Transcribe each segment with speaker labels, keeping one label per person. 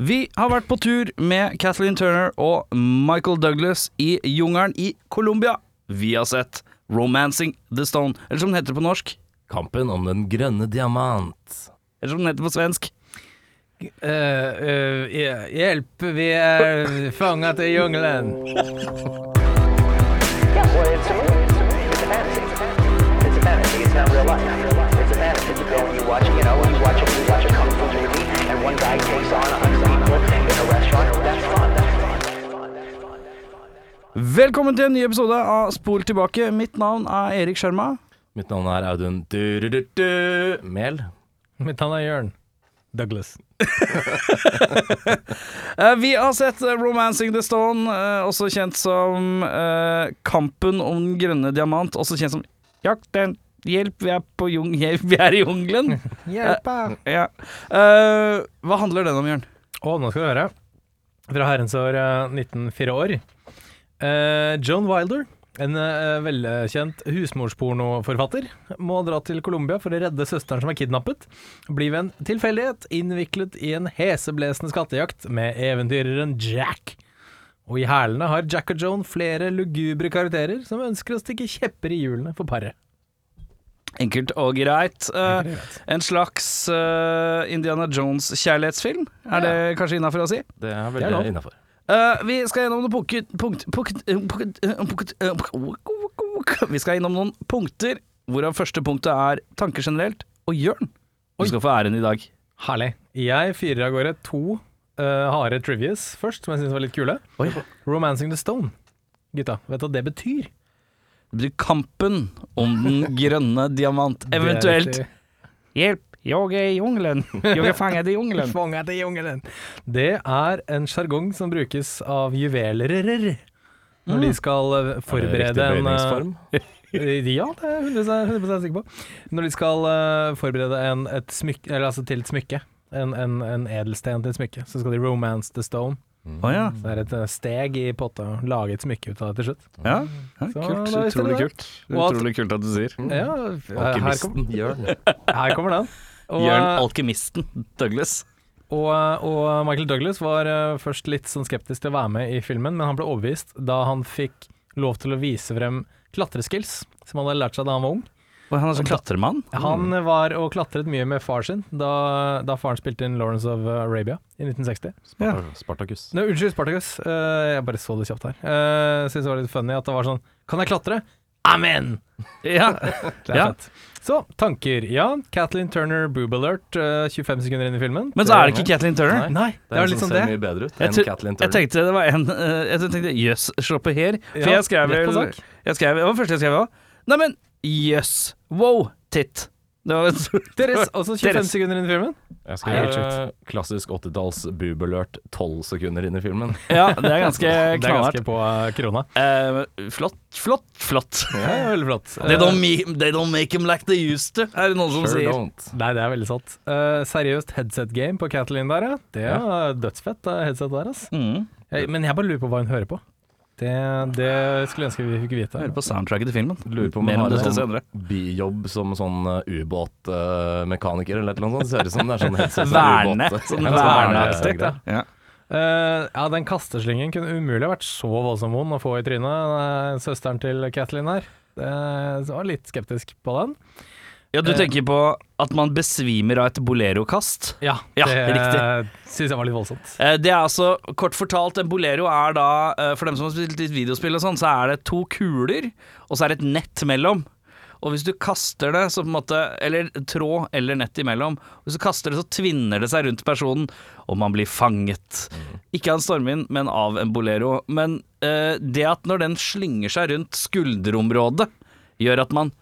Speaker 1: Vi har vært på tur med Kathleen Turner og Michael Douglas i jungelen i Colombia. Vi har sett 'Romancing the Stone', eller som den heter på norsk,
Speaker 2: Kampen om den grønne diamant.
Speaker 1: eller som den heter på svensk.
Speaker 3: Eh, eh, hjelp, vi er fanget i jungelen.
Speaker 4: Yeah, well, it's a movie. It's a movie. It's a fantasy. It's a fantasy. It's not real life. It's a fantasy. You go and you watch, you know, you watch a, you watch a kung fu movie, and one guy takes on a hundred people in a restaurant. That's fun. That's fun. That's fun.
Speaker 1: Velkommen til en ny episode av Spol tilbake. Mitt navn er Erik Skjerma.
Speaker 2: Mitt navn er Audun du-du-du-du Mel.
Speaker 3: Mitt navn er Jørn. Douglas.
Speaker 1: Eh, Vi har sett eh, 'Romancing the Stone', eh, også kjent som eh, 'Kampen om den grønne diamant', også kjent som 'Jakten'. Hjelp, vi er, på jung hjelp, vi er i jungelen.
Speaker 3: Hjelpa!
Speaker 1: Ja. Eh, hva handler den om, Jørn?
Speaker 3: Og nå skal du høre, fra herrens år eh, 1904 år, eh, Joan Wilder, en eh, velkjent husmorspornoforfatter, må dra til Colombia for å redde søsteren som er kidnappet, blir ved en tilfeldighet innviklet i en heseblesende skattejakt med eventyreren Jack. Og i hælene har Jack og Joan flere lugubre karakterer som ønsker å stikke kjepper i hjulene for paret.
Speaker 1: Enkelt og greit. Eh, en slags eh, Indiana Jones-kjærlighetsfilm, er det kanskje innafor å si?
Speaker 2: Det er
Speaker 3: Det er lov.
Speaker 2: veldig innafor.
Speaker 1: Eh, vi skal gjennom noen punkt, punkt, punkt, eh, punkt, eh, punkt, eh, punkt Vi skal innom noen punkter, hvorav første punktet er tanker generelt. Og Jørn, du skal få æren i dag.
Speaker 3: Herlig. Jeg fyrer av gårde to eh, harde trivias først, som jeg syns var litt kule.
Speaker 1: Oi.
Speaker 3: 'Romancing the Stone'. Gutta, vet du hva det betyr?
Speaker 1: Det blir kampen om den grønne diamant. Eventuelt
Speaker 3: Det
Speaker 1: Hjelp, jeg er i jungelen. Jeg er fanget i
Speaker 3: er
Speaker 1: jungelen.
Speaker 3: Fanget i jungelen. Det er en sjargong som brukes av juvelerer når de skal eh,
Speaker 2: Er det
Speaker 3: forberede
Speaker 2: riktig
Speaker 3: en
Speaker 2: bøyningsform?
Speaker 3: Eh, Ja, det er jeg 100, 100 sikker på. Når de skal eh, forberede en, et smykke, eller altså til et smykke, en, en, en edelsten til et smykke, så skal de romance the stone.
Speaker 1: Å ja.
Speaker 3: Så det er et eh, steg i potta å lage et smykke ut av det til slutt.
Speaker 1: ja. ja
Speaker 3: Så
Speaker 1: kult.
Speaker 3: da visste du
Speaker 1: Utrolig
Speaker 3: det.
Speaker 1: kult.
Speaker 3: Og at-
Speaker 1: Utrolig kult at du sier.
Speaker 3: Ja, her, kom,
Speaker 2: Alkymisten Jørn.
Speaker 3: her kommer den. Og, eh,
Speaker 1: Jørn Alkymisten Douglas.
Speaker 3: og, og Michael Douglas var eh, først litt sånn skeptisk til å være med i filmen, men han ble overbevist da han fikk lov til å vise frem klatreskills, som han hadde lært seg da han var ung.
Speaker 1: Og han er sånn klatremann.
Speaker 3: Han var og klatret mye med far sin da, da faren spilte inn Lawrence of Arabia i 1960.
Speaker 2: Sparta- Spartacus.
Speaker 3: Nå, unnskyld, Spartacus. Eh, jeg bare så det kjapt her. Uh, Syns det var litt funny at det var sånn Kan jeg klatre? Amen!
Speaker 1: Ja.
Speaker 3: Det er
Speaker 1: Ja.
Speaker 3: fett. Så, tanker. Ja, Kathleen Turner boob alert eh, 25 sekunder inn i filmen.
Speaker 1: Men så er det ikke Kathleen Turner.
Speaker 3: Nei, det er, litt sånn det.
Speaker 2: ser mye bedre ut
Speaker 1: Jeg,
Speaker 2: enn
Speaker 1: tro-
Speaker 2: Kathleen
Speaker 1: jeg
Speaker 2: Turner.
Speaker 1: tenkte det var en eh, Jeg tenkte jøss, slå på her. For
Speaker 3: Ja,
Speaker 1: jeg skrev
Speaker 3: rett på
Speaker 1: vel
Speaker 3: sak.
Speaker 1: jeg skrev, Det var det første jeg skrev òg. Neimen, jøss. Wow, titt. Det var
Speaker 3: Deres, også 25
Speaker 1: Deres.
Speaker 3: sekunder inn i filmen.
Speaker 2: Jeg
Speaker 3: Helt
Speaker 2: skrev eh, klassisk 80-talls boob alert 12 sekunder inn i filmen.
Speaker 1: Ja, det er ganske
Speaker 3: Det er
Speaker 1: knallhardt.
Speaker 3: ganske på eh, krona.
Speaker 1: Eh, flott, flott, flott.
Speaker 3: Ja, det er veldig flott.
Speaker 1: They
Speaker 3: Eh,
Speaker 1: don't, me, they don't make him like they used to, er det noen som
Speaker 2: Sure
Speaker 1: sier.
Speaker 2: don't.
Speaker 3: Nei, det er veldig sant. Eh, seriøst headset game på Kathleen der, ja. Det er dødsfett, det headsetet der, ass.
Speaker 1: Mm.
Speaker 3: Jeg, men jeg bare lurer på hva hun hører på. Det, det skulle jeg ønske vi fikk vite.
Speaker 1: Hører på soundtracket til filmen.
Speaker 2: Lurer på om
Speaker 1: Mer om
Speaker 2: han har
Speaker 1: dette
Speaker 2: en sånn
Speaker 1: Mm. senere.
Speaker 2: bijobb som sånn eh, ubåtmekaniker eller et eller annet sånt. Det ser ut som det er sånn headset som er
Speaker 1: Verne.
Speaker 2: ubåt.
Speaker 1: Sånn
Speaker 3: altså,
Speaker 2: Ja,
Speaker 1: vernearkitekt,
Speaker 2: verne-
Speaker 1: ja. ja.
Speaker 3: Eh, ja, den kasteslyngen kunne umulig ha vært så voldsomt vond å få i trynet, eh, søsteren til Kathleen her. Eh, så jeg var litt skeptisk på den.
Speaker 1: Ja, du
Speaker 3: Eh.
Speaker 1: tenker på at man besvimer av et bolerokast?
Speaker 3: Ja,
Speaker 1: Ja,
Speaker 3: det syns jeg var litt voldsomt.
Speaker 1: Eh, Det er altså, kort fortalt, en bolero er da eh, For dem som har spilt litt videospill og sånn, så er det to kuler, og så er det et nett mellom. Og hvis du kaster det, så på en måte Eller tråd eller nett imellom. Hvis du kaster det, så tvinner det seg rundt personen, og man blir fanget. Ikke av en stormvind, men av en bolero. Men eh, det at når den slynger seg rundt skulderområdet, gjør at man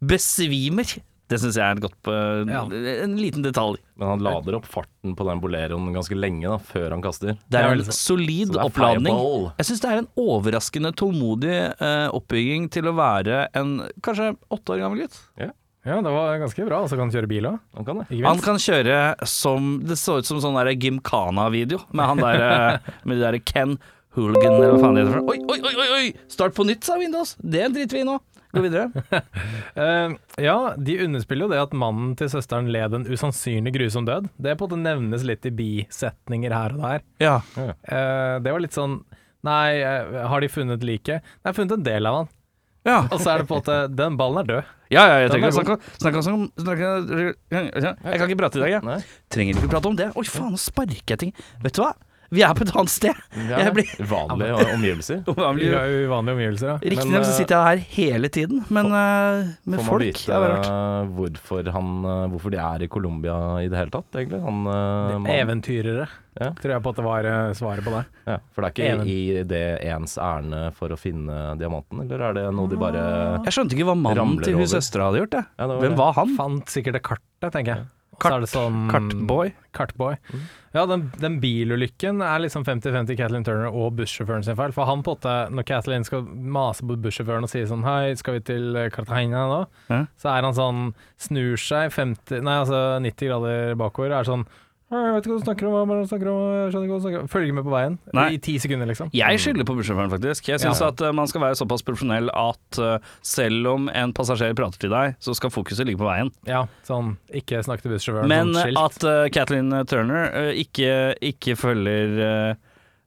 Speaker 1: besvimer, det syns jeg er et godt eh,
Speaker 3: Ja.
Speaker 1: En liten detalj.
Speaker 2: Men han lader opp farten på den boleroen ganske lenge da, før han kaster.
Speaker 1: Det
Speaker 3: Det er
Speaker 1: er
Speaker 3: veldig
Speaker 1: en
Speaker 3: sant.
Speaker 1: solid
Speaker 2: Så det er
Speaker 1: oppladning.
Speaker 2: fireball.
Speaker 1: Jeg syns det er en overraskende tålmodig eh, oppbygging til å være en kanskje åtte år gammel gutt.
Speaker 3: Ja, det var ganske bra. Og så kan han kjøre bil òg,
Speaker 2: Han kan det.
Speaker 3: ikke
Speaker 1: Han
Speaker 3: minst.
Speaker 1: kan kjøre som Det så ut som sånn der Gymkhana-video med han der eh, Med de der Ken Hooligan eller hva faen det heter. for noe. Oi, oi, oi, oi, oi! Start på nytt, sa Windows. Det driter vi i nå. Gå videre.
Speaker 3: Eh, ja, de underspiller jo det at mannen til søsteren led en usannsynlig grusom død. Det på en måte nevnes litt i bisetninger her og der.
Speaker 1: Ja.
Speaker 3: Eh, det var litt sånn Nei, eh, har de funnet liket? Nei, jeg har funnet en del av han.
Speaker 1: Ja,
Speaker 3: Og så er det på en måte Den ballen er død.
Speaker 1: ja, ja jeg
Speaker 3: Den er
Speaker 1: trenger ikke snakke snakke om snakke, Jeg kan ikke prate i dag, jeg.
Speaker 2: Nei.
Speaker 1: Trenger ikke prate om det. Oi, faen, nå sparker jeg ting. Vet du hva? Vi er på et annet sted.
Speaker 2: Det er
Speaker 1: Jeg blir-
Speaker 2: vanlige o- omgivelser.
Speaker 3: I uvanlige omgivelser, ja.
Speaker 1: Riktignok så
Speaker 2: eh,
Speaker 1: sitter jeg her hele tiden, men eh, med
Speaker 2: Får man
Speaker 1: folk
Speaker 2: vite
Speaker 1: Det er rart.
Speaker 2: eh, hvorfor, han, eh, hvorfor de er i Colombia i det hele tatt, egentlig? Han, eh, mannen.
Speaker 3: Eventyrere,
Speaker 2: Ja.
Speaker 3: tror jeg på at det var eh, svaret på det.
Speaker 2: Ja, for det er ikke
Speaker 3: Even.
Speaker 2: i det ens ærend for å finne diamanten, eller er det noe de bare
Speaker 1: Jeg skjønte ikke hva mannen
Speaker 2: Ramler
Speaker 1: til hun
Speaker 2: over.
Speaker 1: søstera hadde gjort. Jeg.
Speaker 2: Ja, det var
Speaker 1: Ah. Hvem
Speaker 2: det.
Speaker 1: var han?
Speaker 3: Fant sikkert det kartet, tenker jeg. Og så
Speaker 1: Mm. Kart-
Speaker 3: er det sånn-
Speaker 1: Kartboy?
Speaker 3: Kartboy. Ja, den, den bilulykken er liksom 50-50 Kathleen Turner og bussjåføren sin feil. For han på en måte, når Kathleen skal mase på bussjåføren og si sånn Hei, skal vi til Cartagena nå?
Speaker 1: Ja.
Speaker 3: Så er han sånn Snur seg 50, nei, altså 90 grader bakover. Er sånn «Hei, jeg vet ikke hva du snakker om, hva er det du snakker om, jeg skjønner ikke hva du snakker om. Følger ikke med på veien.
Speaker 1: Nei.
Speaker 3: I ti sekunder, liksom.
Speaker 2: Mm.
Speaker 1: Jeg skylder på bussjåføren, faktisk. Jeg syns at eh, man skal være såpass profesjonell at eh, selv om en passasjer prater til deg, så skal fokuset ligge på veien.
Speaker 3: Ja, sånn ikke snakk til bussjåføren,
Speaker 1: Men
Speaker 3: sånn
Speaker 1: eh,
Speaker 3: skilt
Speaker 1: at eh, Kathleen Turner eh, ikke, ikke følger eh,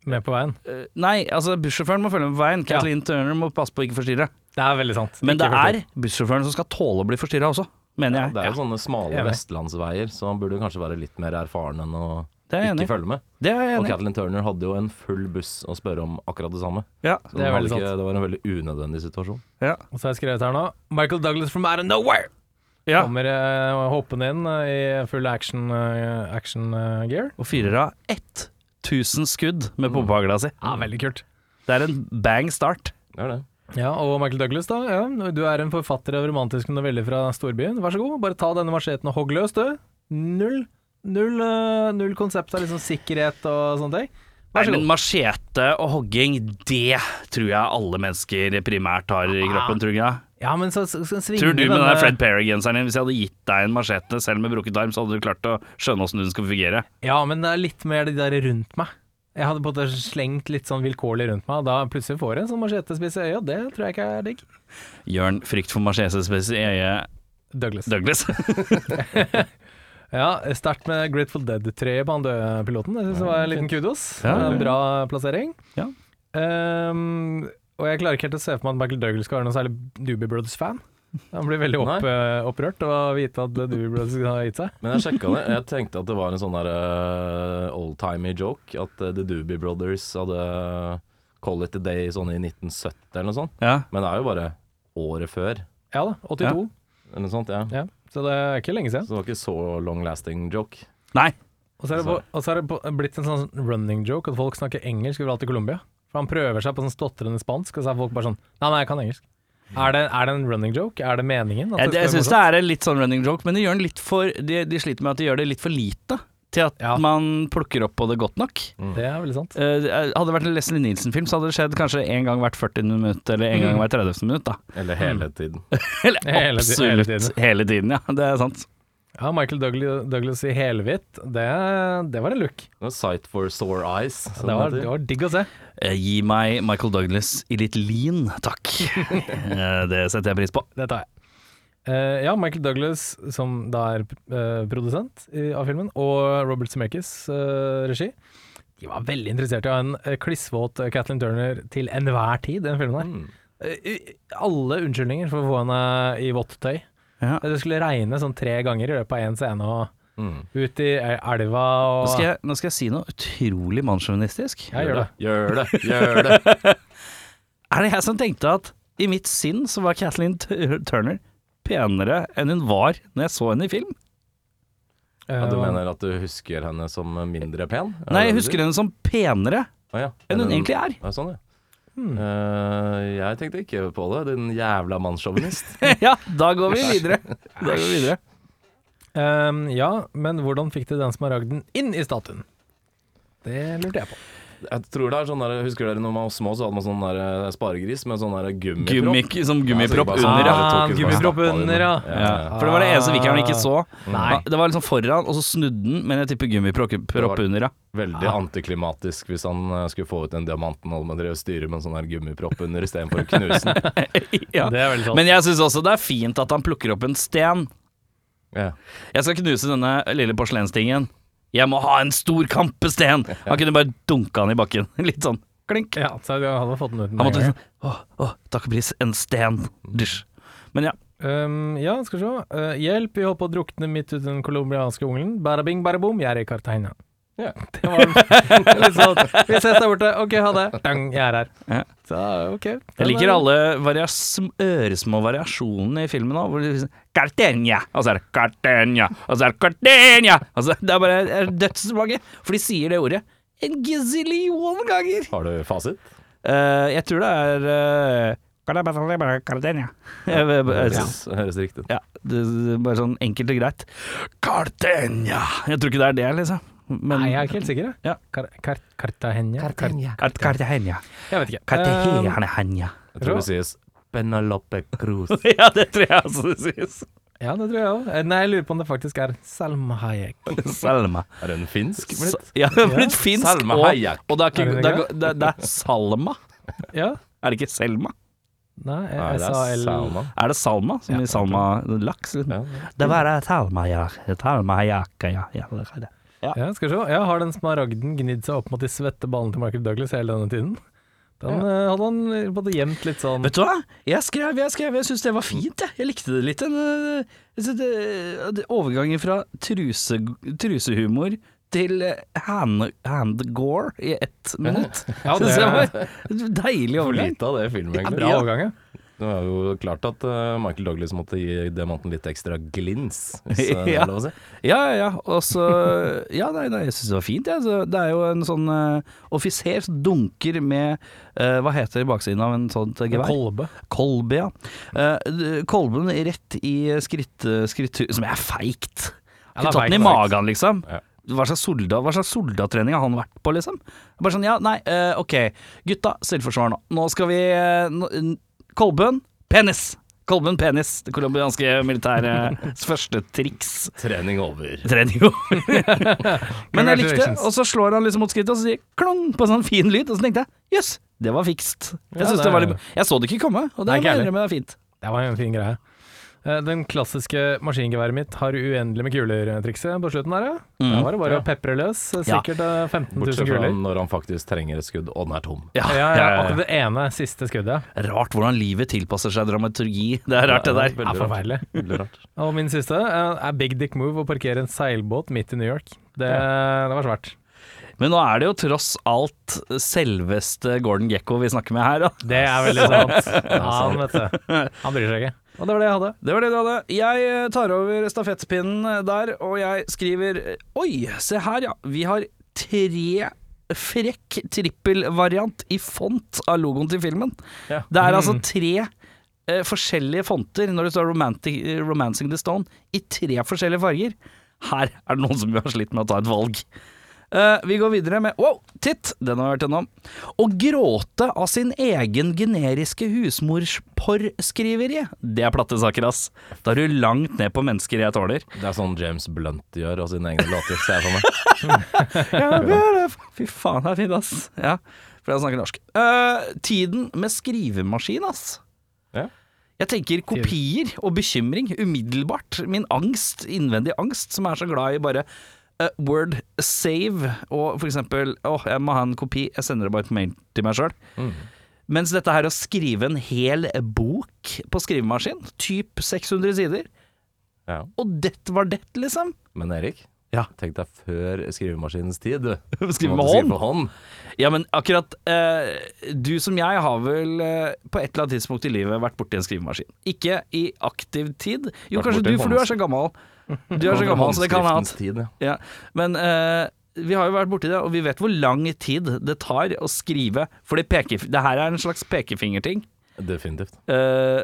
Speaker 3: med på veien.
Speaker 1: eh, Nei, altså bussjåføren må følge med på veien.
Speaker 3: Ja.
Speaker 1: Kathleen Turner må passe på å ikke forstyrre.
Speaker 3: Det er veldig sant.
Speaker 1: Men
Speaker 3: Ikke
Speaker 1: det
Speaker 3: forstyrre.
Speaker 1: er bussjåføren som skal tåle å bli forstyrra også, mener
Speaker 2: Det
Speaker 1: jeg.
Speaker 2: er jo sånne smale
Speaker 3: Enig.
Speaker 2: vestlandsveier, så han burde jo kanskje være litt mer erfaren enn å
Speaker 1: Det er jeg enig
Speaker 2: sånn. ikke
Speaker 1: i.
Speaker 2: følge med.
Speaker 1: Det er jeg
Speaker 2: Og
Speaker 1: enig i.
Speaker 2: Kathleen Turner hadde jo en full buss å spørre om akkurat det samme.
Speaker 1: Ja.
Speaker 2: Så
Speaker 3: Det er
Speaker 2: han
Speaker 3: veldig
Speaker 2: hadde ikke, det var en veldig unødvendig situasjon.
Speaker 1: Ja.
Speaker 3: Og så har jeg skrevet her nå Michael Douglas from out of nowhere
Speaker 1: ja.
Speaker 3: Kommer eh, hoppende inn eh, i full action, eh, action eh, gear
Speaker 1: Og fyrer av 1000 skudd med pumpehagla si.
Speaker 3: Ja, veldig kult
Speaker 1: Det er en bang start.
Speaker 2: Det er det.
Speaker 3: Ja, og Michael Douglas da ja, Du er en forfatter av romantiske noveller fra storbyen Vær så god, bare ta denne marsjeten og hogg løs du Null Null, eh, null konsept av liksom sikkerhet og sånne ting
Speaker 1: Nei,
Speaker 3: Vær så
Speaker 1: men
Speaker 3: god
Speaker 1: machete og hogging, det tror jeg alle mennesker primært har i kroppen, tror jeg.
Speaker 3: Ja, men så, så, så svinger
Speaker 1: Tror du med den
Speaker 3: denne-
Speaker 1: der Fred Perry-genseren din, hvis jeg hadde gitt deg en machete selv med brukket arm, så hadde du klart å skjønne åssen den skulle fungere?
Speaker 3: Ja, men det er litt mer de der rundt meg jeg hadde på en måte slengt litt sånn vilkårlig rundt meg, og da plutselig får jeg en sånn marsjetespis i øyet, og det tror jeg ikke er digg.
Speaker 1: Jørn, frykt for machete-spes i øyet,
Speaker 3: Douglas.
Speaker 1: Douglas.
Speaker 3: Ja, sterkt med Grateful Dead-treet på han døde piloten. Jeg synes det var en liten kudos.
Speaker 1: Ja, ja, ja.
Speaker 3: En bra plassering.
Speaker 1: Ja.
Speaker 3: Ehm, og jeg klarer ikke helt å se for meg at Michael Douglas skal være noen særlig Doobie Brothers-fan. Han blir veldig opp,
Speaker 2: Nei.
Speaker 3: eh, opprørt av å vite at Doobie Brothers har gitt seg.
Speaker 2: Men jeg sjekka det. Jeg tenkte at det var en sånn der eh, oldtimey joke. At eh, The Doobie Brothers hadde Call It A Day sånn i 1970 eller noe sånt.
Speaker 1: Ja.
Speaker 2: Men det er jo bare året før
Speaker 3: Ja da, 82.
Speaker 2: eller noe sånt. ja.
Speaker 3: Ja. Så det er ikke lenge
Speaker 2: Så
Speaker 3: siden.
Speaker 2: det var ikke så long lasting joke.
Speaker 1: Nei.
Speaker 3: Og så er det, på- og så er det på- blitt en sånn running joke at folk snakker engelsk overalt i Colombia. For han prøver seg på sånn stotrende spansk, og så er folk bare sånn Nei, nei, jeg kan engelsk. Er det, er det en running joke? Er det meningen? at
Speaker 1: Jeg,
Speaker 3: skal
Speaker 1: jeg
Speaker 3: være
Speaker 1: syns det er en litt sånn running joke, men de, gjør den litt for, de, de sliter med at de gjør det litt for lite til at
Speaker 3: Ja.
Speaker 1: man plukker opp på det godt nok.
Speaker 3: morsomt? Det er veldig sant.
Speaker 1: Eh, hadde det vært en Leslie Nielsen-film, så hadde det skjedd kanskje en gang hvert 40. minutt, eller en gang hvert 30. minutt, da.
Speaker 2: Eller hele tiden.
Speaker 1: Eller
Speaker 3: Hele ti- hele
Speaker 1: absolutt hele tiden.
Speaker 3: tiden.
Speaker 1: ja. Det er sant.
Speaker 3: Ja, Michael Douglas, Douglas i helhvitt, det, det var en look.
Speaker 2: Det var Sight for Sore Eyes. som
Speaker 3: Det var,
Speaker 2: Sånn det
Speaker 3: det
Speaker 2: heter.
Speaker 3: var digg å se.
Speaker 1: Eh, gi meg Michael Douglas i litt lean, takk. Eh, det setter jeg pris på.
Speaker 3: Det tar jeg. Eh, ja, Michael Douglas, som da er eh, produsent i, av filmen, og Robert Zemeckis eh, regi, de var veldig interessert i å ha en eh, klissvåt eh, Kathleen Turner til enhver tid i den filmen her.
Speaker 2: Mm.
Speaker 3: Eh, i- alle unnskyldninger for å få henne i vått tøy.
Speaker 1: Ja.
Speaker 3: Det skulle regne sånn tre ganger i løpet av én scene, og
Speaker 2: Mm.
Speaker 3: ut i eh, elva
Speaker 1: Nå
Speaker 3: og
Speaker 1: skal, jeg, nå skal jeg si noe utrolig mannssjåvinistisk.
Speaker 3: Ja, gjør det.
Speaker 2: Gjør det, gjør det.
Speaker 1: Er det jeg som tenkte at i mitt sinn så var Kathleen Tur- Turner penere enn hun var når jeg så henne i film?
Speaker 2: Ja,
Speaker 3: Eh,
Speaker 2: du mener at du husker henne som mindre pen?
Speaker 1: Nei, jeg husker henne som penere
Speaker 2: ja.
Speaker 1: enn hun egentlig er. Hmm.
Speaker 2: Ja, sånn, ja. Eh, jeg tenkte ikke på det, din jævla mannssjåvinist.
Speaker 1: ja, da går vi videre. Da går vi videre.
Speaker 3: Ehm, ja, men hvordan fikk de den smaragden inn i statuen? Det lurte jeg på.
Speaker 2: Jeg tror det er sånn der, Husker dere når man var små, så hadde man sånn der eh, sparegris med sånn der gummipropp?
Speaker 1: Gummik, som gummipropp
Speaker 2: Ja, så det bare-
Speaker 1: under, ja.
Speaker 3: Ah,
Speaker 2: bare tok ut, bare
Speaker 3: gummipropp
Speaker 2: stappa det
Speaker 3: under,
Speaker 2: inn.
Speaker 3: ja.
Speaker 1: Ja, for det var det eneste vikeren ikke så.
Speaker 3: Nei.
Speaker 1: Det var liksom foran, og så snudde den, men jeg tipper gummipropp under, ja.
Speaker 2: Veldig antiklimatisk hvis han eh, skulle få ut en diamanten og drev styre med en sånn der gummipropp under istedenfor å knuse den.
Speaker 1: ja.
Speaker 3: Det er veldig sant.
Speaker 1: Men jeg syns også det er fint at han plukker opp en sten.
Speaker 2: Ja.
Speaker 1: Jeg skal knuse denne lille porselenstingen. Jeg må ha en stor kampesten! Han kunne bare dunka den i bakken. Litt sånn klink.
Speaker 3: Ja, så jeg hadde fått den uten
Speaker 1: Han
Speaker 3: en
Speaker 1: måtte
Speaker 3: gang.
Speaker 1: liksom Åh, åh, takk og pris, en sten. Dysj. Men ja.
Speaker 3: Um, ja, skal vi se. Uh, hjelp, vi holdt på å drukne midt ute i den colombianske jungelen. Bada bing, bada boom, jeg er i Cartagena.
Speaker 2: Ja.
Speaker 3: Det var litt sånn Vi ses der borte. OK, ha det. Dang, jeg er her.
Speaker 1: Ja.
Speaker 3: Så, ok.
Speaker 1: Jeg liker alle varias, øresmå variasjonene i filmen òg, hvor det liksom Cartenia! Og så er det Cartenia! Og så er det Cartenia! Og så, det er bare det er dødsmange, for de sier det ordet en gazillion ganger!
Speaker 2: Har du fasit?
Speaker 1: Eh, jeg tror det er eh, Cartenia. Jeg, jeg, jeg, jeg,
Speaker 2: Høres, høres riktig ut.
Speaker 1: Ja, det, det er bare sånn enkelt og greit. Cartenia! Jeg tror ikke det er det, liksom. Men
Speaker 3: Nei, jeg er ikke helt sikker. jeg.
Speaker 1: Ja.
Speaker 3: Car Car Cartagena.
Speaker 1: Cart- Cartagena.
Speaker 3: Car jeg vet ikke. Um,
Speaker 1: Cartagena.
Speaker 2: Jeg tror det sies Penelope Cruz.
Speaker 1: ja, det tror jeg også det sies.
Speaker 3: ja, det tror jeg òg. Nei, jeg lurer på om det faktisk er Salma Hayek.
Speaker 1: Salma.
Speaker 2: Er hun finsk?
Speaker 1: Sa- Ja, det er blitt finsk.
Speaker 2: Salma
Speaker 1: og-
Speaker 2: Hayek.
Speaker 1: Og det er,
Speaker 3: Er
Speaker 1: ikke,
Speaker 3: det
Speaker 1: det, er,
Speaker 3: ikke
Speaker 1: det, det er Salma.
Speaker 3: Ja?
Speaker 1: Er det ikke Selma?
Speaker 3: Nei,
Speaker 2: Nei, det er
Speaker 3: SAL
Speaker 2: Salma.
Speaker 1: Er det Salma, som i Salma laks? Liksom.
Speaker 2: Ja.
Speaker 1: Det var Salma, ja. Salma Hayaka, ja. ja. det er det.
Speaker 3: Ja, skal vi se. Ja, har den smaragden gnidd seg opp mot de svette ballene til Michael Douglas hele denne tiden? Den eh, hadde han både gjemt litt sånn
Speaker 1: Vet du hva? Jeg skrev, jeg skrev, jeg syntes det var fint, jeg. Jeg likte det litt. Den, øh, jeg synes det- det- overgangen fra truse, trusehumor til øh, hand, handgore i ett minutt.
Speaker 3: Ja,
Speaker 1: Synes
Speaker 3: det
Speaker 1: jeg
Speaker 3: er
Speaker 1: var Deilig
Speaker 2: For
Speaker 1: overgang.
Speaker 2: lite av det i filmen, egentlig.
Speaker 3: bra overgang, ja.
Speaker 2: Det var jo klart at eh, Michael Douglas måtte gi diamanten litt ekstra glins, hvis eh, det
Speaker 1: Ja.
Speaker 2: er lov å si.
Speaker 1: Ja, ja, ja. Og så Ja, nei, nei, jeg syns det var fint, jeg. Så Det er jo en sånn øh, offiser som dunker med øh, Hva heter det i baksiden av en sånt øh, gevær?
Speaker 3: Kolbe.
Speaker 1: Kolbe, ja. Eh, kolben rett i skritt, skrittur Som er feigt. Kunne
Speaker 3: Ja, det er
Speaker 1: tatt den i
Speaker 3: feigt,
Speaker 1: magen, liksom.
Speaker 2: Ja.
Speaker 1: Hva slags, soldat, hva slags soldattrening har han vært på, liksom? Bare sånn, ja, nei, eh, ok. Gutta, selvforsvar nå. Nå skal vi eh, nå- n- Kolben, penis! Kolben, penis. Det colombianske militærets første triks.
Speaker 2: Trening over.
Speaker 1: Trening over. Men jeg likte det. Og så slår han liksom mot skrittet, og så sier klong på en sånn fin lyd. Og så tenkte jeg jøss, det var fikst. Jeg,
Speaker 3: Ja,
Speaker 1: synes
Speaker 3: det
Speaker 1: det var
Speaker 3: er-
Speaker 1: litt, jeg så det ikke komme, og det
Speaker 3: Nei,
Speaker 1: må
Speaker 3: ikke
Speaker 1: jeg
Speaker 3: heller.
Speaker 1: innrømme er fint.
Speaker 3: Det var jo en fin greie. Eh, Den klassiske maskingeværet mitt har uendelig med kuler-trikset på slutten der, ja.
Speaker 1: Mm.
Speaker 3: Da var det bare å pepre løs. eh,
Speaker 1: Ja.
Speaker 3: Sikkert eh, 15 000
Speaker 2: Bortsett fra
Speaker 3: kuler.
Speaker 2: når han faktisk trenger et skudd, og den er tom.
Speaker 1: Ja,
Speaker 3: Ja, ja,
Speaker 1: ja, ja.
Speaker 3: akkurat det ene siste skuddet. ja.
Speaker 1: Rart hvordan livet tilpasser seg dramaturgi. Det er rart, det der.
Speaker 3: er
Speaker 2: Veldig rart.
Speaker 3: forferdelig.
Speaker 2: Veldig rart.
Speaker 3: Og min siste eh, er Big Dick Move å parkere en seilbåt midt i New York. Det, det var svært.
Speaker 1: Men nå er det jo tross alt selveste Gordon Gekko vi snakker med her, da.
Speaker 3: Det er veldig sant. Han, vet du. han bryr seg ikke. Og det var det jeg hadde.
Speaker 1: Det var det du hadde. Jeg eh, tar over stafettpinnen eh, der, og jeg skriver eh, Oi, se her, ja. Vi har tre frekk trippelvariant i font av logoen til filmen.
Speaker 2: Ja.
Speaker 1: Det er altså tre eh, forskjellige fonter når det står romantic, 'Romancing the Stone' i tre forskjellige farger. Her er det noen som har slitt med å ta et valg. Eh, vi går videre med Wow, titt! Den har vi vært gjennom. Å gråte av sin egen generiske husmorsporrskriveri. Det er platte saker, ass. Da er du langt ned på mennesker jeg tåler.
Speaker 2: Det er sånn James Blunt gjør av sine egne låter, ser jeg for meg.
Speaker 1: Fy faen, det er fint, ass. Ja, for jeg snakker norsk. Eh, tiden med skrivemaskin, ass.
Speaker 2: Ja.
Speaker 1: Jeg tenker kopier og bekymring umiddelbart. Min angst, innvendig angst, som er så glad i bare eh, word save og for eksempel Å, jeg må ha en kopi, jeg sender det bare på mail til meg sjøl. Mens dette her å skrive en hel bok på skrivemaskin, typ 600 sider,
Speaker 2: Ja.
Speaker 1: og det var det, liksom.
Speaker 2: Men Erik,
Speaker 1: Ja.
Speaker 2: tenk deg før skrivemaskinens tid, du.
Speaker 1: Skrive
Speaker 2: Du
Speaker 1: med
Speaker 2: måtte
Speaker 1: hånd.
Speaker 2: Skrive med hånd.
Speaker 1: Ja, men akkurat eh, Du som jeg har vel eh, på et eller annet tidspunkt i livet vært borti en skrivemaskin. Ikke i aktiv tid. Jo,
Speaker 2: Vært
Speaker 1: kanskje du,
Speaker 2: borti en
Speaker 1: for du er så gammel. Du er så gammel, så det kan ha
Speaker 2: Håndskriftens
Speaker 1: hatt.
Speaker 2: tid, ja.
Speaker 1: Ja. Men eh, vi har jo vært borti det, og vi vet hvor lang tid det tar å skrive. For det peker- det her er en slags pekefingerting.
Speaker 2: Definitivt.
Speaker 1: Eh,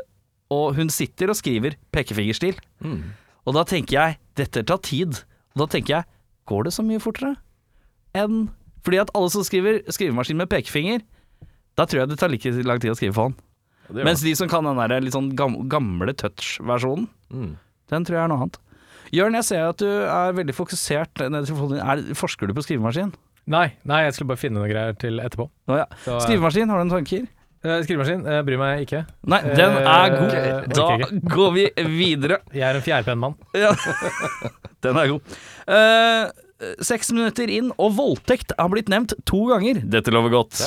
Speaker 1: og hun sitter og skriver pekefingerstil.
Speaker 2: Mm.
Speaker 1: Og da tenker jeg dette tar tid. Og da tenker jeg går det så mye fortere enn Fordi at alle som skriver skrivemaskin med pekefinger, da tror jeg det tar like lang tid å skrive for hånd.
Speaker 2: Ja, det gjør
Speaker 1: Mens de som kan den der litt sånn gam gamle touch-versjonen,
Speaker 2: det. Mm.
Speaker 1: den tror jeg er noe annet. Jørn, jeg ser at du er veldig fokusert. nede i telefonen din. Er, forsker du på skrivemaskin?
Speaker 3: Nei, nei, jeg skulle bare finne noen greier til etterpå.
Speaker 1: Å, ja.
Speaker 3: Så, eh,
Speaker 1: Skrivemaskin, har du noen tanker?
Speaker 3: eh, Skrivemaskin, jeg bryr meg ikke.
Speaker 1: Nei, den er god.
Speaker 3: Eh,
Speaker 1: Da
Speaker 3: orker jeg
Speaker 1: går vi videre.
Speaker 3: Jeg er en fjærpennmann.
Speaker 1: Ja. Den er god. Eh, seks minutter inn, og voldtekt har blitt nevnt to ganger. Dette lover godt.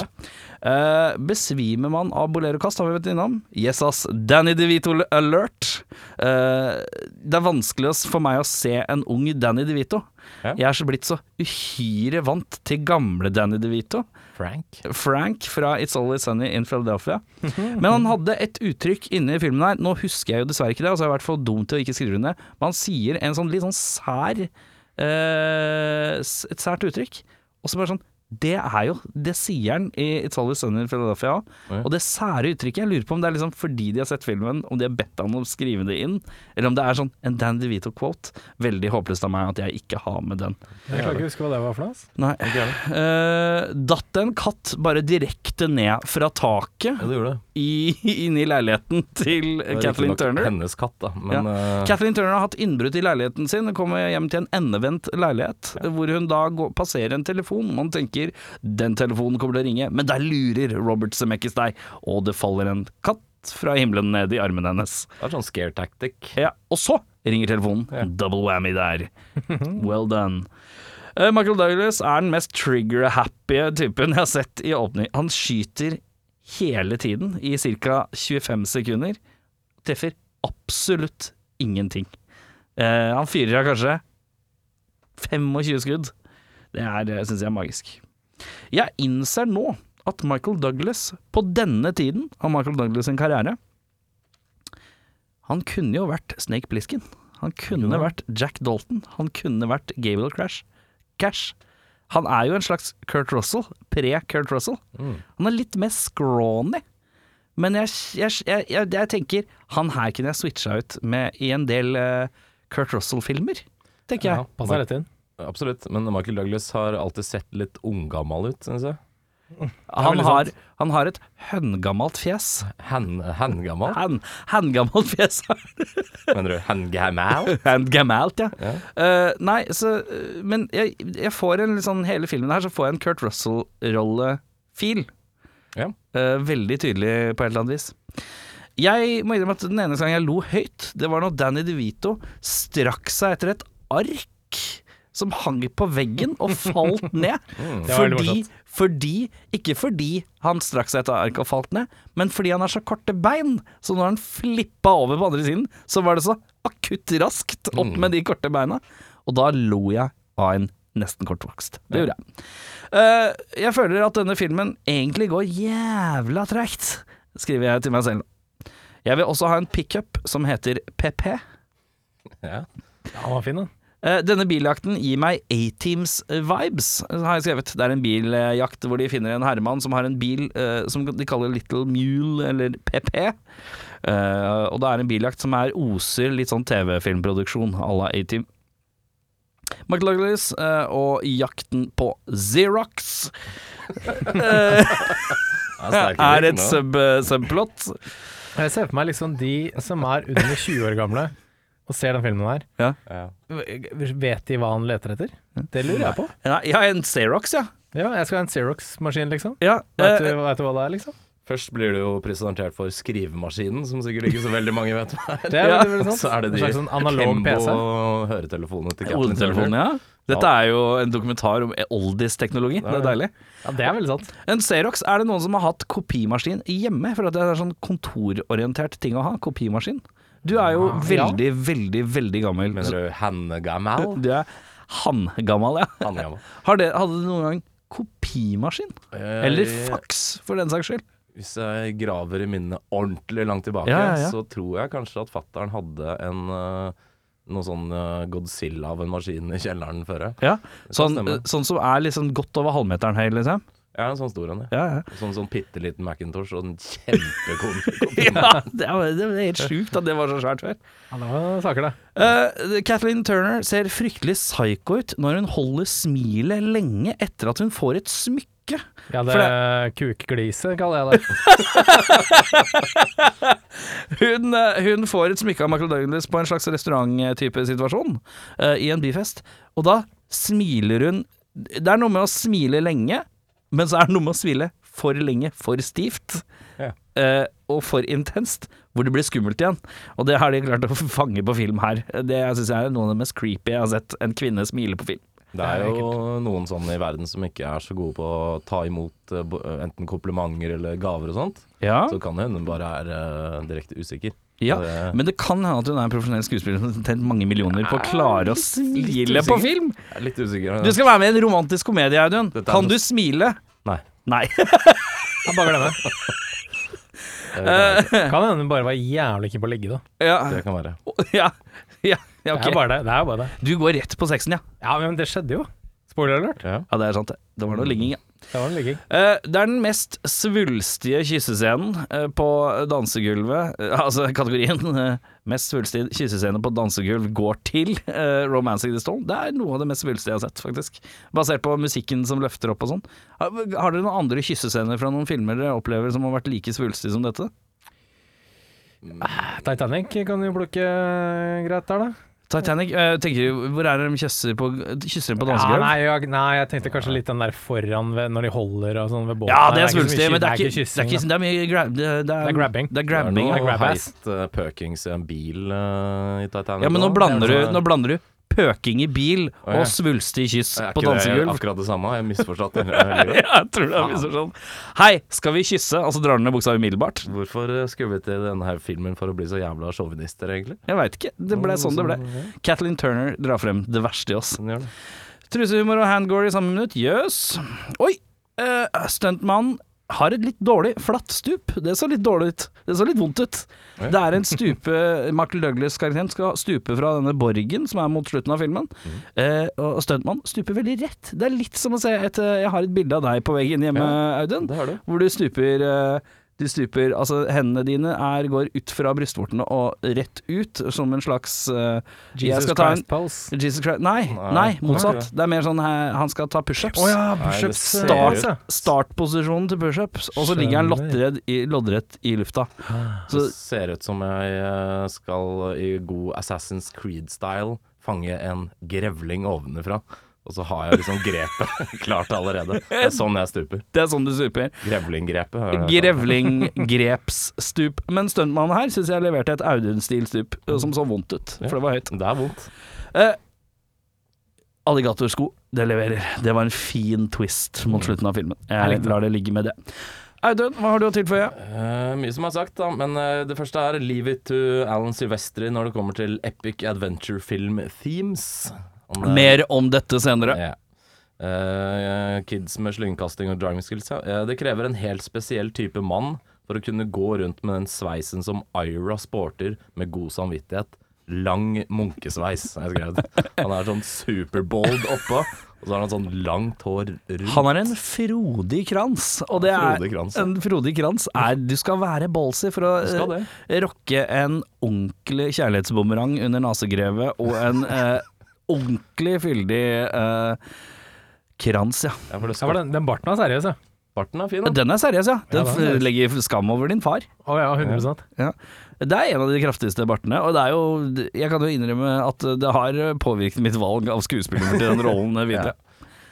Speaker 1: Eh, besvimer man av bolerokast, har vi vært innom. Yes, ass. Danny DeVito alert. Eh, det er vanskelig å s- for meg å se en ung Danny DeVito.
Speaker 2: Ja.
Speaker 1: Jeg er så blitt så uhyre vant til gamle Danny DeVito.
Speaker 2: Frank.
Speaker 1: Frank fra It's Always Sunny in Philadelphia. Men han hadde et uttrykk inne i filmen her. Nå husker jeg jo dessverre ikke det, altså jeg har vært for dum til å ikke skrive det ned. Men han sier en sånn litt sånn sær eh, s- Et sært uttrykk. Og så bare sånn Det er jo Det sier han i It's Always Sunny in Philadelphia.
Speaker 2: Oi.
Speaker 1: Og det sære uttrykket, jeg lurer på om det er liksom fordi de har sett filmen, om de har bedt han om å skrive det inn, eller om det er sånn en Dan DeVito-quote. Veldig håpløst av meg at jeg ikke har med den.
Speaker 3: Jeg klarer ikke å huske hva det var for noe. ass.
Speaker 1: Nei. Eh, datt en katt bare direkte ned fra taket
Speaker 2: Ja, det gjorde det.
Speaker 1: i, inn i leiligheten til
Speaker 2: det. er
Speaker 1: Kathleen
Speaker 2: riktignok
Speaker 1: Turner.
Speaker 2: Hennes katt, da. Men eh,
Speaker 1: Kathleen Turner har hatt innbrudd i leiligheten sin og kommer hjem til en endevendt leilighet, hvor hun da går, passerer en telefon. Man tenker den telefonen kommer til å ringe, men der lurer Robert Zemeckis deg, og det faller en katt fra himmelen ned i armen hennes.
Speaker 2: det er sånn scare tactic.
Speaker 1: Ja, og så ringer telefonen. Double whammy der. Well done. Eh, Michael Douglas er den mest trigger-happy typen jeg har sett i åpning. Han skyter hele tiden i ca. 25 sekunder. Treffer absolutt ingenting. Eh, han fyrer av kanskje 25 skudd. Det er, syns jeg er magisk. Jeg innser nå at Michael Douglas, på denne tiden av Michael Douglas' sin karriere, han kunne jo vært Snake Plissken. Han kunne
Speaker 2: Jo.
Speaker 1: vært Jack Dalton. Han kunne vært Gabriel Crash. Cash. Han er jo en slags Kurt Russell, pre-Kurt Russell.
Speaker 3: Mm.
Speaker 1: Han er litt mer scrawny. Men jeg, jeg, jeg, jeg, jeg tenker han her kunne jeg switcha ut med i en del eh, Kurt Russell-filmer, tenker jeg.
Speaker 3: Ja, passer rett inn.
Speaker 2: Absolutt. Men Michael Douglas har alltid sett litt unggammal ut, syns jeg.
Speaker 1: Han
Speaker 3: veldig
Speaker 1: har, han har et høngammalt fjes.
Speaker 2: Han- Handgammal,
Speaker 1: Han, hengammalt fjes.
Speaker 2: mener du? Handgammal?
Speaker 1: Hengammalt, ja.
Speaker 2: Ja.
Speaker 1: Eh, nei, så eh, Men jeg, jeg får en litt sånn Hele filmen her så får jeg en Kurt Russell-rolle-feel.
Speaker 2: Ja.
Speaker 1: Eh, veldig tydelig på et eller annet vis. Jeg må innrømme at den eneste gangen jeg lo høyt, det var når Danny DeVito strakk seg etter et ark som hang på veggen og falt ned.
Speaker 3: Mm, Det var veldig
Speaker 1: Fordi, fordi Ikke fordi han strakk seg etter ark og falt ned, men fordi han har så korte bein. Så når han flippa over på andre siden, så var det så akutt raskt opp
Speaker 3: Mm.
Speaker 1: med de korte beina. Og da lo jeg av en nesten kortvokst. Det gjorde jeg. Eh, jeg føler at denne filmen egentlig går jævla tregt, skriver jeg til meg selv. Jeg vil også ha en pickup som heter PP.
Speaker 2: Ja.
Speaker 3: Ja, han var fin, den.
Speaker 1: Eh, Denne biljakten gir meg A-Teams-vibes, eh, har jeg skrevet. Det er en biljakt hvor de finner en herremann som har en bil eh, som de kaller Little Mule, eller PP. Eh, og det er en biljakt som er oser litt sånn TV-filmproduksjon à la A-Team. Michael Douglas eh, og jakten på Xerox eh,
Speaker 2: sterke
Speaker 1: er
Speaker 2: virkninger,
Speaker 1: et
Speaker 2: da.
Speaker 1: sub, subplot.
Speaker 3: Jeg ser for meg liksom de som er under 20 år gamle og ser den filmen her.
Speaker 2: Ja.
Speaker 3: Vet de hva han leter etter? Det lurer jeg på.
Speaker 1: Ja, ja, en Xerox, ja.
Speaker 3: Ja, jeg skal ha en Xerox-maskin, liksom.
Speaker 1: ja
Speaker 3: Vet
Speaker 1: eh,
Speaker 3: du, vet du hva det er, liksom?
Speaker 2: Først blir du jo presentert for skrivemaskinen, som sikkert ikke så veldig mange vet hva er.
Speaker 3: Det er
Speaker 1: Ja,
Speaker 3: veldig, veldig sant.
Speaker 2: Så er det
Speaker 3: En
Speaker 2: de
Speaker 3: slags sånn analog PC.
Speaker 2: Kembo-høretelefonene til Kathleen
Speaker 1: hodetelefonen,
Speaker 2: Turner.
Speaker 1: ja. Dette er jo en dokumentar om oldis-teknologi. Det er deilig.
Speaker 3: Ja, det er veldig sant.
Speaker 1: En Xerox, er det noen som har hatt kopimaskin hjemme? For at det er sånn kontororientert ting å ha, kopimaskin. Du er jo
Speaker 3: Ja.
Speaker 1: veldig, veldig, veldig gammel.
Speaker 2: Mener du handgammal?
Speaker 1: Du Ah. er han-gammal, ja.
Speaker 2: Handgammal.
Speaker 1: Har det, hadde du noen gang kopimaskin?
Speaker 2: Eh,
Speaker 1: Eller faks, for den saks skyld.
Speaker 2: Hvis jeg graver i minnene ordentlig langt tilbake,
Speaker 1: Ja, ja, ja.
Speaker 2: så tror jeg kanskje at fattern hadde en eh, noe sånn eh, Godzilla av en maskin i kjelleren før. jeg.
Speaker 1: Ja. Sånn,
Speaker 2: stemmer.
Speaker 1: sånn som er liksom godt over halvmeteren høy, liksom.
Speaker 2: Ja, en sånn stor en. ja.
Speaker 1: Ja, ja.
Speaker 2: Sånn, sånn bitte liten Macintosh og en kjempekontroll.
Speaker 1: ja det, er, det er helt sjukt at det var så svært før.
Speaker 3: Ja, det var saker, det.
Speaker 1: Eh, Kathleen Turner ser fryktelig psycho ut når hun holder smilet lenge etter at hun får et smykke.
Speaker 3: Ja, det
Speaker 1: For
Speaker 3: er kukglise, kaller jeg det.
Speaker 1: Hun, eh, hun får et smykke av Michael Douglas på en slags restauranttype situasjon eh, i en byfest, og da smiler hun Det er noe med å smile lenge, men så er det noe med å smile for lenge, for stivt.
Speaker 2: Ja.
Speaker 1: eh, og for intenst, hvor det blir skummelt igjen. Og det har de klart å fange på film her. Det syns jeg er noe av det mest creepy jeg har sett en kvinne smile på film.
Speaker 2: Det er jo noen sånne i verden som ikke er så gode på å ta imot eh, bo- enten komplimenter eller gaver og sånt.
Speaker 1: Ja.
Speaker 2: Så kan det hende hun bare er eh, direkte usikker.
Speaker 1: Ja,
Speaker 2: Det-
Speaker 1: men det kan hende at hun er en profesjonell skuespiller som har tjent mange millioner på å klare å smile på
Speaker 2: usikker.
Speaker 1: film.
Speaker 2: Jeg er litt usikker.
Speaker 1: Du skal være med i en romantisk komedie, Audun.
Speaker 2: Dette er
Speaker 1: Kan
Speaker 2: noe-
Speaker 1: du smile?
Speaker 2: Nei.
Speaker 1: Nei.
Speaker 3: Jeg bare glemmer.
Speaker 2: Det kan være.
Speaker 3: Kan hende hun bare var jævlig keen på å ligge, da.
Speaker 1: Ja,
Speaker 2: Det kan være.
Speaker 1: ja, ja, ja
Speaker 3: Det er
Speaker 1: ok.
Speaker 3: bare det. det, er bare det.
Speaker 1: Du går rett på sexen, ja.
Speaker 3: Ja, men det skjedde jo. Spoiler alert.
Speaker 2: Ja.
Speaker 1: Ja, det er sant. det. Det var noe ligging, ja.
Speaker 3: Det var en ligging.
Speaker 1: Eh, Det er den mest svulstige kyssescenen eh, på dansegulvet eh, Altså kategorien eh, mest svulstige kyssescene på dansegulv går til eh, 'Romancing the Stone'. Det er noe av det mest svulstige jeg har sett, faktisk. Basert på musikken som løfter opp og sånn. Har har dere noen andre kyssescener fra noen filmer dere opplever som har vært like svulstige som dette?
Speaker 3: Ah. Titanic kan jo plukke eh, greit der, da.
Speaker 1: Titanic, eh, tenker du, hvor er det de kysser på, kysser de på
Speaker 3: Ja,
Speaker 1: dansegulv?
Speaker 3: nei, jeg, nei, jeg tenkte kanskje litt den der foran ved, når de holder og sånn ved båten.
Speaker 1: Ja, det er
Speaker 3: ikke så mye
Speaker 1: svulstig,
Speaker 3: kyss-
Speaker 1: men det er
Speaker 3: det
Speaker 1: ikke, det er
Speaker 3: kyssing,
Speaker 1: ikke
Speaker 3: da.
Speaker 1: Det er mye grab... Det, det, er,
Speaker 3: Det er grabbing.
Speaker 1: Det er
Speaker 2: Det er
Speaker 1: grabbing, ja.
Speaker 3: og
Speaker 2: noe
Speaker 3: grab ass.
Speaker 2: heist eh, pøkings i en bil eh, i Titanic.
Speaker 1: Ja, men nå
Speaker 2: da.
Speaker 1: blander du,
Speaker 2: Det er sånn-
Speaker 1: nå blander du pøking i bil
Speaker 2: Å, ja.
Speaker 1: og svulstig kyss
Speaker 2: Er
Speaker 1: på
Speaker 2: ikke det
Speaker 1: dansegulv.
Speaker 2: Akkurat det samme, jeg har misforstått det. hele livet.
Speaker 1: Ja, jeg tror det er misforstått. Hei, skal vi kysse? Og så drar han ned buksa umiddelbart.
Speaker 2: Hvorfor eh, skulle vi til denne her filmen for å bli så jævla sjåvinister, egentlig?
Speaker 1: Jeg veit ikke. Det ble sånn det ble. Kathleen Turner drar frem det verste i oss.
Speaker 2: Sånn gjør det.
Speaker 1: Trusehumor og handgore i samme minutt. Jøss. Oi! Uh, Stuntmannen har et litt dårlig flatt stup. Det så litt dårlig ut. Det så litt vondt ut.
Speaker 2: Ja.
Speaker 1: Det er en stupe Michael Douglas-karakteren skal stupe fra denne borgen som er mot slutten av filmen. Eh, og stuntmannen stuper veldig rett. Det er litt som å se et eh, Jeg har et bilde av deg på veggen hjemme, Audun.
Speaker 2: Det har du.
Speaker 1: Hvor du stuper eh, Du stuper Altså, hendene dine er, går ut fra brystvortene og rett ut, som en slags eh, jeg
Speaker 3: Jesus
Speaker 1: skal ta en-
Speaker 3: Christ pose.
Speaker 1: Jesus Christ Nei,
Speaker 2: Nei,
Speaker 1: nei
Speaker 2: det
Speaker 1: motsatt.
Speaker 2: er
Speaker 1: Det er mer sånn eh, han skal ta pushups.
Speaker 3: Å ja,
Speaker 2: Nei, det
Speaker 3: pushups.
Speaker 2: ser
Speaker 1: Start.
Speaker 2: ut-
Speaker 1: Startposisjonen til pushups, og så ligger han
Speaker 3: Skjønner.
Speaker 1: loddredd i, loddrett i lufta. Så
Speaker 2: Det ser ut som jeg eh, skal i god Assassin's Creed-style fange en grevling ovenfra. Og så har jeg liksom grepet klart allerede. Det er sånn jeg stuper.
Speaker 1: det er sånn du super.
Speaker 2: Grevlinggrepet. har jeg hørt om.
Speaker 1: Grevling-grepsstup. Men stuntmannen her syns jeg leverte et Audun-stil-stup eh, som så vondt ut, for det var høyt.
Speaker 2: Det er vondt.
Speaker 1: Eh, alligatorsko, det leverer. Det var en fin twist mot slutten av filmen. Jeg lar det ligge med det. Audun, hva har du å tilføye?
Speaker 2: Eh, mye som er sagt, da. Men eh, det første er leave it to Alan Silvestri når det kommer til epic adventure film themes. Om det-
Speaker 1: Mer om dette senere.
Speaker 2: Ja. Eh, kids med slyngkasting og driving skills, ja. Eh, det krever en helt spesiell type mann for å kunne gå rundt med den sveisen som Ira sporter med god samvittighet. Lang munkesveis, har jeg skrevet. Han er sånn superbold oppå, og så har han sånn langt hår rundt.
Speaker 1: Han er en frodig krans, og det er
Speaker 2: Frodig krans, ja.
Speaker 1: en frodig krans er Du skal være ballsy for å
Speaker 2: skal det.
Speaker 1: eh, rocke en ordentlig kjærlighetsbumerang under nasegrevet og en eh, ordentlig fyldig eh, krans, ja.
Speaker 2: Ja, for det
Speaker 3: Ja, for
Speaker 2: skal...
Speaker 3: den, den barten var seriøs, ja.
Speaker 2: Barten er fin, da.
Speaker 1: Den er seriøs, ja. Den
Speaker 3: Ja, den er
Speaker 1: f- legger skam over din far.
Speaker 3: Å ja, 100
Speaker 1: Ja. Det er en av de kraftigste bartene, og det er jo Jeg kan jo innrømme at det har påvirket mitt valg av skuespiller til den rollen videre.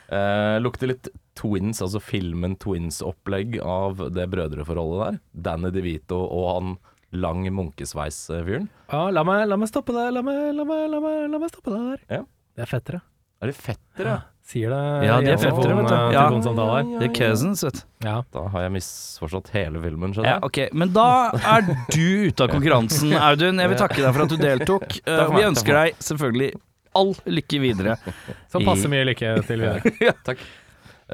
Speaker 2: Eh, lukter litt Twins, altså filmen Twins-opplegg av det brødreforholdet der. Danny DeVito og han lang eh, munkesveis-fyren.
Speaker 3: Ja, la meg, la meg stoppe der, la meg, la meg, la meg, la meg stoppe der.
Speaker 2: Ja.
Speaker 3: Det er fettere.
Speaker 2: Er det fettere?
Speaker 3: Sier det eh,
Speaker 1: Ja, de er
Speaker 3: i telefon-
Speaker 1: fettere, vet du. Ja.
Speaker 3: telefonsamtaler.
Speaker 1: Det er cousins, vet du.
Speaker 3: Ja.
Speaker 2: Da har jeg misforstått hele filmen,
Speaker 1: Ja,
Speaker 2: skjønner jeg.
Speaker 1: ok, Men da er du ute av konkurransen, Audun. Jeg vil takke deg for at du deltok. Eh,
Speaker 2: for
Speaker 1: Vi
Speaker 2: meg, takk for
Speaker 1: ønsker deg selvfølgelig all lykke videre.
Speaker 3: Så passe mye lykke til videre.
Speaker 2: Takk.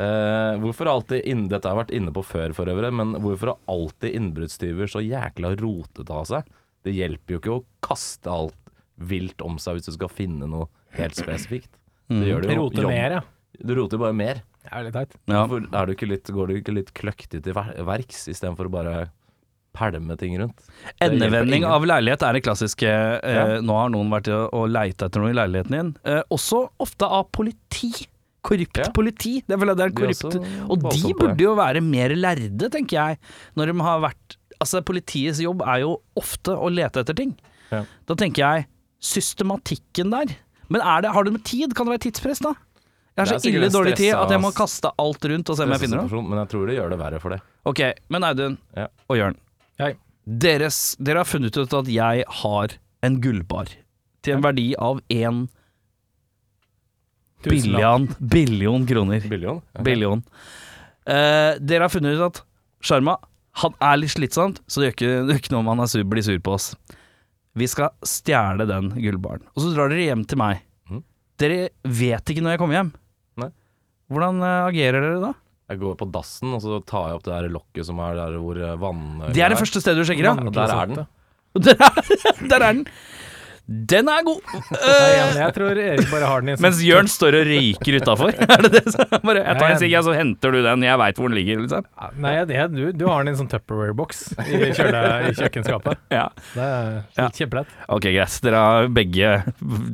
Speaker 2: Eh, hvorfor alltid inn, Dette har jeg vært inne på før for øvrig, men hvorfor har alltid innbruddstyver så jækla rotete av seg? Det hjelper jo ikke å kaste alt vilt om seg hvis du skal finne noe helt spesifikt. Det gjør det jo.
Speaker 3: Rote
Speaker 2: Jobb-
Speaker 3: mer, ja.
Speaker 2: Du roter jo bare mer.
Speaker 3: Det er jo litt teit.
Speaker 1: Ja.
Speaker 2: Hvor er du ikke litt, går du ikke litt kløktig til ver- verks istedenfor å bare pælme ting rundt? Det hjelper
Speaker 1: Endevending
Speaker 2: ingen.
Speaker 1: av leilighet er det klassiske eh, Nå har noen vært og- og leita etter noe i leiligheten din. Eh, også ofte av politi. Korrupt
Speaker 2: Ja.
Speaker 1: politi. Det er vel det er
Speaker 2: De er
Speaker 1: korrupt.
Speaker 2: også
Speaker 1: Og de
Speaker 2: voldsomme på
Speaker 1: burde
Speaker 2: det.
Speaker 1: jo være mer lærde, tenker jeg. Når de har vært Altså, politiets jobb er jo ofte å lete etter ting.
Speaker 2: Ja.
Speaker 1: Da tenker jeg systematikken der. Men er det, har du med tid? Kan det være tidspress, da? Jeg
Speaker 2: Det
Speaker 1: har så
Speaker 2: er sikkert
Speaker 1: ille
Speaker 2: en
Speaker 1: dårlig tid
Speaker 2: stressa-
Speaker 1: at jeg må kaste alt rundt og se om jeg finner noe.
Speaker 2: Stressituasjon, Men jeg tror det gjør det verre for deg.
Speaker 1: Ok, men Audun
Speaker 2: Ja.
Speaker 1: og Jørn.
Speaker 3: Hei.
Speaker 1: Deres, dere har funnet ut at jeg har en gullbar til en verdi av én
Speaker 3: Tusen lapp.
Speaker 1: billion, billion kroner.
Speaker 2: Billion? Ok.
Speaker 1: Billion. Eh, dere har funnet ut at Sjarma han er litt slitsomt, så det gjør ikke, det gjør ikke noe om han er sur, blir sur på oss. Vi skal stjele den gullbaren. Og så drar dere hjem til meg.
Speaker 2: Mhm.
Speaker 1: Dere vet ikke når jeg kommer hjem.
Speaker 2: Nei.
Speaker 1: Hvordan eh, agerer dere da?
Speaker 2: Jeg går på dassen, og så tar jeg opp det der lokket som er der hvor eh, vann
Speaker 1: Det er det første stedet du sjekker, ja?
Speaker 2: Og der er den.
Speaker 1: Der er, der er den. Den er god.
Speaker 3: Nei,
Speaker 1: Eh,
Speaker 3: men jeg tror Erik bare har den i en sånn
Speaker 1: mens Jørn står og røyker utafor. Er det det som bare Jeg tar en sigg, ja, så henter du den. Jeg veit hvor den ligger, liksom.
Speaker 3: Nei, det, du, du har den i en sånn Tupperware-boks i, kjøle- i kjøkkenskapet.
Speaker 1: Ja.
Speaker 3: Det er
Speaker 1: Ja.
Speaker 3: kjempelett.
Speaker 1: Ok, greit. Dere har begge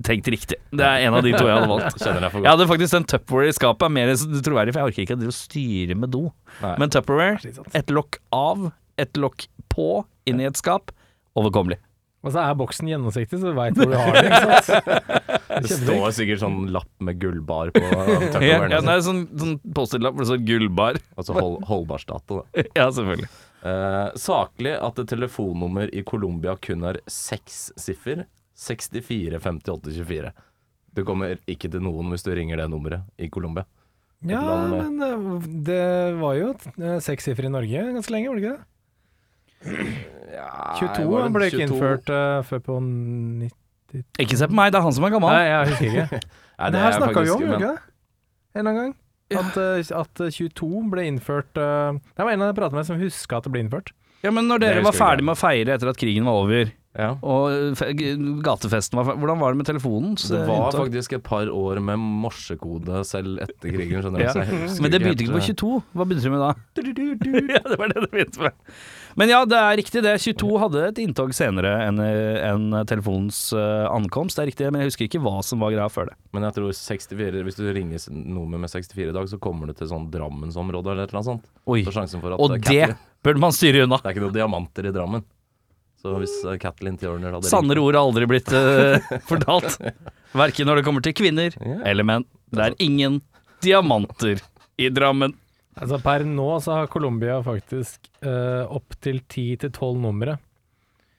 Speaker 1: tenkt riktig. Det er en av de to jeg hadde valgt.
Speaker 2: Kjenner jeg for
Speaker 1: Jeg
Speaker 2: godt.
Speaker 1: hadde faktisk en Tupperware i skapet, er mer troverdig, for jeg orker ikke å drive og styre med do.
Speaker 2: Nei.
Speaker 1: Men Tupperware,
Speaker 3: Og
Speaker 1: et lokk av, et lokk på, inn i et skap. Overkommelig.
Speaker 3: så er boksen gjennomsiktig, så du veit hvor du har den. Ikke sant?
Speaker 2: det
Speaker 3: kjempefint.
Speaker 2: står sikkert sånn lapp med gullbar på. eh,
Speaker 1: Ja,
Speaker 2: tupperwaren,
Speaker 1: ja, det er sånn, sånn Post-It-lapp hvor det står 'gullbar'.
Speaker 2: Altså hold, holdbarstato, da.
Speaker 1: Ja, selvfølgelig.
Speaker 2: Eh, saklig at et telefonnummer i Colombia kun har seks siffer. 645824. Du kommer ikke til noen hvis du ringer det nummeret i Colombia.
Speaker 3: Ja, men eh, det var jo eh, sekssiffer i Norge ganske lenge, var det ikke det? 22
Speaker 2: var det
Speaker 3: ble ikke
Speaker 2: 22?
Speaker 3: innført eh, før på 90...
Speaker 1: Ikke se på meg, det er han som er gammel.
Speaker 3: Nei, jeg husker ikke.
Speaker 2: Nei,
Speaker 3: det her
Speaker 2: er
Speaker 3: snakka vi
Speaker 2: faktisk-
Speaker 3: om, gjorde
Speaker 2: men-
Speaker 3: vi ikke det? En eller annen gang. At, eh, at 22 ble innført eh, Det var en av de jeg pratet med som huska at det ble innført.
Speaker 1: Ja, men når
Speaker 2: Det
Speaker 1: dere var
Speaker 2: husker jeg
Speaker 1: ferdig med å feire etter at krigen var over,
Speaker 2: Ja.
Speaker 1: og eh, fe- g- gatefesten var ferdig, hvordan var det med telefonen? Så
Speaker 2: Det var
Speaker 1: inntak-
Speaker 2: faktisk et par år med morsekode selv etter krigen, skjønner du.
Speaker 1: Ja.
Speaker 2: så jeg husker
Speaker 1: Men det
Speaker 2: helt,
Speaker 1: begynte ikke på
Speaker 2: eh,
Speaker 1: 22, hva begynte du med da? ja, det var det det begynte med. Men ja, det er riktig det. 22 hadde et inntog senere enn en telefonens eh, ankomst, det er riktig, men jeg husker ikke hva som var greia før det.
Speaker 2: Men jeg tror 64, hvis du ringer s- nummer med 64 i dag, så kommer du til sånn Drammensområdet eller et eller annet sånt.
Speaker 1: Oi.
Speaker 2: Så sjansen for at
Speaker 1: Og
Speaker 2: eh,
Speaker 1: det
Speaker 2: Katlin-
Speaker 1: burde man styre unna.
Speaker 2: Det er ikke noen diamanter i Drammen. Så hvis eh, Kathleen Turner hadde
Speaker 1: Sannere ord har aldri blitt eh, fortalt. Verken når det kommer til kvinner
Speaker 2: Ja.
Speaker 1: eller menn. Det er ingen diamanter i Drammen.
Speaker 3: Altså Per nå så har Colombia faktisk uh, opptil 10-12 numre.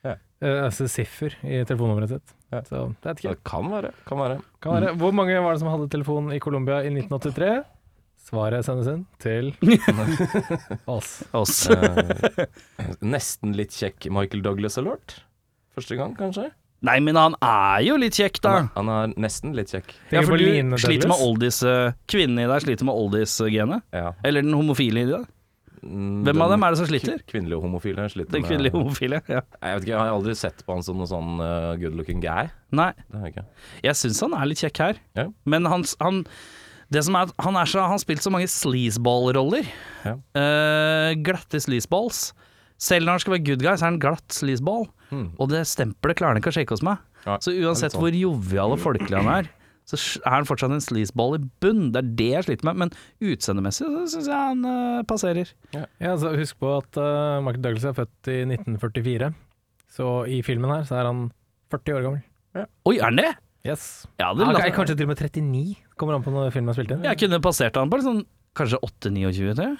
Speaker 2: Ja.
Speaker 3: Eh, altså siffer i telefonnummeret sitt.
Speaker 2: Ja.
Speaker 3: Så det er ikke
Speaker 2: Det kan være. Kan være.
Speaker 3: kan være. Hvor mange var det som hadde telefon i Colombia i 1983? Svaret sendes inn til oss.
Speaker 1: Oss.
Speaker 2: Eh, nesten litt kjekk Michael Douglas-alert. Første gang, kanskje.
Speaker 1: Nei, men han er jo litt kjekk, da.
Speaker 2: Han er, han er nesten litt kjekk.
Speaker 1: Ja,
Speaker 3: Tenker
Speaker 1: for
Speaker 3: på
Speaker 1: du
Speaker 3: Line
Speaker 1: sliter med
Speaker 3: Douglas.
Speaker 1: oldies eh, Kvinnen i deg sliter med oldies-genet.
Speaker 2: Ja.
Speaker 1: Eller den homofile i deg. Hvem av dem er det som sliter?
Speaker 2: Kvinnelige homofile sliter
Speaker 1: Den kvinnelige homofile. Ja.
Speaker 2: Nei, Jeg vet ikke, jeg har aldri sett på han som noen sånn eh, good looking guy.
Speaker 1: Nei,
Speaker 2: Det har jeg ikke.
Speaker 1: jeg syns han er litt kjekk her.
Speaker 2: Ja.
Speaker 1: Men han, han det som er, at han, er så, han har spilt så mange sleazeball-roller.
Speaker 2: Ja.
Speaker 1: Eh, glatte sleazeballs. Selv når han skal være good guy, så er han glatt sleazeball.
Speaker 2: Mm.
Speaker 1: Og det stempelet klarer han ikke å shake hos meg.
Speaker 2: Nei,
Speaker 1: Så uansett
Speaker 2: det er litt sånn.
Speaker 1: hvor jovial og folkelig han er, så sj- er han fortsatt en sleazeball i bunn. Det er det jeg sliter med. Men utseendemessig så syns jeg han eh, passerer.
Speaker 3: Ja, altså, husk på at uh, Michael Douglas er født i 1944. Så i filmen her så er han 40 år gammel.
Speaker 1: Oi, er han det?
Speaker 3: Yes.
Speaker 1: Jeg, hadde
Speaker 3: Ja,
Speaker 1: latt-
Speaker 3: ok, kanskje til og med 39, kommer an på når filmen er spilt inn.
Speaker 1: jeg kunne passert han på sånn, kanskje 8-29, tror jeg.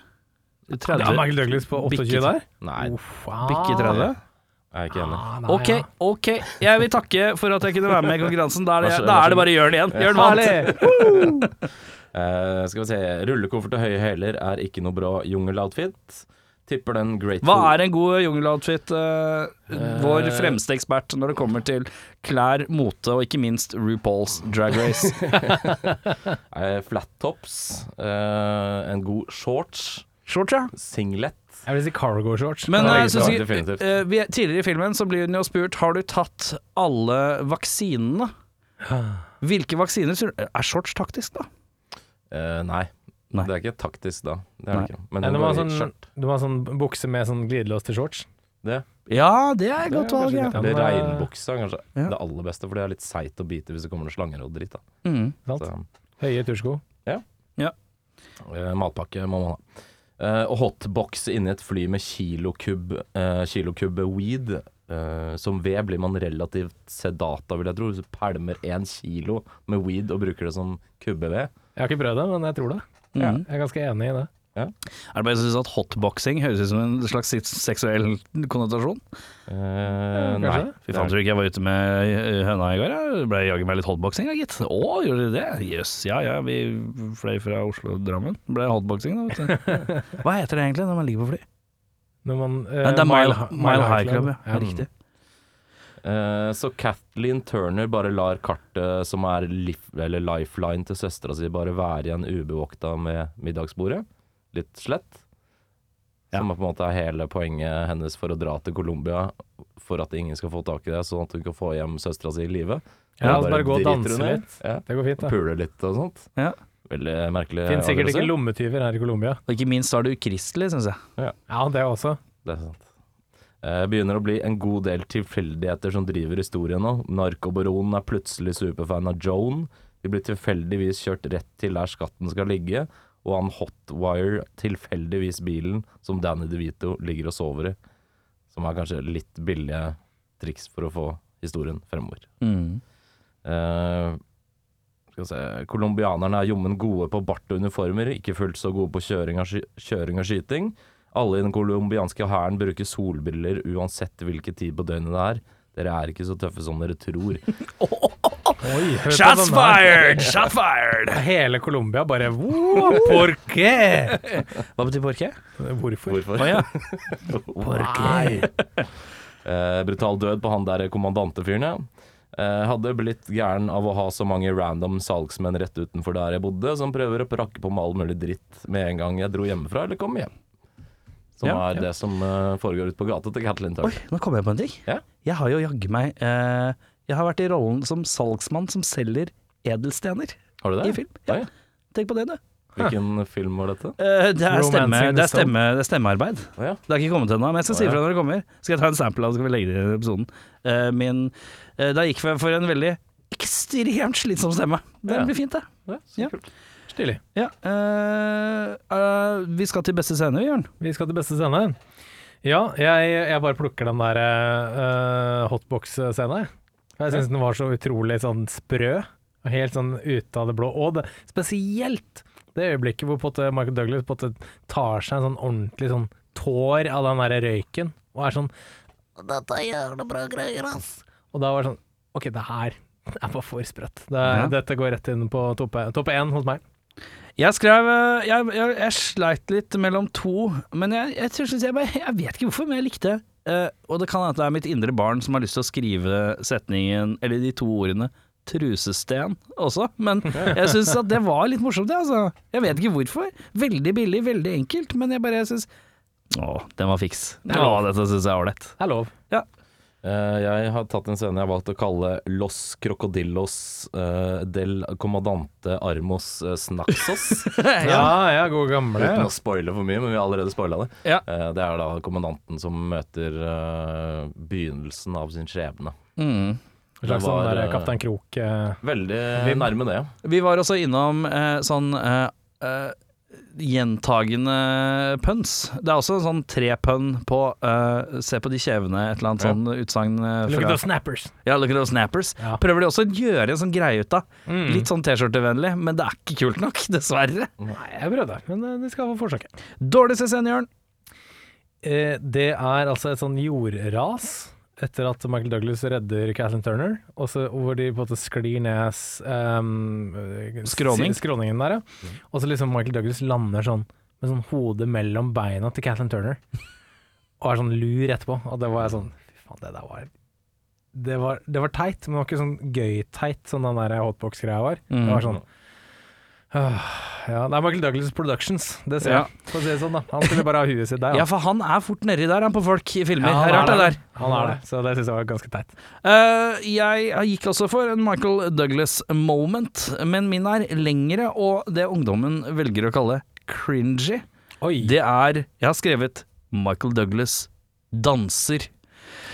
Speaker 1: 30.
Speaker 3: Ja, Michael Douglas på 28 der?
Speaker 2: Nei,
Speaker 1: Oh.
Speaker 3: Uff, ah.
Speaker 1: Bikke 30.
Speaker 2: jeg er ikke enig.
Speaker 3: Ah, nei,
Speaker 1: Ok,
Speaker 3: ja.
Speaker 1: ok. Jeg vil takke for at jeg kunne være med i konkurransen. Da er det,
Speaker 2: Vær så-
Speaker 1: da
Speaker 2: vær så
Speaker 1: er det
Speaker 2: god.
Speaker 1: bare Jørn igjen. Jørn vant.
Speaker 3: Herlig!
Speaker 2: Eh, skal vi se Rullekoffert og høye hæler er ikke noe bra jungeloutfit. Tipper den Grateful
Speaker 1: Hva er en god jungeloutfit? eh, vår
Speaker 2: Eh.
Speaker 1: fremste ekspert når det kommer til klær, mote og ikke minst RuPaul's Drag Race.
Speaker 2: Eh, Flat tops. eh, en god shorts.
Speaker 1: Shorts, ja.
Speaker 2: Singlet.
Speaker 3: Jeg vil si cargo shorts.
Speaker 1: Men
Speaker 2: Ja,
Speaker 1: eh,
Speaker 2: det er
Speaker 1: synes
Speaker 2: bra,
Speaker 1: jeg,
Speaker 2: definitivt.
Speaker 1: eh, vi, tidligere i filmen så blir hun jo spurt Har du tatt alle vaksinene. Hvilke vaksiner tror du- Er shorts taktisk, da?
Speaker 2: Eh, nei.
Speaker 1: Nei.
Speaker 2: Det er ikke taktisk da. Det er
Speaker 1: Nei.
Speaker 2: det ikke. Men
Speaker 3: Nei,
Speaker 2: hun
Speaker 3: du må
Speaker 2: går
Speaker 3: ha
Speaker 2: i
Speaker 3: sånn,
Speaker 2: skjørt.
Speaker 3: du må ha sånn bukse med sånn glidelås til shorts.
Speaker 2: Det,
Speaker 1: Ja, det er et
Speaker 2: det er
Speaker 1: godt valg,
Speaker 2: kanskje
Speaker 1: ja.
Speaker 2: litt-
Speaker 3: ja.
Speaker 2: Eller
Speaker 3: Men, eh,
Speaker 2: regnbuksa, kanskje.
Speaker 1: ja.
Speaker 2: Det aller beste, for det er litt seigt å bite hvis det kommer noen slanger og dritt. Da.
Speaker 1: Mm.
Speaker 3: Sant?
Speaker 2: Så,
Speaker 3: Høye tursko.
Speaker 2: eh, matpakke må man ha. Eh, og hotbox inni et fly med kilokubb eh, kilokubb weed. Eh, som ved blir man relativt sedat av, vil jeg tro. Hvis du pælmer én kilo med weed og bruker det som kubbeved.
Speaker 3: Jeg har ikke prøvd det, men jeg tror det.
Speaker 1: Mm.
Speaker 3: Jeg er ganske enig i det.
Speaker 1: Er det bare jeg synes at hotboxing høres ut som en slags seksuell konnotasjon?
Speaker 2: Eh,
Speaker 3: kanskje
Speaker 2: nei.
Speaker 3: det.
Speaker 1: Fy faen, tror du ikke jeg var ute med eh, høna i går? Jeg ble jaggu meg litt hotboxing, da, gitt. Å, gjorde du det? Jøss. Ja ja, vi fløy fra Oslo til Drammen. Ble hotboxing, da, vet du. Hva heter det egentlig når man ligger på fly?
Speaker 3: Når man, eh,
Speaker 1: Nei, det er Eh, Mile,
Speaker 3: Hi-
Speaker 1: mile High Club, Mm. ja. ja.
Speaker 2: Ja.
Speaker 1: Riktig.
Speaker 2: Eh, Så Kathleen Turner bare lar kartet som er lif eller lifeline til søstera si, bare være igjen ubevokta med middagsbordet. Litt slett. Som er på en måte er hele poenget hennes for å dra til Colombia, for at ingen skal få tak i det, sånn at hun kan få hjem søstera si i live.
Speaker 3: Ja,
Speaker 2: Og
Speaker 3: altså bare gå og
Speaker 2: driter
Speaker 3: danse
Speaker 2: hun i.
Speaker 3: litt.
Speaker 2: Ja,
Speaker 3: Det går fint, da.
Speaker 2: Pule litt og sånt.
Speaker 1: Ja.
Speaker 2: Veldig
Speaker 1: Eh,
Speaker 2: merkelig.
Speaker 3: Finnes sikkert
Speaker 2: avgjørelse.
Speaker 3: ikke lommetyver her i Colombia.
Speaker 1: Og ikke minst så er det ukristelig, syns jeg.
Speaker 3: Ja, det også.
Speaker 2: Det er sant. Eh, begynner å bli en god del tilfeldigheter som driver historien nå. Narkobaronen er plutselig superfan av Joan. De blir tilfeldigvis kjørt rett til der skatten skal ligge, og han hotwire tilfeldigvis bilen som Danny DeVito ligger og sover i. Som er kanskje litt billige triks for å få historien fremover.
Speaker 1: Mm.
Speaker 2: Eh, skal vi se Colombianerne er jommen gode på bart og uniformer, ikke fullt så gode på kjøring og, sky kjøring og skyting. Alle i den colombianske hæren bruker solbriller uansett hvilken tid på døgnet det er. Dere er ikke så tøffe som dere tror.
Speaker 3: Oi, hør på
Speaker 1: Shots
Speaker 3: den her.
Speaker 1: fired! Shot fired!
Speaker 3: Hele Colombia bare «Wow, Por qué?
Speaker 1: Hva betyr porke?
Speaker 3: Hvorfor?
Speaker 2: Hvorfor?
Speaker 3: Nei.
Speaker 2: Eh, brutal død på han der kommandantefyren, ja. Eh, hadde blitt gæren av å ha så mange random salgsmenn rett utenfor der jeg bodde, som prøver å prakke på meg all mulig dritt med en gang jeg dro hjemmefra eller kom hjem. Som
Speaker 1: Ja,
Speaker 2: er det som eh, foregår ute på gata til Catlin
Speaker 1: Oi,
Speaker 2: Turner.
Speaker 1: nå kom jeg på en ting.
Speaker 2: Ja.
Speaker 1: Jeg har jo jaggu meg eh, Jeg har vært i rollen som salgsmann som selger edelstener
Speaker 2: Har du det?
Speaker 1: i film. Ja.
Speaker 2: Oi,
Speaker 1: Tenk på det, du.
Speaker 2: Hvilken film var dette?
Speaker 1: Eh, det, er
Speaker 3: Romancing
Speaker 1: stemme,
Speaker 3: the
Speaker 1: det, er
Speaker 3: Stone.
Speaker 1: stemme, det er stemmearbeid.
Speaker 2: Å ja.
Speaker 1: Det har ikke kommet ennå, men jeg skal si
Speaker 2: Å, ja.
Speaker 1: ifra når det kommer. Skal jeg ta en sample av det, så skal vi legge det i episoden. Eh, min eh, Da gikk jeg for en veldig ekstremt slitsom stemme. Den
Speaker 2: Ja.
Speaker 1: blir fint, det.
Speaker 2: ja så
Speaker 1: Ja.
Speaker 2: kult.
Speaker 3: Stilig.
Speaker 1: Ja, eh, eh, vi skal til beste scene, Jørn.
Speaker 3: Vi skal til beste scene. Ja, jeg, jeg bare plukker den der eh, hotbox-scenen. Jeg syns den var så utrolig sånn sprø. og Helt sånn ute av det blå. Og det, spesielt det øyeblikket hvor på en måte Michael Douglas på en måte tar seg en sånn ordentlig sånn tår av den der røyken, og er sånn Dette er jævla bra greier, ass. Og da var det sånn OK, det her er bare for sprøtt. Det,
Speaker 1: Ja.
Speaker 3: Dette går rett inn på topp topp én hos meg.
Speaker 1: Jeg skrev eh, Jeg, jeg, jeg sleit litt mellom to, men jeg, jeg, tror synes jeg, bare, jeg vet ikke hvorfor, men jeg likte det. Eh, og det kan hende at det er mitt indre barn som har lyst til å skrive setningen, eller de to ordene, trusesten også. Men jeg syns at det var litt morsomt, det, altså. Jeg vet ikke hvorfor. Veldig billig, veldig enkelt, men jeg bare syns Å, den var fiks. Å, dette syns jeg er ålreit.
Speaker 3: Det er lov.
Speaker 2: Eh, jeg har tatt en scene jeg har valgt å kalle Los Crocodillos eh, del Commandante Armos eh, Snaxos.
Speaker 3: Ja, ja, gode gamle.
Speaker 2: Uten å spoile for mye, men vi har allerede spoila det.
Speaker 1: Ja.
Speaker 2: Eh, Det er da kommandanten som møter eh, begynnelsen av sin skjebne.
Speaker 1: Mm.
Speaker 3: En slags
Speaker 2: Det var,
Speaker 3: sånn der
Speaker 2: eh,
Speaker 3: Kaptein Krok eh,
Speaker 2: Veldig nærme det.
Speaker 1: Vi var også innom eh, sånn eh, eh, gjentagende pønns. Det er også sånn tre pønn på eh, se på de kjevene, et eller annet
Speaker 2: Ja.
Speaker 1: sånn utsagn eh,
Speaker 3: Look at
Speaker 1: fra
Speaker 3: those snappers.
Speaker 1: ja, Look at those snappers.
Speaker 3: Ja.
Speaker 1: Prøver de også å gjøre en sånn greie ut av.
Speaker 3: Litt
Speaker 1: Litt sånn T-skjortevennlig, men det er ikke kult nok, dessverre.
Speaker 3: Nei, jeg prøvde, men eh, de skal få forsøket.
Speaker 1: Dårligste scenen, Jørn.
Speaker 3: Eh, det er altså et sånn jordras etter at Michael Douglas redder Kathleen Turner, og så hvor de på en måte sklir ned s- ehm, s-
Speaker 1: Skråning.
Speaker 3: skråningen der, ja. Og så liksom Michael Douglas lander sånn med sånn hodet mellom beina til Kathleen Turner, og er sånn lur etterpå. Og det var jeg sånn Fy faen, det der var det var, Mm.
Speaker 1: Mm.
Speaker 3: sånn, det var teit, men det var ikke sånn gøy-teit, som den der hotbox-greia var. Det var sånn Ja, det er Michael Douglas Productions, det ser
Speaker 1: Ja.
Speaker 3: jeg. For å si det sånn, da. Han skulle bare ha huet sitt der.
Speaker 1: Ja,
Speaker 3: Han.
Speaker 1: for han er fort nedi der, han på folk i filmer.
Speaker 3: Ja, han
Speaker 1: det er rart,
Speaker 3: er
Speaker 1: det der.
Speaker 3: han er det, så det syns jeg var ganske teit.
Speaker 1: Eh, jeg gikk også for en Michael Douglas-moment, men min er lengre og det ungdommen velger å kalle cringy.
Speaker 3: Oi.
Speaker 1: Det er Jeg har skrevet Michael Douglas danser.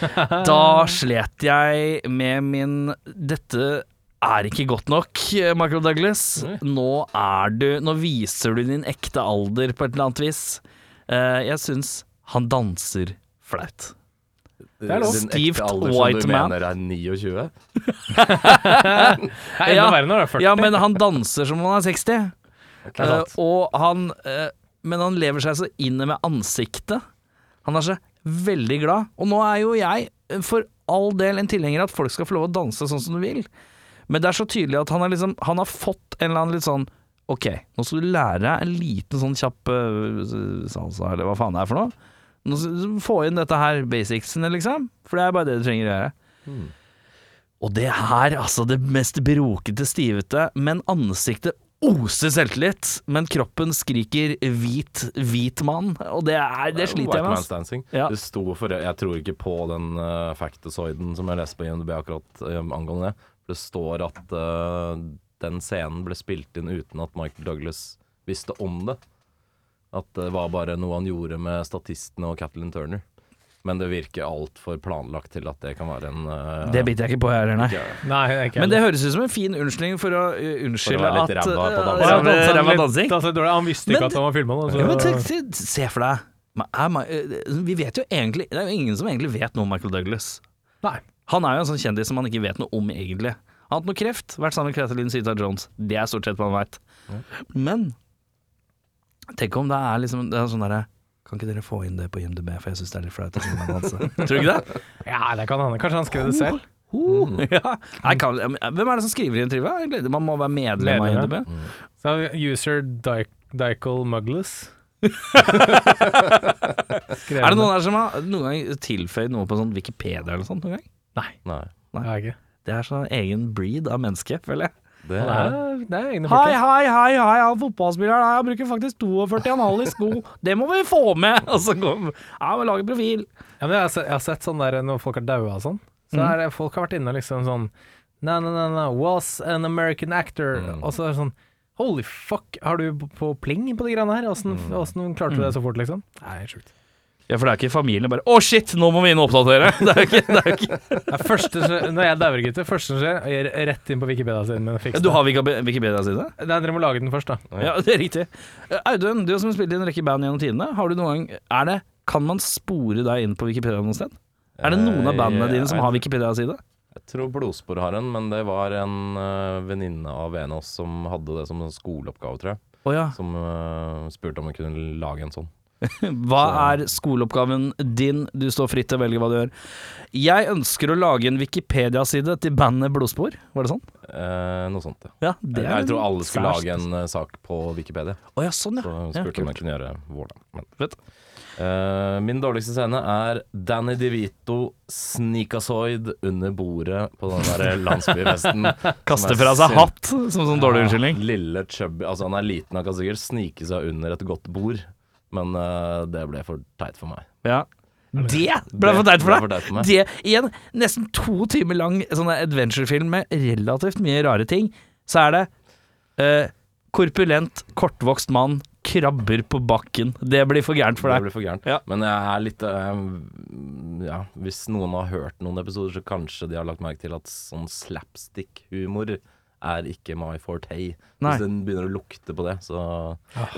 Speaker 1: Da slet jeg med min Dette er ikke godt nok, eh, Michael Douglas. Nå er du Nå viser du din ekte alder på et eller annet vis. Eh, jeg syns han danser flaut.
Speaker 2: Det
Speaker 3: er lov.
Speaker 1: Stivt white man.
Speaker 2: Som du mener er 29?
Speaker 3: Det er enda
Speaker 1: Ja.
Speaker 3: verre når du er 40.
Speaker 1: Ja, men han danser som om han er 60.
Speaker 2: er
Speaker 1: Eh,
Speaker 2: sant.
Speaker 1: og han eh, Men han lever seg så inn med ansiktet. Han er så veldig glad. Og nå er jo jeg eh, for all del en tilhenger av at folk skal få lov å danse sånn som du vil. Men det er så tydelig at han, er liksom, han har fått en eller annen litt sånn Ok, nå skal du lære deg en liten sånn kjapp eh, salsa, eller hva faen det er for noe. Nå skal du få inn dette her, basicsene, liksom. For det er bare det du trenger å gjøre.
Speaker 2: Hmm.
Speaker 1: Og det her, altså det mest brokete, stivete, men ansiktet oser selvtillit. Men kroppen skriker 'hvit, hvit mann', og det, er, det sliter jeg med. Altså.
Speaker 2: White man's dancing.
Speaker 1: Ja.
Speaker 2: Det sto for Jeg tror ikke på den uh, factosoiden som jeg leste på IMDb akkurat eh, angående det. Det står at eh, den scenen ble spilt inn uten at Michael Douglas visste om det. At det var bare noe han gjorde med statistene og Kathleen Turner. Men det virker altfor planlagt til at det kan være en eh,
Speaker 1: Det biter jeg ikke på her, nei.
Speaker 3: Nei, det er ikke
Speaker 1: Men det høres ut som en fin unnskyldning for å uh, unnskylde
Speaker 2: være litt
Speaker 1: at
Speaker 2: ræva på
Speaker 1: uh,
Speaker 2: dansing.
Speaker 1: ræva-
Speaker 3: Dansa litt-
Speaker 1: ræva dansing.
Speaker 3: dansa litt dårlig. Han visste
Speaker 1: Men-
Speaker 3: ikke at han var filma.
Speaker 1: Ja, men tenk, se- se for deg Ma- er Ma- eh, Vi vet jo egentlig Det er jo ingen som egentlig vet noe om Michael Douglas.
Speaker 3: Nei.
Speaker 1: Han er jo en sånn kjendis som man ikke vet noe om egentlig. Han har hatt noe kreft, vært sammen med Kathleen Zeta Jones. Det er stort sett hva han veit. Men tenk om det er liksom Det er sånn derre Kan ikke dere få inn det på IMDb, for jeg syns det altså. er litt flaut å se meg danse. Tror du ikke det?
Speaker 3: Ja, det kan hende. Kanskje han skrev det selv.
Speaker 1: Uh, Ja. Nei, kan, hvem er det som skriver i en trivia? egentlig? Man må være medlem av
Speaker 3: Medlem, ja.
Speaker 1: IMDb.
Speaker 3: Så har vi user Dy- Dykel Muggles. Skrevet
Speaker 1: Er det noen her som har noen gang tilføyd noe på sånn Wikipedia eller sånt noen gang?
Speaker 3: Nei,
Speaker 2: Nei.
Speaker 3: det er ikke.
Speaker 1: Det er sånn egen breed av menneske, føler jeg.
Speaker 2: Det
Speaker 3: Det
Speaker 2: er,
Speaker 3: er, det er egne
Speaker 1: Hei,
Speaker 3: folk. ja.
Speaker 1: hei, hei, hei, han fotballspilleren her, han bruker faktisk 42,5 i sko. Det må vi få med! Og så kom Ja, vi lager profil.
Speaker 3: Ja, men jeg, har sett, jeg har sett sånn der når folk har daua og sånn. Så
Speaker 1: Mhm.
Speaker 3: er det- folk har vært inne og liksom sånn Nei, nei, nei, nei, was an American actor.
Speaker 1: Mm.
Speaker 3: Og så er det sånn Holy fuck, har du b- på pling på de greiene her? Åssen
Speaker 1: Mm.
Speaker 3: åssen klarte du det så fort, liksom? Nei, helt sjukt.
Speaker 1: Ja, for det er ikke familien bare Å, shit, nå må vi inn og oppdatere! Det er ikke, det er ikke.
Speaker 3: Det er første, som- når jeg dauer, gutter, første som skjer, jeg er rett inn på Wikipedia-siden min og
Speaker 1: Ja,
Speaker 3: fikser
Speaker 1: Du har Wiki- Wikipedia-side?
Speaker 3: det. Nei, dere må lage den først, da.
Speaker 1: Ja, det er riktig. Eh, Audun, du som har spilt i en rekke band gjennom tidene, har du noen gang Er det Kan man spore deg inn på Wikipedia noe sted? Er det noen av bandene dine som har Wikipedia-side?
Speaker 2: jeg tror Blodspor har en, men det var en eh, venninne av en av oss som hadde det som en skoleoppgave, tror jeg.
Speaker 1: Å ja.
Speaker 2: som eh, spurte om jeg kunne lage en sånn.
Speaker 1: Hva er skoleoppgaven din? Du står fritt til å velge hva du gjør. Jeg ønsker å lage en Wikipedia-side til bandet Blodspor. Var det sånn?
Speaker 2: Eh, noe sånt, ja.
Speaker 1: Ja, det
Speaker 2: jeg, jeg tror alle skulle
Speaker 1: særs-
Speaker 2: lage en eh, sak på Wikipedia,
Speaker 1: Å ja, sånn ja.
Speaker 2: så hun
Speaker 1: Ja,
Speaker 2: spurte om
Speaker 1: kult.
Speaker 2: jeg kunne gjøre hvordan. Men.
Speaker 1: Fett.
Speaker 2: Eh, min dårligste scene er Danny DeVito snikasoid under bordet på den der landsbyfesten.
Speaker 1: Kaste
Speaker 2: Som er
Speaker 1: fra seg
Speaker 2: sin-
Speaker 1: hatt som sånn dårlig unnskyldning.
Speaker 2: Lille chubby Altså, han er liten, han kan sikkert snike seg under et godt bord, men eh, det ble for teit for meg.
Speaker 1: Ja. Det ble for teit for
Speaker 2: ble
Speaker 1: deg!
Speaker 2: teit for meg.
Speaker 1: Det i en nesten to timer lang sånn der adventure-film med relativt mye rare ting, så er det eh, korpulent, kortvokst mann krabber på bakken. Det blir for gærent for
Speaker 2: Det
Speaker 1: deg.
Speaker 2: blir for gærent.
Speaker 1: Ja.
Speaker 2: Men jeg er litt eh, Ja, hvis noen har hørt noen episoder, så kanskje de har lagt merke til at sånn slapstick-humor er ikke my forte.
Speaker 1: Nei.
Speaker 2: Hvis den begynner å lukte på det, så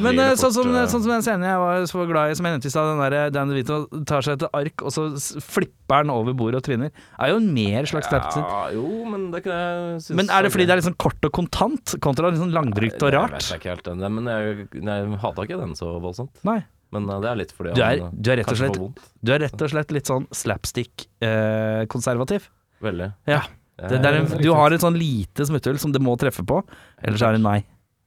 Speaker 1: Men
Speaker 2: blir
Speaker 1: eh,
Speaker 2: det
Speaker 1: sånn
Speaker 2: fort,
Speaker 1: som,
Speaker 2: eh,
Speaker 1: sånn som den scenen jeg var så glad i, som jeg nevnte i stad, den der eh, Dan DeVito tar seg et ark, og så s- flipper han over bordet og tryner, er jo en mer slags slapstick.
Speaker 2: ja, Jo, men det kan jeg synes
Speaker 1: Men er det fordi det er litt sånn kort og kontant, kontra litt sånn langdrygt og
Speaker 2: Jeg
Speaker 1: rart?
Speaker 2: vet ikke helt den, men jeg, jeg hata ikke den så voldsomt.
Speaker 1: Nei.
Speaker 2: Men eh, det er litt fordi
Speaker 1: Du er,
Speaker 2: han, eh,
Speaker 1: du er rett og
Speaker 2: kanskje
Speaker 1: slett
Speaker 2: får vondt.
Speaker 1: Du er rett og slett litt sånn slapstick-konservativ.
Speaker 2: Veldig.
Speaker 1: ja.
Speaker 2: Jeg
Speaker 1: Det, det er en,
Speaker 2: er-
Speaker 1: du har et sånn lite smutthull som det må treffe på, ellers er det nei.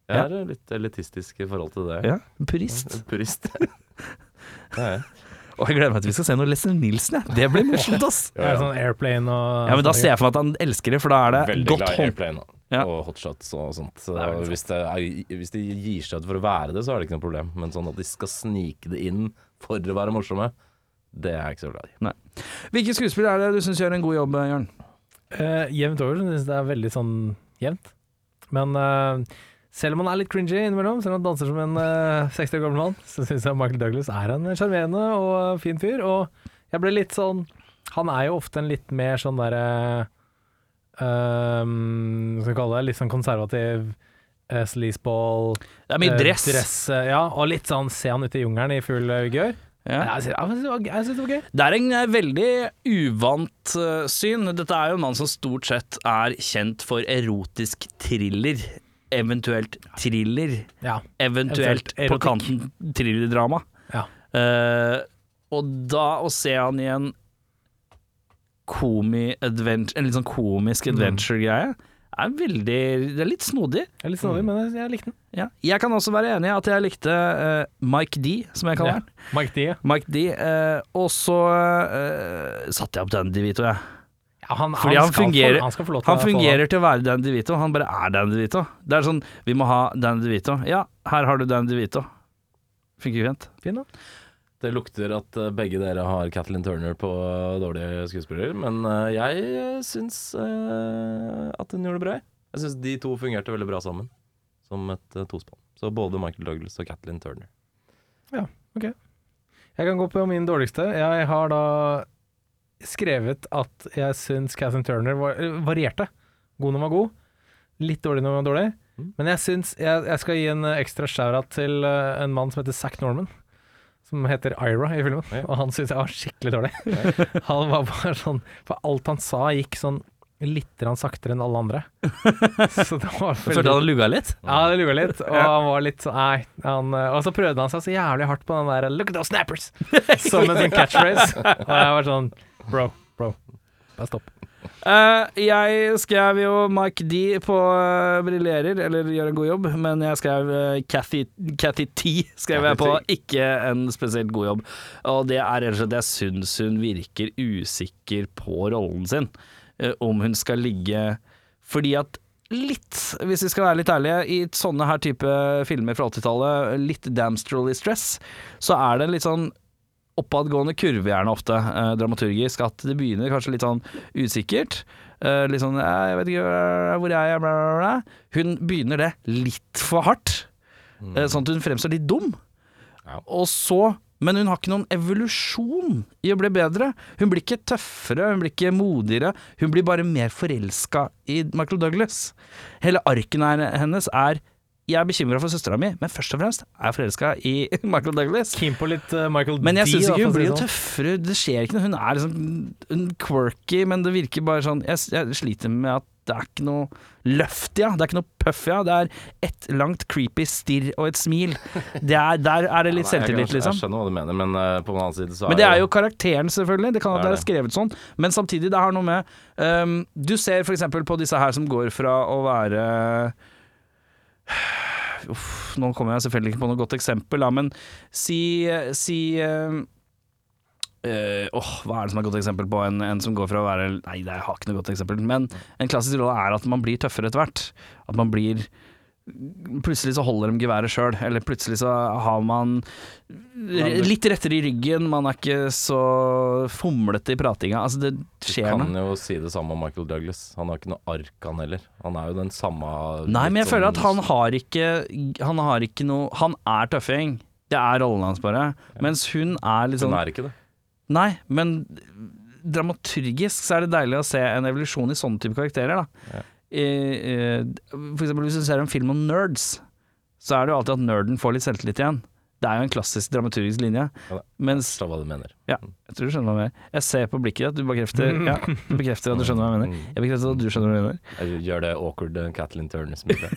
Speaker 2: Jeg er litt elitistisk i forhold til det.
Speaker 1: Ja, Purist.
Speaker 2: Purist. det er jeg.
Speaker 1: Og jeg gleder meg til vi skal se noe Leslie Nilsen, jeg. Det blir morsomt, ass.
Speaker 3: Det er sånn airplane og
Speaker 1: Ja, men da ser jeg for meg at han elsker det, for da er det
Speaker 2: Veldig
Speaker 1: godt
Speaker 2: glad i
Speaker 1: hånd...
Speaker 2: airplane. da.
Speaker 1: Ja.
Speaker 2: og hotshots og sånt. Så
Speaker 1: er veldig
Speaker 2: hvis, det er, hvis de gir seg ut for å være det, så er det ikke noe problem. Men sånn at de skal snike det inn for å være morsomme, det er jeg ikke så glad i.
Speaker 1: Hvilke skuespillere er det du syns gjør en god jobb, Jørn?
Speaker 3: Eh, jevnt over syns jeg det er veldig sånn jevnt. Men eh, selv om han er litt cringy innimellom, selv om han danser som en eh, 60 år gammel mann, så syns jeg Michael Douglas er en sjarmerende og eh, fin fyr. Og jeg ble litt sånn Han er jo ofte en litt mer sånn derre eh, um, Hva skal vi kalle det? Litt sånn konservativ. eh, Sleazeball
Speaker 1: Det er mye
Speaker 3: eh,
Speaker 1: dress.
Speaker 3: eh, ja, og litt sånn se han ute i jungelen i full eh, vigør.
Speaker 1: Ja.
Speaker 3: Jeg syns jeg syns det var gøy- jeg syns det var gøy.
Speaker 1: Det er en eh, veldig uvant eh, syn. Dette er jo en mann som stort sett er kjent for erotisk thriller. Eventuelt thriller.
Speaker 3: Ja.
Speaker 1: Eventuelt
Speaker 3: Eventuelt
Speaker 1: på
Speaker 3: erotikk.
Speaker 1: kanten thrillerdrama.
Speaker 3: Ja.
Speaker 1: Eh, og da å se han i en komi adventure, en litt sånn komisk adventure-greie, er veldig Det er litt snodig.
Speaker 3: Jeg er litt snodig, men jeg, jeg likte den.
Speaker 1: Ja. Jeg kan også være enig i at jeg likte eh, Mike D, som jeg kaller han.
Speaker 3: Mike D.
Speaker 1: Mike D. eh, og så eh, satte jeg opp Dan DeVito, jeg.
Speaker 3: Ja, han,
Speaker 1: Fordi han,
Speaker 3: skal
Speaker 1: fungerer,
Speaker 3: få, han skal få lov til
Speaker 1: han
Speaker 3: å få
Speaker 1: fungerer til å være Dan DeVito. Han bare er Dan DeVito. Det er sånn Vi må ha Dan DeVito. Ja, her har du Dan DeVito. Funker fint.
Speaker 3: det. Fin, da.
Speaker 2: Det lukter at eh, begge dere har Kathleen Turner på eh, dårlige skuespillere, men eh, jeg syns eh, at hun gjorde det bra. jeg. Jeg syns de to fungerte veldig bra sammen, som et eh, tospann. Så både Michael Douglas og Kathleen Turner.
Speaker 3: Jeg kan gå på min dårligste. Jeg har da skrevet at jeg syns Catherine Turner var, eh, varierte. God når hun var god, litt dårlig når hun var dårlig.
Speaker 2: Mm.
Speaker 3: Men jeg syns jeg, jeg skal gi en eh, ekstra shout-out til eh, en mann som heter Zack Norman. Som heter Ira i filmen,
Speaker 2: Ja.
Speaker 3: og han syns jeg var skikkelig dårlig. Han var bare sånn For alt han sa, gikk sånn litt grann saktere enn alle andre. Så det var
Speaker 1: Jeg følte han lugga litt.
Speaker 3: Ja, det lurer litt. Og han var litt sånn Nei. Han, eh, og så prøvde han seg så jævlig hardt på den der 'Look at those snappers!' som en sånn catchphrase. Og jeg var sånn Bro, bro. Bare stopp.
Speaker 1: Eh, jeg skrev jo Mike D på eh, briljerer, eller gjør en god jobb, men jeg skrev eh, Cathy, Cathy T skrev jeg på,
Speaker 2: Cathy
Speaker 1: ikke en spesielt god jobb. Og det er rett og slett at jeg syns hun virker usikker på rollen sin, eh, om hun skal ligge Fordi at litt, hvis vi skal være litt ærlige, i sånne her type filmer fra 80-tallet, litt damstrolly stress, så er det en litt sånn oppadgående kurve gjerne ofte, eh, dramaturgisk, at det begynner kanskje litt sånn usikkert. Eh, litt sånn «Eh, 'jeg vet ikke øh, hvor er jeg', bla, bla, bla. Hun begynner det litt for hardt, eh, sånn at hun fremstår litt dum.
Speaker 2: Ja.
Speaker 1: Og så men hun har ikke noen evolusjon i å bli bedre. Hun blir ikke tøffere, hun blir ikke modigere. Hun blir bare mer forelska i Michael Douglas. Hele arken her- hennes er 'jeg er bekymra for søstera mi', men først og fremst er jeg forelska i Michael Douglas.
Speaker 3: Keen på litt eh, Michael
Speaker 1: Men jeg
Speaker 3: D,
Speaker 1: syns
Speaker 3: da, for
Speaker 1: ikke
Speaker 3: å
Speaker 1: hun
Speaker 3: si
Speaker 1: blir
Speaker 3: det
Speaker 1: jo
Speaker 3: sånn.
Speaker 1: tøffere. Det skjer ikke noe. Hun er liksom hun quirky, men det virker bare sånn Jeg, jeg sliter med at det er ikke noe løft, ja. Det er ikke noe puff, ja. Det er ett langt creepy stirr og et smil. Det er, der er det litt
Speaker 2: Ja, nei,
Speaker 1: selvtillit,
Speaker 2: jeg kan- Jeg
Speaker 1: liksom.
Speaker 2: skjønner hva du mener, men eh, på den annen side så
Speaker 1: Men det er jo karakteren, selvfølgelig. Det kan at
Speaker 2: Det er
Speaker 1: det er skrevet sånn, men samtidig, det har noe med um, Du ser for eksempel på disse her som går fra å være Uff, nå kommer jeg selvfølgelig ikke på noe godt eksempel, da, men si, si um, eh, åh, hva er det som er et godt eksempel på en, en som går fra å være Nei, det er- jeg har ikke noe godt eksempel, men en klassisk rolle er at man blir tøffere etter hvert. At man blir Plutselig så holder de geværet sjøl, eller plutselig så har man re- litt rettere i ryggen, man er ikke så fomlete i pratinga. Altså, det skjer
Speaker 2: Kan
Speaker 1: noe.
Speaker 2: jo si det samme om Michael Douglas. Han har ikke noe ark, han heller. Han er jo den samme
Speaker 1: Nei, men jeg
Speaker 2: litt
Speaker 1: føler at
Speaker 2: sånn-
Speaker 1: han har ikke Han har ikke noe Han er tøffing. Det er rollen hans, bare. Mens hun er litt sånn
Speaker 2: Hun er ikke det.
Speaker 1: Nei, men dramaturgisk så er det deilig å se en evolusjon i sånne type karakterer. Da. I- i- for eksempel hvis du ser en film om nerds, så er det jo alltid at nerden får litt selvtillit igjen. Det er jo en klassisk dramaturgisk linje.
Speaker 2: Ja da.
Speaker 1: Mens
Speaker 2: Forstår hva du mener.
Speaker 1: Ja, jeg tror du skjønner hva jeg mener. Jeg ser på blikket ditt at du bekrefter, ja, du bekrefter at du skjønner hva jeg mener. Jeg bekrefter at du skjønner hva jeg mener.
Speaker 2: Jeg Mm. Gjør det awkward eh, Kathleen Turner-smilet.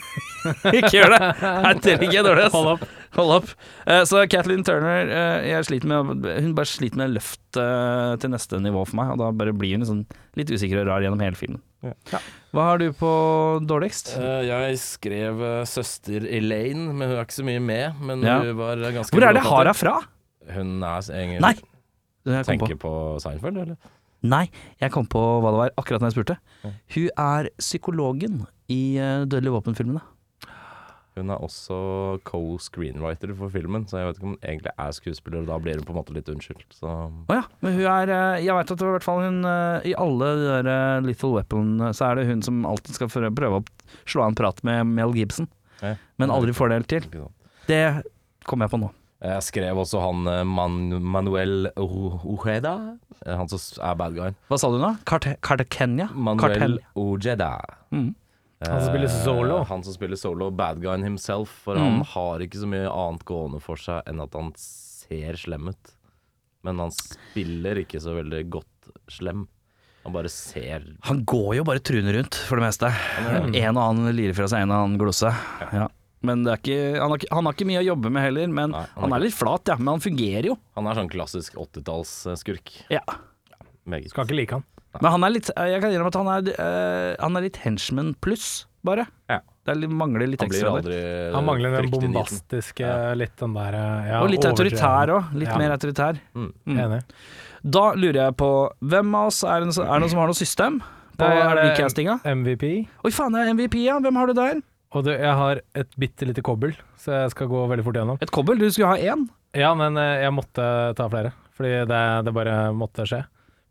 Speaker 1: Ikke gjør det! Nei, det er ikke dårlig. ass.
Speaker 3: Hold opp.
Speaker 1: Hold opp. Eh, så Kathleen Turner eh, jeg sliter med, Hun bare sliter med løft eh, til neste nivå for meg, og da bare blir hun sånn litt usikker og rar gjennom hele filmen.
Speaker 2: Ja.
Speaker 1: Hva har du på dårligst?
Speaker 2: Eh, jeg skrev
Speaker 1: uh,
Speaker 2: eh, søster Elaine, men hun er ikke så mye med. Men
Speaker 1: Ja.
Speaker 2: hun var eh, ganske
Speaker 1: Hvor er det jeg
Speaker 2: provokativ.
Speaker 1: har henne fra?
Speaker 2: Hun er egentlig
Speaker 1: Nei! Jeg kom på.
Speaker 2: Tenker på Seinfeld, eller?
Speaker 1: Nei, jeg kom på hva det var akkurat når jeg spurte. Hun er psykologen i uh, Dødelige våpen-filmene.
Speaker 2: Hun er også co-screenwriter for filmen, så jeg vet ikke om hun egentlig er skuespiller, og da blir hun på en måte litt unnskyldt. Så
Speaker 1: Å ja. Men hun er eh, Jeg veit at det var i hvert fall hun eh, I alle de der eh, Little Weapon eh, så er det hun som alltid skal prøve, prøve å slå av en prat med Mel Gibson,
Speaker 2: Ja.
Speaker 1: men aldri får det helt til.
Speaker 2: ikke sant.
Speaker 1: Det kommer jeg på nå.
Speaker 2: Jeg skrev også han eh, Man Manuel O- Ojeda, eh, han som s- er bad guyen.
Speaker 1: Hva sa du nå? Karte- Kartekenya? Kartel.
Speaker 2: Manuel Ojeda.
Speaker 1: Mm.
Speaker 3: Han som spiller solo.
Speaker 2: Eh, Han som spiller solo, bad guyen himself, for
Speaker 1: Mm.
Speaker 2: han har ikke så mye annet gående for seg enn at han ser slem ut. Men han spiller ikke så veldig godt slem. Han bare ser
Speaker 1: Han går jo bare trynet rundt, for det meste.
Speaker 2: gjør
Speaker 1: En og annen lirer fra seg, en og annen glosse. Ja. Men det er ikke, han, har ikke, han har ikke mye å jobbe med heller, men
Speaker 2: Nei,
Speaker 1: han er litt flat, ja. Men han fungerer jo.
Speaker 2: Han er sånn klassisk 80-tallsskurk.
Speaker 1: Ja.
Speaker 2: Meget.
Speaker 3: Skal ikke like han.
Speaker 1: Men han er litt, jeg kan innrømme at han er, eh, han er litt henchman pluss, bare.
Speaker 2: Ja.
Speaker 1: Det er litt, mangler litt
Speaker 2: Han blir
Speaker 1: ekstra der.
Speaker 2: aldri
Speaker 3: Han mangler den
Speaker 2: fryktelig niten.
Speaker 3: bombastiske, litt den der eh, ja,
Speaker 1: Og litt autoritær
Speaker 3: overdreven.
Speaker 1: òg. Litt
Speaker 3: Ja.
Speaker 1: mer autoritær. Mm.
Speaker 3: Enig.
Speaker 1: Da lurer jeg på hvem av oss Er det, er det noen som har noe system på
Speaker 3: Nei, er det-
Speaker 1: recastinga?
Speaker 3: MVP.
Speaker 1: Oi, faen, det er MVP, ja. Hvem har du der?
Speaker 3: Og du, jeg har et bitte lite kobbel, så jeg skal gå veldig fort gjennom.
Speaker 1: Et kobbel? Du skulle ha én.
Speaker 3: Ja, men eh, jeg måtte ta flere, fordi det, det bare måtte skje.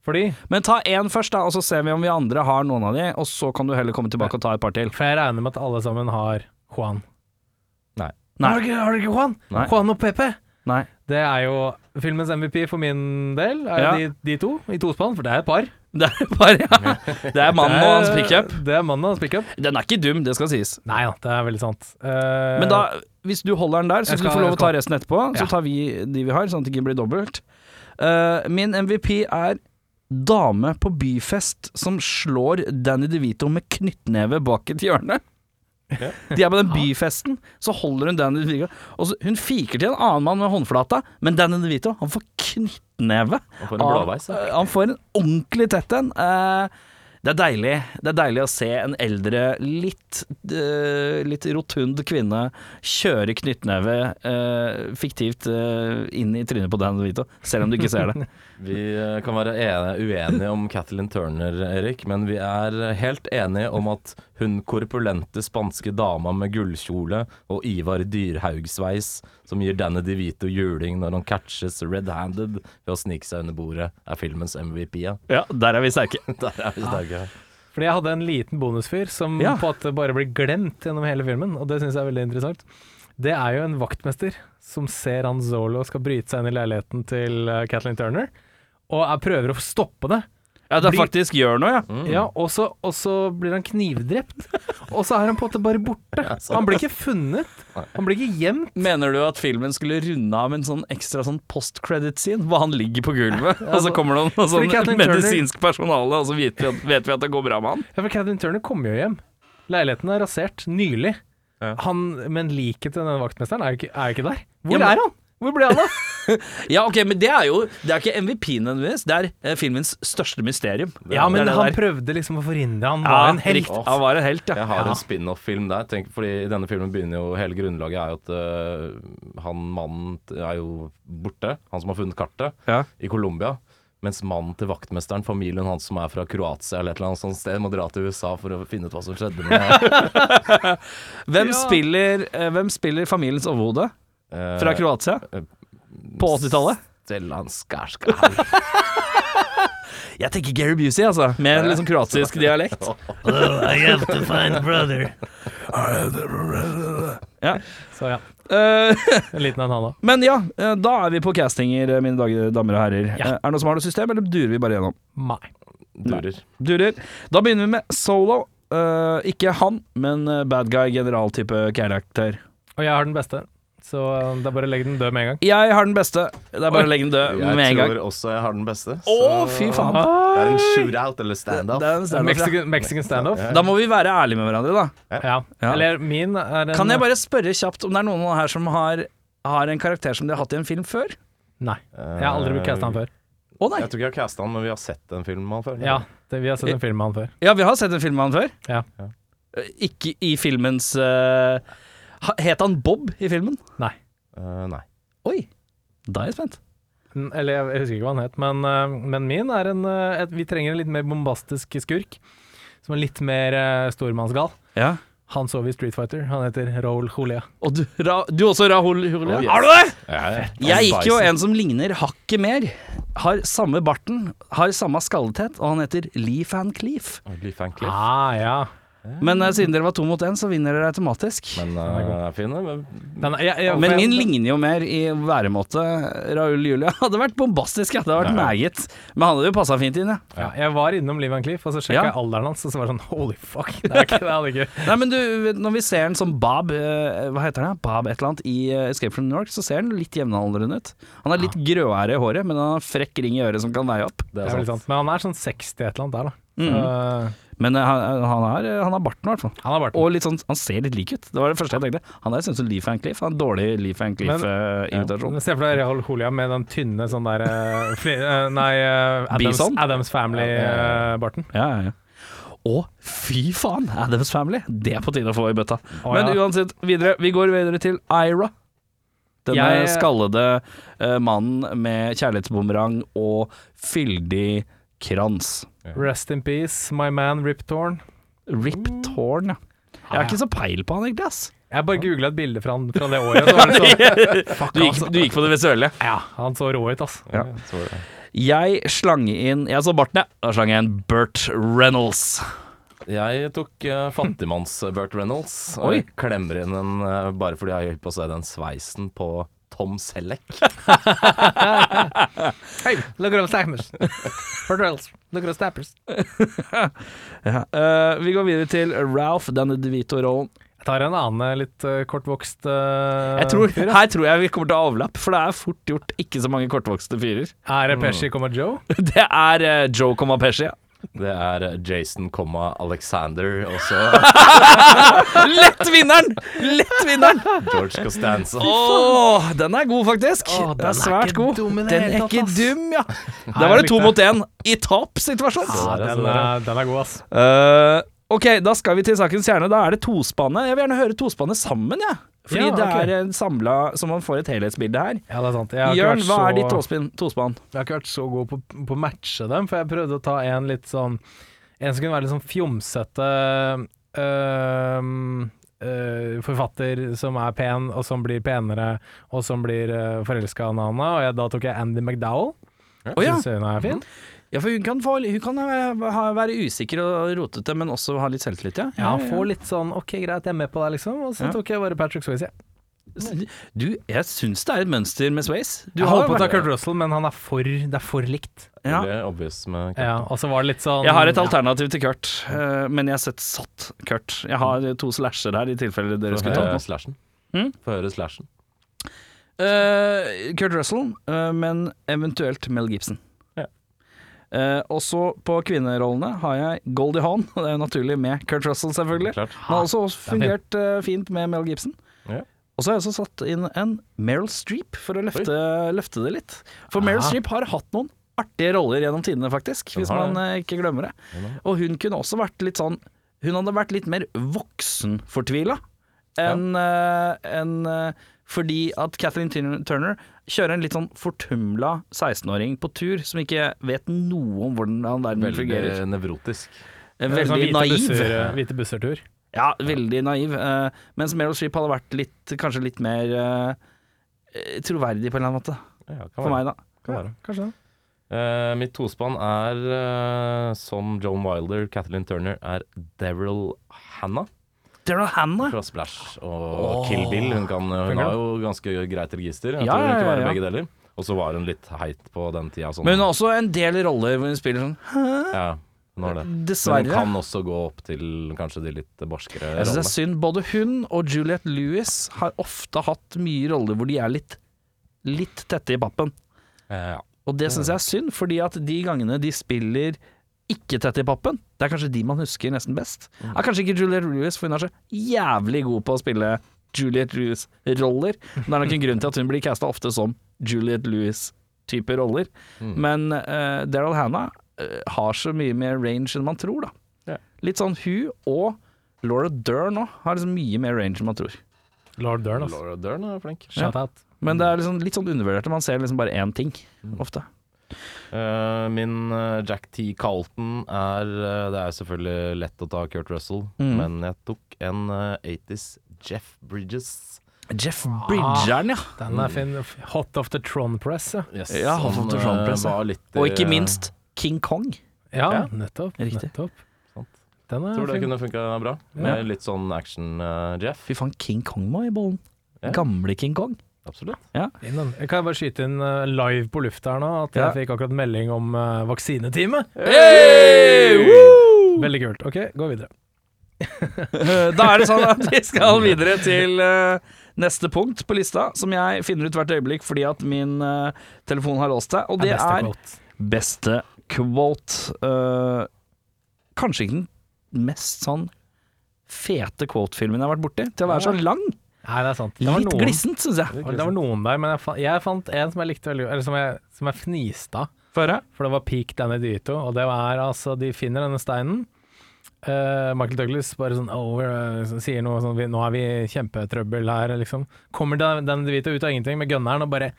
Speaker 3: Fordi
Speaker 1: Men ta én først, da, og så ser vi om vi andre har noen av de. Og så kan du heller komme tilbake og ta et par til.
Speaker 3: For jeg regner med at alle sammen har Juan.
Speaker 2: Nei.
Speaker 1: Nei.
Speaker 3: Har, dere, har dere ikke Juan?
Speaker 1: Nei.
Speaker 3: Juan og Pepe?
Speaker 1: Nei.
Speaker 3: Det er jo filmens MVP for min del, er
Speaker 1: Ja.
Speaker 3: de, de to i tospann, for det er et par.
Speaker 1: Det er bare ja. Det er mannen og hans
Speaker 3: Det er-
Speaker 1: pickup.
Speaker 3: Det er mannen og hans pickup.
Speaker 1: Den er ikke dum, det skal sies.
Speaker 3: Nei da, det er veldig sant. Eh,
Speaker 1: Men da, hvis du holder den der, så skal
Speaker 3: Jeg
Speaker 1: du
Speaker 3: skal-
Speaker 1: få lov å
Speaker 3: jeg
Speaker 1: ta
Speaker 3: skal.
Speaker 1: resten etterpå. Så
Speaker 3: Ja.
Speaker 1: tar vi de vi har, sånn at det ikke blir dobbelt. Eh, min MVP er dame på byfest som slår Danny DeVito med knyttneve bak et hjørne.
Speaker 2: Ja.
Speaker 1: De er på den byfesten, så holder hun Danny DeVito og så, Hun fiker til en annen mann med håndflata, men Danny DeVito han får knyttneve.
Speaker 2: Han får en
Speaker 3: Ah.
Speaker 1: av-
Speaker 2: blåveis. ja.
Speaker 1: eh, han får en ordentlig tett en. Eh, det er deilig. Det er deilig å se en eldre, litt, eh, litt rotund kvinne kjøre knyttneve eh, fiktivt eh, inn i trynet på Dan DeVito, selv om du ikke ser det.
Speaker 2: Vi eh, kan være ene- uenige om Kathleen Turner, Erik, men vi er helt enige om at hun korpulente spanske dama med gullkjole og Ivar Dyrhaug-sveis, som gir Danny DeVito juling når han catches red-handed ved å snike seg under bordet, er filmens MVP. Ja.
Speaker 1: Ja, der er vi sterke.
Speaker 2: Der er vi sterke.
Speaker 3: Fordi jeg hadde en liten bonusfyr som
Speaker 1: Ja.
Speaker 3: på at det bare blir glemt gjennom hele filmen, og det syns jeg er veldig interessant. Det er jo en vaktmester som ser han Zolo skal bryte seg inn i leiligheten til eh, Kathleen Turner, og jeg prøver å stoppe det.
Speaker 1: Ja, det
Speaker 3: Blir-
Speaker 1: faktisk gjør noe, ja.
Speaker 3: Ah. Ja, og så, og så blir han knivdrept, og så er han på en måte bare borte. Han blir ikke funnet, han blir ikke gjemt.
Speaker 1: Mener du at filmen skulle runde av med en sånn ekstra sånn post-credit-scene, hvor han ligger på gulvet, og så kommer det noe
Speaker 3: Fordi
Speaker 1: sånn
Speaker 3: Kathleen Turner-
Speaker 1: medisinsk personale, og så vet vi, at, vet vi at det går bra med han?
Speaker 3: Ja, for Kathleen Turner kommer jo hjem. Leiligheten er rasert nylig.
Speaker 2: Ja.
Speaker 3: Han, men liket til denne vaktmesteren er jo ikke, er jo ikke der. Hvor
Speaker 1: Ja, men-
Speaker 3: er han? Hvor ble han av?
Speaker 1: Ja, ok, men det er jo Det er ikke MVP nødvendigvis, det er eh, filmens største mysterium.
Speaker 3: Ja, men
Speaker 1: det er det
Speaker 3: han
Speaker 1: der.
Speaker 3: prøvde liksom å forhindre Han var en helt.
Speaker 1: Riktig. Han var en helt, ja.
Speaker 2: Jeg har en spin-off-film der. Tenk, fordi I denne filmen begynner jo hele grunnlaget er jo at øh, han mannen t- er jo borte. Han som har funnet kartet
Speaker 1: Ja.
Speaker 2: i Colombia. Mens mannen til vaktmesteren, familien hans som er fra Kroatia eller et eller annet sånt sted, må dra til USA for å finne ut hva som skjedde med
Speaker 1: Hvem,
Speaker 3: Ja.
Speaker 1: Spiller, eh, hvem spiller familiens overhode
Speaker 2: Eh,
Speaker 1: fra Kroatia? På 80-tallet?
Speaker 2: Stellan Skarsgård.
Speaker 1: Jeg tenker Gary Busey, altså. Med en liksom kroatisk dialekt.
Speaker 3: Oh,
Speaker 1: Ja.
Speaker 3: Så ja,
Speaker 1: Eh,
Speaker 3: en liten en han da.
Speaker 1: men ja, eh, da er vi på castinger, eh, mine dag- damer og herrer. Eh, Er det noen som har noe system, eller durer vi bare gjennom?
Speaker 3: Nei.
Speaker 2: Durer.
Speaker 1: Durer. Da begynner vi med solo. Eh, ikke han, men eh, bad guy, general-type karakter.
Speaker 3: Og jeg har den beste, så um, det er bare å legge den død med en gang.
Speaker 1: Jeg har den beste. Det er bare å legge den død med
Speaker 2: Jeg
Speaker 1: en gang.
Speaker 2: tror også jeg har den beste.
Speaker 1: Å,
Speaker 2: så-
Speaker 1: fy faen.
Speaker 2: Det er en shootout eller standoff.
Speaker 1: Det er en standoff, ja.
Speaker 3: Ah, Mexican, Mexican standoff.
Speaker 1: Da må vi være ærlige med hverandre, da.
Speaker 3: Ja.
Speaker 1: Ja.
Speaker 3: Eller min er en
Speaker 1: Kan jeg bare spørre kjapt om det er noen her som har, har en karakter som de har hatt i en film før?
Speaker 3: Nei. Jeg har
Speaker 1: Eh,
Speaker 3: aldri blitt casta han før.
Speaker 1: Å nei!
Speaker 2: Eh, Jeg tror ikke jeg har casta han, men vi har sett en film med han før.
Speaker 3: Ja, det, vi har
Speaker 1: Eh,
Speaker 3: sett en film med han før.
Speaker 1: Ja, vi har sett en film med han før. Eh,
Speaker 3: Ja.
Speaker 1: Ikke i filmens eh, ha- Het han Bob i filmen?
Speaker 2: Eh, nei.
Speaker 1: Oi! Da er jeg spent.
Speaker 3: N- Eller jeg, jeg husker ikke hva han het, men, øh, men min eh, er en øh, et, Vi trenger en litt mer bombastisk skurk. Som er litt mer øh, stormannsgal.
Speaker 1: Ja.
Speaker 3: Han sov i Street Fighter. Han heter Raoul Julia.
Speaker 1: Og du, Ra du også, Rahul Julia?
Speaker 2: Oh, yes.
Speaker 1: Har du det?!
Speaker 2: Jeg,
Speaker 1: Jeg gikk jo en som ligner hakket mer. Har samme barten, har samme skallethet, og han heter Lee Van Cleef.
Speaker 3: Ah, ja.
Speaker 1: Men eh, siden dere var to mot én, så vinner dere automatisk.
Speaker 2: Men eh, den er fin, den. men-
Speaker 3: Den, jeg, jeg,
Speaker 1: Men
Speaker 3: jeg-
Speaker 1: min ligner jo mer i væremåte. Raul Julia hadde vært bombastisk, ja. det hadde vært meget. Men han hadde jo passa fint inn, ja.
Speaker 3: ja, Jeg var innom Liv Van Cleef, og så sjekka
Speaker 1: Ja.
Speaker 3: jeg alderen hans, og så var det sånn holy fuck. Det er ikke det, han ikke.
Speaker 1: Nei, men du, når vi ser den som Bob, eh, hva heter han, Bob et eller annet, i eh, Escape from New York, så ser han litt jevnaldrende ut. Han er litt grøære i håret, men han har frekk ring i øret som kan veie opp.
Speaker 2: Det
Speaker 3: Det
Speaker 2: er
Speaker 3: er vel
Speaker 2: sant.
Speaker 3: sant. Men han er sånn 60 et eller annet der, da.
Speaker 1: Mhm.
Speaker 3: Så,
Speaker 1: Men eh, han, han, har, han har barten, i hvert fall.
Speaker 3: han har barten.
Speaker 1: Og litt sånn, han ser litt lik ut. Det var det første jeg tenkte. Han der synes som Lee Van Cleef. Han har en dårlig Lee Van
Speaker 3: Men-
Speaker 1: Cleef-invitasjon.
Speaker 3: Se for deg Real Holia med den tynne sånn der eh, fli, eh, Nei, eh, Adams,
Speaker 1: Bison?
Speaker 3: Adams eh, Family-barten.
Speaker 1: Ja, ja, ja. Å, fy faen! Adams Family. Det er på tide å få i bøtta.
Speaker 3: Å,
Speaker 1: Men
Speaker 3: ja.
Speaker 1: uansett, videre. Vi går videre til Ira. Denne
Speaker 3: Jeg-
Speaker 1: skallede eh, mannen med kjærlighetsbumerang og fyldig krans.
Speaker 3: Rest in peace, my man Rip Torn.
Speaker 1: Rip Torn, ja. Jeg
Speaker 3: Ah,
Speaker 1: har ikke så peil på han, egentlig. ass
Speaker 3: Jeg bare googla et bilde fra han fra det året. Så var det sånn,
Speaker 1: Du gikk, du gikk på det visuelle.
Speaker 3: ja, han så rå ut, altså.
Speaker 2: Ja, så var det.
Speaker 1: Jeg slang inn Jeg så barten, jeg. Da slang jeg inn Burt Reynolds.
Speaker 2: Jeg tok eh, fattigmanns-Burt Reynolds. Og
Speaker 1: Oi.
Speaker 2: jeg klemmer inn en eh, bare fordi jeg holdt på å se den sveisen på Tom Selleck.
Speaker 3: Hei, look at them stappers. Portrayals, look at them stappers.
Speaker 1: Eh, vi går videre til Ralph, denne DeVito-rollen.
Speaker 3: Jeg tar en annen eh, litt eh, kortvokst eh,
Speaker 1: Jeg tror,
Speaker 3: fyr. ja.
Speaker 1: her tror jeg vi kommer til å ha overlapp, for det er fort gjort ikke så mange kortvokste fyrer.
Speaker 3: Er det Pesci komma Joe?
Speaker 1: Mm. Det er eh, Joe Comapesci. Ja.
Speaker 2: Det er eh, Jason, komma, Alexander og så
Speaker 1: Lett vinneren! Lett vinneren!
Speaker 2: George Costanza.
Speaker 1: Åh, den er god, faktisk.
Speaker 3: Åh,
Speaker 1: den er
Speaker 3: den er
Speaker 1: svært
Speaker 3: ikke
Speaker 1: god.
Speaker 3: dum i det
Speaker 1: den
Speaker 3: hele
Speaker 1: er
Speaker 3: tatt,
Speaker 1: ikke
Speaker 3: ass.
Speaker 1: dum, ja. Der var det to
Speaker 3: likte jeg.
Speaker 1: mot én i tapsituasjon.
Speaker 3: Ja,
Speaker 2: der,
Speaker 3: Ah, den,
Speaker 2: så der.
Speaker 3: er, den er god, ass.
Speaker 1: Eh, ok, da skal vi til sakens kjerne. Da er det tospannet. Jeg vil gjerne høre tospannet sammen, jeg. Fordi
Speaker 3: Ja, ok.
Speaker 1: det er en samla Så man får et helhetsbilde her.
Speaker 3: Ja, det er sant. Jeg har ikke
Speaker 1: Jørn,
Speaker 3: vært
Speaker 1: hva er
Speaker 3: så-
Speaker 1: ditt tospinn- tospann?
Speaker 3: Jeg har ikke vært så god på, på å matche dem, for jeg prøvde å ta en litt sånn En som kunne være litt sånn fjomsete øhm, øh, forfatter som er pen, og som blir penere, og som blir uh, forelska av Nana. Og jeg, da tok jeg Andy McDowell.
Speaker 1: Å ja.
Speaker 3: Syns hun er fin.
Speaker 1: ja, for hun kan, få, hun kan eh, ha- være usikker og rotete, men også ha litt selvtillit, ja.
Speaker 3: Ja, får litt sånn OK, greit, jeg er med på deg, liksom. Og så
Speaker 1: Ja.
Speaker 3: tok jeg bare Patrick Swayze.
Speaker 1: Du, jeg syns det er et mønster med Sways. Du
Speaker 3: Jeg
Speaker 1: har
Speaker 3: holdt på å ta
Speaker 1: vært-
Speaker 3: Kurt Russell, men han er for, det er for likt.
Speaker 1: ja.
Speaker 2: Veldig obvious med Kurt.
Speaker 3: Ja, og så var det litt sånn
Speaker 1: Jeg har et alternativ til Kurt, eh, men jeg har sett satt Kurt. Jeg har to slasher her, i tilfelle dere
Speaker 2: Få
Speaker 1: skulle ta
Speaker 2: høre
Speaker 1: den.
Speaker 2: slashen.
Speaker 1: Mm?
Speaker 2: Få høre slashen.
Speaker 1: Eh, Kurt Russell, eh, men eventuelt Mel Gibson.
Speaker 2: Ja.
Speaker 1: Eh, også på kvinnerollene har jeg Goldie Hawn, og det er jo naturlig med Kurt Russell, selvfølgelig.
Speaker 2: Klart.
Speaker 1: Men har også fungert eh, fint med Mel Gibson.
Speaker 2: Ja.
Speaker 1: Og så har jeg også satt inn en Meryl Streep, for å løfte, løfte det litt. For Meryl
Speaker 3: Ah.
Speaker 1: Streep har hatt noen artige roller gjennom tidene, faktisk,
Speaker 2: Den
Speaker 1: hvis
Speaker 2: har
Speaker 1: man eh, ikke glemmer det.
Speaker 2: Den har
Speaker 1: Og hun kunne også vært litt sånn Hun hadde vært litt mer voksenfortvila enn eh, enn, eh, fordi at Kathleen Tin- Turner kjører en litt sånn fortumla 16-åring på tur, som ikke vet noe om hvordan verden fungerer.
Speaker 2: Veldig nevrotisk.
Speaker 1: Eh,
Speaker 3: sånn
Speaker 1: Veldig
Speaker 3: hvite
Speaker 1: naiv.
Speaker 3: busser- Hvite busser-tur.
Speaker 1: Ja, veldig naiv. eh, mens Meryl Streep hadde vært litt, kanskje litt mer eh, troverdig på en eller annen måte.
Speaker 2: Ja, kan
Speaker 1: For
Speaker 2: være.
Speaker 1: meg, da.
Speaker 2: Kan være.
Speaker 3: Kanskje det.
Speaker 2: Eh, mitt tospann er, eh, som Joan Wilder, Kathleen Turner, er Daryl Hannah
Speaker 1: Daryl Hannah.
Speaker 2: fra Splash og Kill Bill. Hun, kan, hun
Speaker 3: Funker
Speaker 2: har jo ganske greit register. Jeg
Speaker 1: Ja,
Speaker 2: tror hun
Speaker 1: ja,
Speaker 2: kan
Speaker 1: ja,
Speaker 2: være
Speaker 1: ja.
Speaker 2: begge deler. Og så var hun litt heit på den tida. Sånn.
Speaker 1: Men hun har også en del roller hvor hun spiller sånn
Speaker 2: ja, hun har det. Men hun
Speaker 1: Dessverre.
Speaker 2: kan også gå opp til kanskje de litt barskere
Speaker 1: Jeg synes det
Speaker 2: rollene.
Speaker 1: er synd. Både hun og Juliette Lewis har ofte hatt mye roller hvor de er litt, litt tette i pappen.
Speaker 2: Eh, ja.
Speaker 1: Og det syns jeg er synd, fordi at de gangene de spiller ikke tett i pappen, det er kanskje de man husker nesten best.
Speaker 2: Mm.
Speaker 1: Er kanskje ikke Juliette Lewis, for hun er så jævlig god på å spille Juliette Lewis-roller. Men Det er nok en grunn til at hun blir casta ofte som Juliette Lewis-type roller.
Speaker 2: Mm.
Speaker 1: Men uh, Daryl Hannah eh, har så mye mer range enn man tror, da.
Speaker 2: Ja.
Speaker 1: Litt sånn hun og Laura Dern òg har liksom mye mer range enn man tror.
Speaker 3: Lord Dern, altså.
Speaker 2: Laura Dern er flink.
Speaker 3: Shout out.
Speaker 2: Mm.
Speaker 1: Men det er liksom litt sånn undervurdert, og man ser liksom bare én ting ofte.
Speaker 2: Eh, min eh, Jack T. Carlton er eh, Det er selvfølgelig lett å ta Kurt Russell,
Speaker 1: Mm.
Speaker 2: men jeg tok en eh, 80s Jeff Bridges.
Speaker 1: Jeff Bridgeren, ja.
Speaker 3: Den er fin. Hot of the Tron Press, ja.
Speaker 2: Yes,
Speaker 1: Ja, han
Speaker 2: som,
Speaker 1: fant
Speaker 2: eh,
Speaker 1: Trump, altså.
Speaker 2: var litt eh, i-
Speaker 1: Og ikke minst King Kong.
Speaker 3: Ja,
Speaker 2: Ja.
Speaker 3: nettopp.
Speaker 1: Riktig.
Speaker 3: nettopp.
Speaker 2: Sant.
Speaker 3: Den er
Speaker 2: Tror det
Speaker 3: fin.
Speaker 2: kunne funka bra.
Speaker 1: Ja.
Speaker 2: Med litt sånn action-Jeff.
Speaker 1: Fy faen, King Kong må i bollen.
Speaker 2: Ja.
Speaker 1: Gamle King Kong.
Speaker 2: Absolutt.
Speaker 3: Fin, den. Jeg kan bare skyte inn eh, live på lufta her nå at
Speaker 1: Ja.
Speaker 3: jeg fikk akkurat melding om eh, vaksineteamet. Veldig kult. OK, gå videre.
Speaker 1: Eh, Da er det sånn at vi skal videre til eh, neste punkt på lista, som jeg finner ut hvert øyeblikk fordi at min eh, telefon har låst seg, og det
Speaker 3: beste
Speaker 1: er
Speaker 3: quote.
Speaker 1: beste quote. Eh, kanskje ikke den mest sånn fete quote-filmen jeg har vært borti, til å være så lang.
Speaker 3: Nei, det er sant. Det var
Speaker 1: Litt
Speaker 3: noen,
Speaker 1: glissent, syns jeg.
Speaker 3: Det var noen der, men jeg fant, jeg fant en som jeg likte veldig godt, eller som jeg, som jeg fniste av.
Speaker 1: Få høre.
Speaker 3: For det var peak Danny Dyto, og det var altså De finner denne steinen. Eh, Michael Douglas bare sånn over, sier noe sånn vi, 'Nå har vi kjempetrøbbel her', liksom. Kommer Dan- Danny DeVito ut av ingenting med gunneren og bare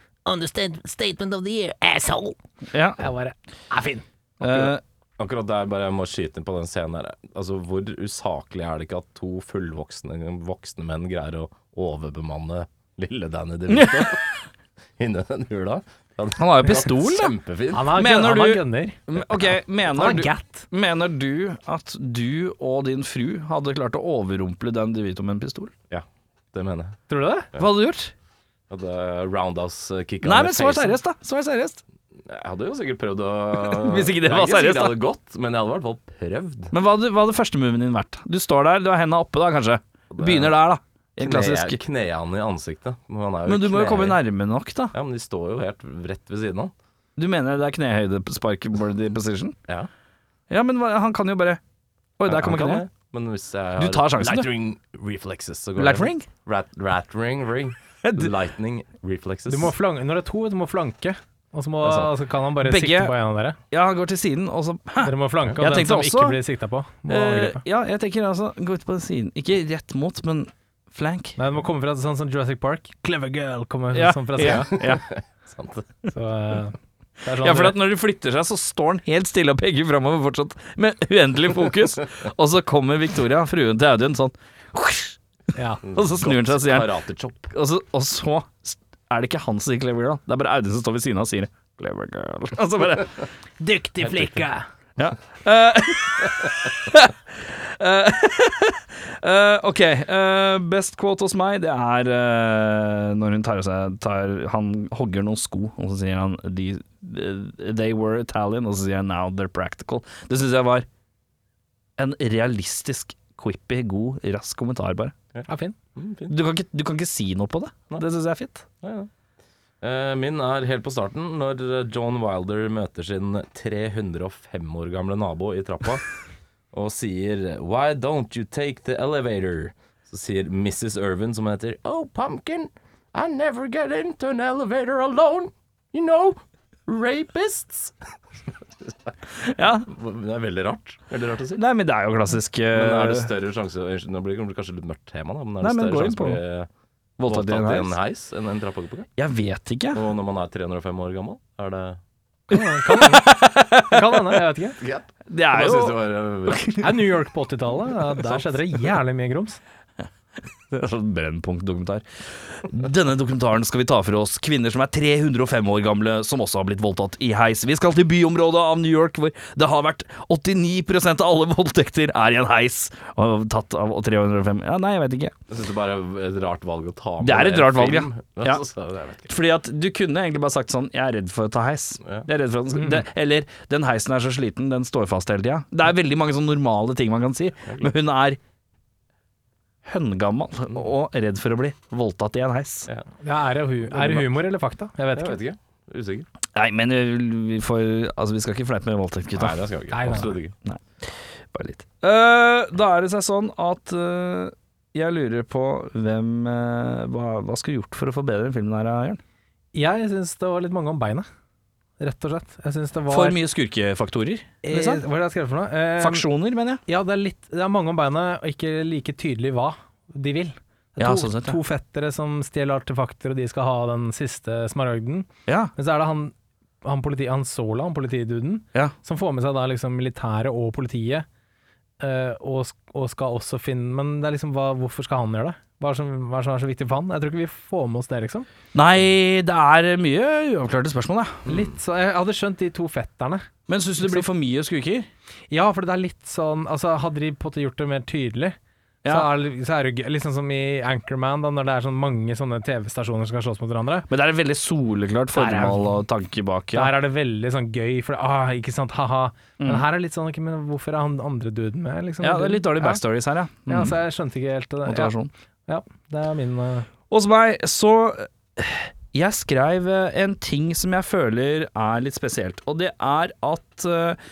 Speaker 5: Understatement of the year, asshole!
Speaker 1: Ja.
Speaker 3: Jeg bare er fin.
Speaker 1: eh,
Speaker 2: Akkurat der bare jeg må skyte inn på den scenen her. Altså, hvor usaklig er det ikke at to fullvoksne voksne menn greier å overbemanne lille Danny DeVito inni den hula? Ja, det-
Speaker 1: han har jo pistol, da.
Speaker 2: Kjempefint.
Speaker 3: Han har,
Speaker 1: Mener
Speaker 3: gun, han har
Speaker 1: du-
Speaker 3: gunner.
Speaker 1: Mm, Ok, mener
Speaker 3: Han
Speaker 1: du,
Speaker 3: har gat.
Speaker 1: mener du at du og din fru hadde klart å overrumple den DeVito med en pistol?
Speaker 2: Ja, det mener jeg.
Speaker 3: Tror du det?
Speaker 1: Hva hadde du gjort?
Speaker 2: At eh, Roundhouse kicka
Speaker 1: Nei,
Speaker 2: han i
Speaker 1: men svar
Speaker 2: facen.
Speaker 1: seriøst, da. Svar seriøst.
Speaker 2: Jeg hadde jo sikkert prøvd å
Speaker 1: Hvis ikke det var
Speaker 2: Jeg er
Speaker 1: seriøst, da.
Speaker 2: sikkert jeg hadde gått, men jeg hadde i hvert fall prøvd.
Speaker 1: Men hva hadde, hva hadde første moven din vært? Du står der, du har henda oppe da, kanskje. Du begynner der, da. I en klassisk
Speaker 2: Kne- Knea han i ansiktet. Men, han er
Speaker 1: Men du må jo
Speaker 2: knehøy.
Speaker 1: komme nærme nok, da.
Speaker 2: Ja, men de står jo helt rett ved siden av.
Speaker 1: Du mener det er knehøydespark worthy position?
Speaker 2: Ja.
Speaker 1: Ja, men hva- han kan jo bare Oi, der
Speaker 2: Ja,
Speaker 1: kommer
Speaker 2: han kan
Speaker 1: kneet.
Speaker 2: det. Men hvis jeg
Speaker 1: Du
Speaker 2: har
Speaker 1: tar sjansen, du.
Speaker 2: lightring reflexes, så går
Speaker 1: Light
Speaker 2: det.
Speaker 1: ring?
Speaker 2: Rat, rat ring, ring. Lightning reflexes.
Speaker 3: Du må flanke, når det er to, du må flanke. Og så må,
Speaker 2: Det er sant.
Speaker 3: altså, kan han bare
Speaker 1: Begge-
Speaker 3: sikte på en av dere.
Speaker 1: Ja, han går til siden, og så Hæ!
Speaker 3: Dere må flanke, og
Speaker 1: Jeg
Speaker 3: den
Speaker 1: tenkte
Speaker 3: som
Speaker 1: også-
Speaker 3: ikke blir sikta på, må
Speaker 1: Eh,
Speaker 3: angripe.
Speaker 1: ja, jeg tenker altså gå ut på siden. Ikke rett mot, men flank.
Speaker 3: Nei, det må komme fra sånn som Jurassic Park. 'Clever girl' kommer
Speaker 1: Ja,
Speaker 3: sånn fra
Speaker 1: ja,
Speaker 3: sida.
Speaker 1: altså, ja.
Speaker 2: Sant.
Speaker 3: Så, eh, det er sånn
Speaker 1: ja, for
Speaker 3: dere-
Speaker 1: at når de flytter seg, så står han helt stille og peker framover fortsatt, med uendelig fokus. Og så kommer Victoria, fruen til Audun, sånn
Speaker 3: ja.
Speaker 1: Og så snur han seg og sier han-
Speaker 2: Karatechop.
Speaker 1: Og så, og så er det ikke han som sier 'clever girl', det er bare Audun som står ved siden av og sier 'clever girl'. Og så bare
Speaker 3: Dyktig flikke!
Speaker 1: Ja. Eh, eh, eh, ok, eh, best quote hos meg, det er eh, når hun tar av seg tar, Han hogger noen sko, og så sier han de, They were Italian, og så sier han now they're practical. Det syns jeg var en realistisk, quippy, god, rask kommentar, bare.
Speaker 3: Ja, fin.
Speaker 2: Mm, fint.
Speaker 1: Du kan ikke, du kan ikke si noe på det. Det syns jeg er fint.
Speaker 2: Ja, ja. Eh, Min er helt på starten, når eh, John Wilder møter sin 305 år gamle nabo i trappa og sier 'Why don't you take the elevator?' Så sier Mrs. Irvin, som heter 'Oh, pumpkin, I never get into an elevator alone. You know, rapists.'
Speaker 1: Ja,
Speaker 2: Det er veldig rart. Veldig rart å si.
Speaker 1: Nei, men det er jo klassisk eh,
Speaker 2: Men er det større sjanse Unnskyld, Nå blir det kanskje litt mørkt tema, da, men er det
Speaker 1: Nei, men gå
Speaker 2: større
Speaker 1: inn
Speaker 2: sjanse for å bli
Speaker 1: voldtatt i en heis?
Speaker 2: heis enn en trappeoppgang?
Speaker 1: Jeg vet ikke.
Speaker 2: Og når man er 305 år gammel, er det
Speaker 3: Kan hende. Kan hende, jeg vet ikke.
Speaker 1: Det er
Speaker 2: Jeg
Speaker 1: jo
Speaker 2: synes det var eh, bra.
Speaker 3: Er New York på 80-tallet? Ja, der skjedde det jævlig mye grums.
Speaker 1: Det er sånn Brennpunkt-dokumentar. Denne dokumentaren skal vi ta for oss kvinner som er 305 år gamle, som også har blitt voldtatt i heis. Vi skal til byområdet av New York, hvor det har vært 89 av alle voldtekter er i en heis. Og tatt av 305 Ja, nei, jeg vet ikke.
Speaker 2: Jeg synes det bare er et rart valg å ta med
Speaker 1: Det er et
Speaker 2: en
Speaker 1: rart valg,
Speaker 2: film.
Speaker 1: ja. Ja.
Speaker 2: Altså, jeg vet ikke.
Speaker 1: Fordi at du kunne egentlig bare sagt sånn Jeg er redd for å ta heis.
Speaker 2: Ja.
Speaker 1: Jeg er redd for at den skal, det, eller den heisen er så sliten, den står fast hele tida. Det er veldig mange sånne normale ting man kan si, men hun er høngammal og redd for å bli voldtatt i en heis.
Speaker 2: Ja.
Speaker 3: Ja, er, det hu er det humor eller fakta? Jeg vet
Speaker 2: Jeg
Speaker 3: ikke.
Speaker 2: vet ikke. Usikker.
Speaker 1: Nei, men eh, vi får Altså, vi skal ikke fleipe med voldtekt, gutta.
Speaker 2: Nei, det skal jeg ikke.
Speaker 3: Nei, nei, nei.
Speaker 2: Absolutt ikke.
Speaker 1: Bare litt. Eh, da er det seg sånn at eh, jeg lurer på hvem eh, hva, hva skulle du gjort for å forbedre den filmen her, Jørn?
Speaker 3: Jeg syns det var litt mange om beinet, rett og slett. Jeg syns det var
Speaker 1: For mye skurkefaktorer?
Speaker 3: Eh, Hva
Speaker 1: liksom?
Speaker 3: er det jeg skrev for noe? Eh,
Speaker 1: Faksjoner, mener jeg.
Speaker 3: Ja, det er, litt, det er mange om beinet, og ikke like tydelig hva de vil. Det er
Speaker 1: Ja,
Speaker 3: to,
Speaker 1: sånn sett, ja.
Speaker 3: to fettere som stjeler artefakter, og de skal ha den siste smaragden.
Speaker 1: Ja.
Speaker 3: Men så er det han han, politi, han Sola, han politiduden,
Speaker 1: Ja.
Speaker 3: som får med seg da liksom militæret og politiet, eh, og, sk- og skal også finne Men det er liksom, hva, hvorfor skal han gjøre det? Hva er det som, hva er det som er så viktig for han? Jeg tror ikke vi får med oss det, liksom.
Speaker 1: Nei, det er mye uavklarte spørsmål, ja.
Speaker 3: Litt så, Jeg hadde skjønt de to fetterne.
Speaker 1: Men syns du det blir for mye skurker?
Speaker 3: Ja, for det er litt sånn altså, Hadde de på en måte gjort det mer tydelig, så,
Speaker 1: Ja.
Speaker 3: er, det- så er det gøy. Litt sånn som i Anchorman, da, når det er sånn mange sånne TV-stasjoner som skal slåss mot hverandre.
Speaker 1: Men det er et veldig soleklart
Speaker 3: er-
Speaker 1: formål og tanke bak. Ja.
Speaker 3: Der er det veldig sånn gøy, for det, ah, ikke sant, haha. Men her er det litt sånn, ok, men hvorfor er han andre duden med, liksom?
Speaker 1: Mm. ja, det er litt dårlig
Speaker 3: Ja.
Speaker 1: backstories her, ja. Mm.
Speaker 3: Ja, så jeg skjønte ikke helt det. Ja,
Speaker 1: Motivasjon.
Speaker 3: ja, det er min eh,
Speaker 1: Hos meg så Jeg skrev eh, en ting som jeg føler er litt spesielt, og det er at eh,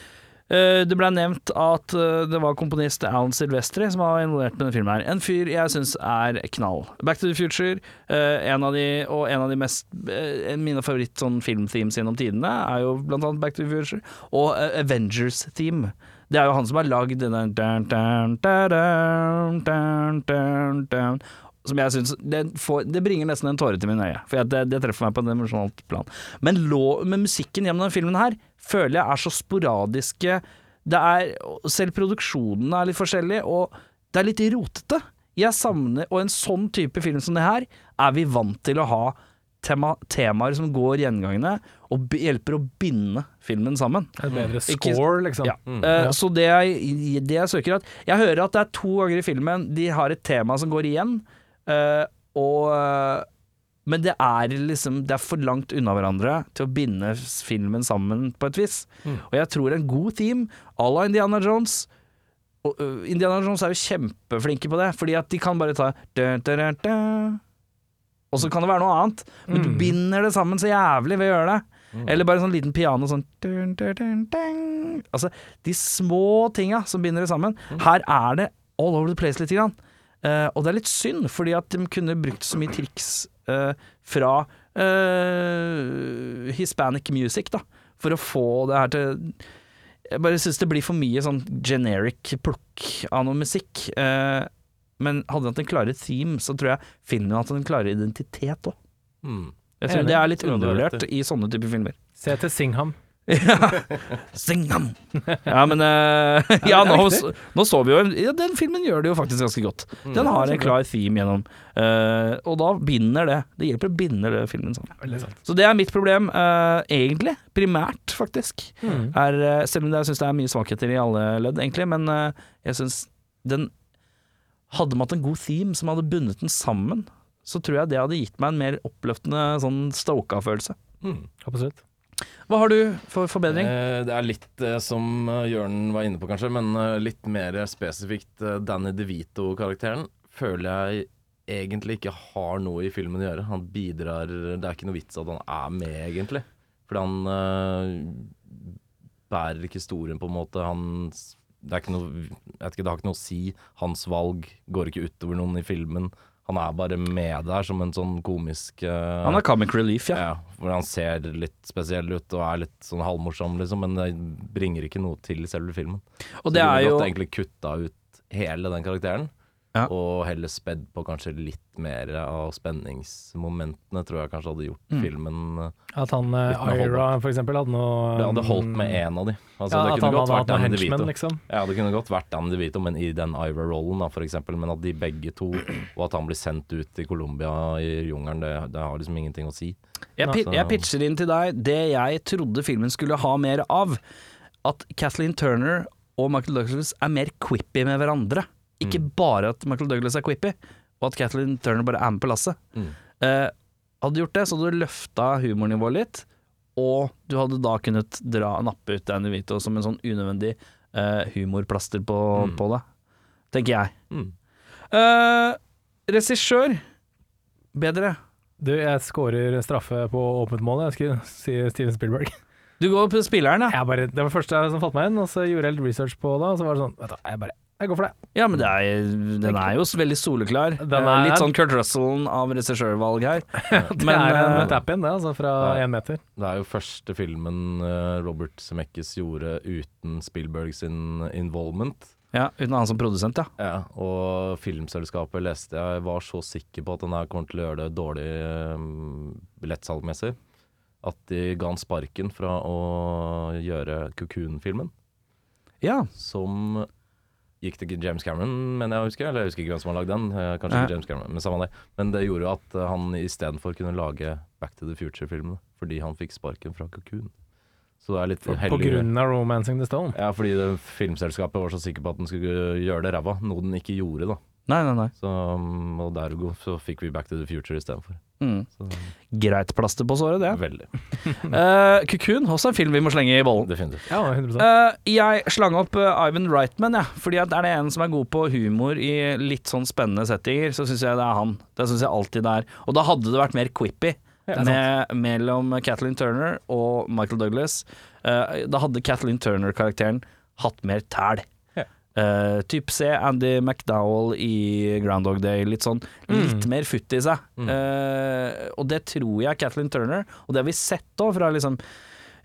Speaker 1: eh, det ble nevnt at eh, det var komponist Alan Silvestri som var involvert med denne filmen. her En fyr jeg syns er knall. 'Back to the Future' eh, en av de, og en av de mest eh, en av mine favoritt sånn filmthemes gjennom tidene er jo blant annet 'Back to the Future' og eh, Avengers-theme. Det er jo han som har lagd denne dun, dun, dun, dun, dun, dun, dun, som jeg synes, det, får, det bringer nesten en tåre til mine øye, for jeg, det, det treffer meg på en emosjonalt plan. Men, lå, men musikken gjennom denne filmen her føler jeg er så sporadiske det er, Selv produksjonen er litt forskjellig, og det er litt rotete. Jeg savner Og en sånn type film som det her er vi vant til å ha tema, temaer som går gjengangene, og b hjelper å binde filmen sammen.
Speaker 3: et bedre
Speaker 1: Ikke-
Speaker 3: score, liksom.
Speaker 1: Ja. Eh, Så det jeg, det jeg søker at Jeg hører at det er to ganger i filmen de har et tema som går igjen, eh, og eh, Men det er liksom Det er for langt unna hverandre til å binde s- filmen sammen på et vis. Og jeg tror en god team à la Indiana Jones og, øh, Indiana Jones er jo kjempeflinke på det, fordi at de kan bare ta da, da, da, da, Og så kan det være noe annet, men du
Speaker 3: Mm.
Speaker 1: binder det sammen så jævlig ved å gjøre det. Eller bare sånn liten piano sånn dun, dun, dun, dun. Altså de små tinga som binder det sammen. Her er det all over the place lite grann. Eh, og det er litt synd, fordi at de kunne brukt så mye triks eh, fra eh, hispanic music, da, for å få det her til jeg bare syns det blir for mye sånn generic plukk av noe musikk. Eh, men hadde han hatt en klarere theme, så tror jeg filmen hadde hatt en klarere identitet òg.
Speaker 2: Mm.
Speaker 1: Jeg tror
Speaker 3: Enig.
Speaker 1: det er litt
Speaker 2: Tror du det er
Speaker 1: undervurdert i sånne typer filmer.
Speaker 3: Se til Singham.
Speaker 1: Sing them! Ja, men eh, Ja,
Speaker 3: det er
Speaker 1: nå,
Speaker 3: riktig.
Speaker 1: nå så vi jo ja, Den filmen gjør det jo faktisk ganske godt. Den har en klar theme gjennom, eh, og da binder det. Det hjelper å binde det filmen sammen.
Speaker 3: Veldig sant.
Speaker 1: Så det er mitt problem, eh, egentlig. Primært, faktisk.
Speaker 3: Mm.
Speaker 1: Er, eh, selv om jeg syns det er mye svakheter i alle ledd, egentlig, men eh, jeg syns den Hadde man hatt en god theme som hadde bundet den sammen, så tror jeg det hadde gitt meg en mer oppløftende sånn stoka-følelse.
Speaker 2: Hmm.
Speaker 3: Absolutt.
Speaker 1: Hva har du for forbedring?
Speaker 2: Eh, det er litt eh, som eh, Jørn var inne på, kanskje, men eh, litt mer spesifikt eh, Danny DeVito-karakteren føler jeg egentlig ikke har noe i filmen å gjøre. Han bidrar Det er ikke noe vits at han er med, egentlig. Fordi han eh, bærer ikke historien, på en måte. Han s- det er ikke noe, jeg vet ikke, det har ikke noe å si. Hans valg går ikke utover noen i filmen. Han er bare med der som en sånn komisk eh,
Speaker 1: Han er comic relief, ja.
Speaker 2: ja, hvor han ser litt spesiell ut og er litt sånn halvmorsom, liksom, men det bringer ikke noe til selve filmen.
Speaker 1: Og det
Speaker 2: Så
Speaker 1: er
Speaker 2: kunne
Speaker 1: jo
Speaker 2: godt egentlig kutta ut hele den karakteren,
Speaker 1: Ja.
Speaker 2: og heller spedd på kanskje litt mer av spenningsmomentene, tror jeg kanskje hadde
Speaker 1: Mm.
Speaker 2: gjort filmen
Speaker 3: At han eh,
Speaker 2: Litt mer
Speaker 3: Ira, for eksempel, hadde noe mm,
Speaker 2: Det hadde holdt med én av de. Altså,
Speaker 3: Um, Ja, at
Speaker 2: det
Speaker 3: han
Speaker 2: kunne
Speaker 3: hadde
Speaker 2: godt
Speaker 3: hatt noen
Speaker 2: vært Dan
Speaker 3: henchmen,
Speaker 2: DeVito.
Speaker 3: liksom.
Speaker 2: Ja, det kunne godt vært Dan DeVito, men i den Ira-rollen, da, for eksempel. Men at de begge to, og at han blir sendt ut til Colombia i jungelen, det, det har liksom ingenting å si.
Speaker 1: jeg, pi- jeg pitcher inn til deg det jeg trodde filmen skulle ha mer av. At Kathleen Turner og Michael Douglas er mer quippy med hverandre. Ikke bare at Michael Douglas er quippy, og at Kathleen Turner bare er med på lasset. Eh, hadde du gjort det, så hadde du løfta humornivået litt, og du hadde da kunnet dra nappe ut Danny Vito som en sånn unødvendig eh, humorplaster på, på det. Tenker jeg.
Speaker 2: Mm.
Speaker 1: Mm. Eh, regissør bedre.
Speaker 3: Du, jeg scorer straffe på åpent mål, jeg skulle si Steven Spielberg.
Speaker 1: Du går på spilleren, ja.
Speaker 3: Jeg bare, det var det første som falt meg inn, og så gjorde jeg litt research på det, og så var det sånn vet du, Jeg bare Jeg går for det.
Speaker 1: Ja, men det er, den er jo veldig soleklar.
Speaker 3: Den
Speaker 1: Eh,
Speaker 3: er-
Speaker 1: Litt sånn Kurt Russell av regissørvalg her.
Speaker 3: Men,
Speaker 1: Men,
Speaker 3: det er en
Speaker 1: eh,
Speaker 3: tap-in, det, altså, fra
Speaker 2: ja.
Speaker 3: én meter.
Speaker 2: Det er jo første filmen eh, Robert Zemeckis gjorde uten Spielberg sin involvement.
Speaker 1: ja, uten han som produsent, ja.
Speaker 2: Og filmselskapet leste jeg var så sikker på at den her kommer til å gjøre det dårlig um, billettsalgmessig. eh, at de ga han sparken fra å gjøre Cocoon-filmen,
Speaker 1: Ja.
Speaker 2: som gikk til James Cameron, mener jeg å huske. Eller jeg husker ikke hvem som har lagd den. eh, Kanskje
Speaker 1: Nei.
Speaker 2: ikke James Cameron, men samme det. Men det gjorde jo at eh, han istedenfor kunne lage Back to the Future-filmene, fordi han fikk sparken fra Cocoon. Så det er litt
Speaker 3: På
Speaker 2: heldig-
Speaker 3: grunn av 'Romancing the Stone'.
Speaker 2: Ja, fordi det filmselskapet var så sikker på at den skulle gjøre det ræva, noe den ikke gjorde, da.
Speaker 1: Nei, nei, nei.
Speaker 2: Så, um, og dergo så fikk vi Back to the Future istedenfor.
Speaker 1: Mm. Greit plaster på såret, det.
Speaker 2: Veldig.
Speaker 3: Mm.
Speaker 1: Uh, Kukun, også en film vi må slenge i bollen.
Speaker 2: Definitivt.
Speaker 3: Ja, 100
Speaker 1: Eh, jeg slang opp eh, Ivan Reitman, ja, fordi at er det en som er god på humor i litt sånn spennende settinger, så syns jeg det er han. Det syns jeg alltid det er. Og da hadde det vært mer quippy med, mellom Kathleen Turner og Michael Douglas. Eh, da hadde Kathleen Turner-karakteren hatt mer tæl.
Speaker 2: Ja.
Speaker 1: Eh, typ se Andy McDowell i Groundhog Day. Litt sånn litt mer futt i seg. Eh, og det tror jeg Kathleen Turner, og det har vi sett òg fra liksom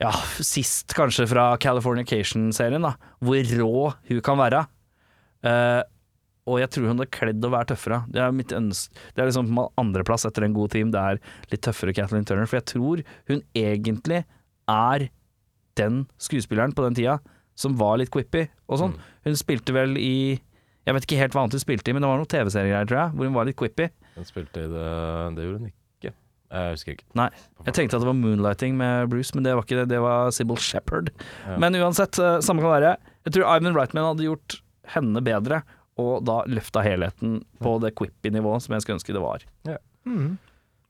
Speaker 1: ja, sist kanskje fra Californication-serien, da, hvor rå hun kan være. Eh, og jeg tror hun hadde kledd å være tøffere. Det er mitt ønske Det er liksom på andreplass etter en god team, det er litt tøffere Kathleen Turner. For jeg tror hun egentlig er den skuespilleren på den tida som var litt quippy og sånn. Hun spilte vel i Jeg vet ikke helt hva annet hun spilte i, men det var noen TV-seriegreier, tror jeg, hvor hun var litt quippy.
Speaker 2: Den spilte i det Det gjorde den ikke. Jeg husker ikke.
Speaker 1: Nei. Jeg tenkte at det var Moonlighting med Bruce, men det var ikke det. Det var Sybil Shepherd.
Speaker 2: Ja.
Speaker 1: Men uansett, eh, samme kan være. Jeg tror Ivan Reitman hadde gjort henne bedre, og da løfta helheten på det quippy-nivået som jeg skulle ønske det var.
Speaker 3: Mm.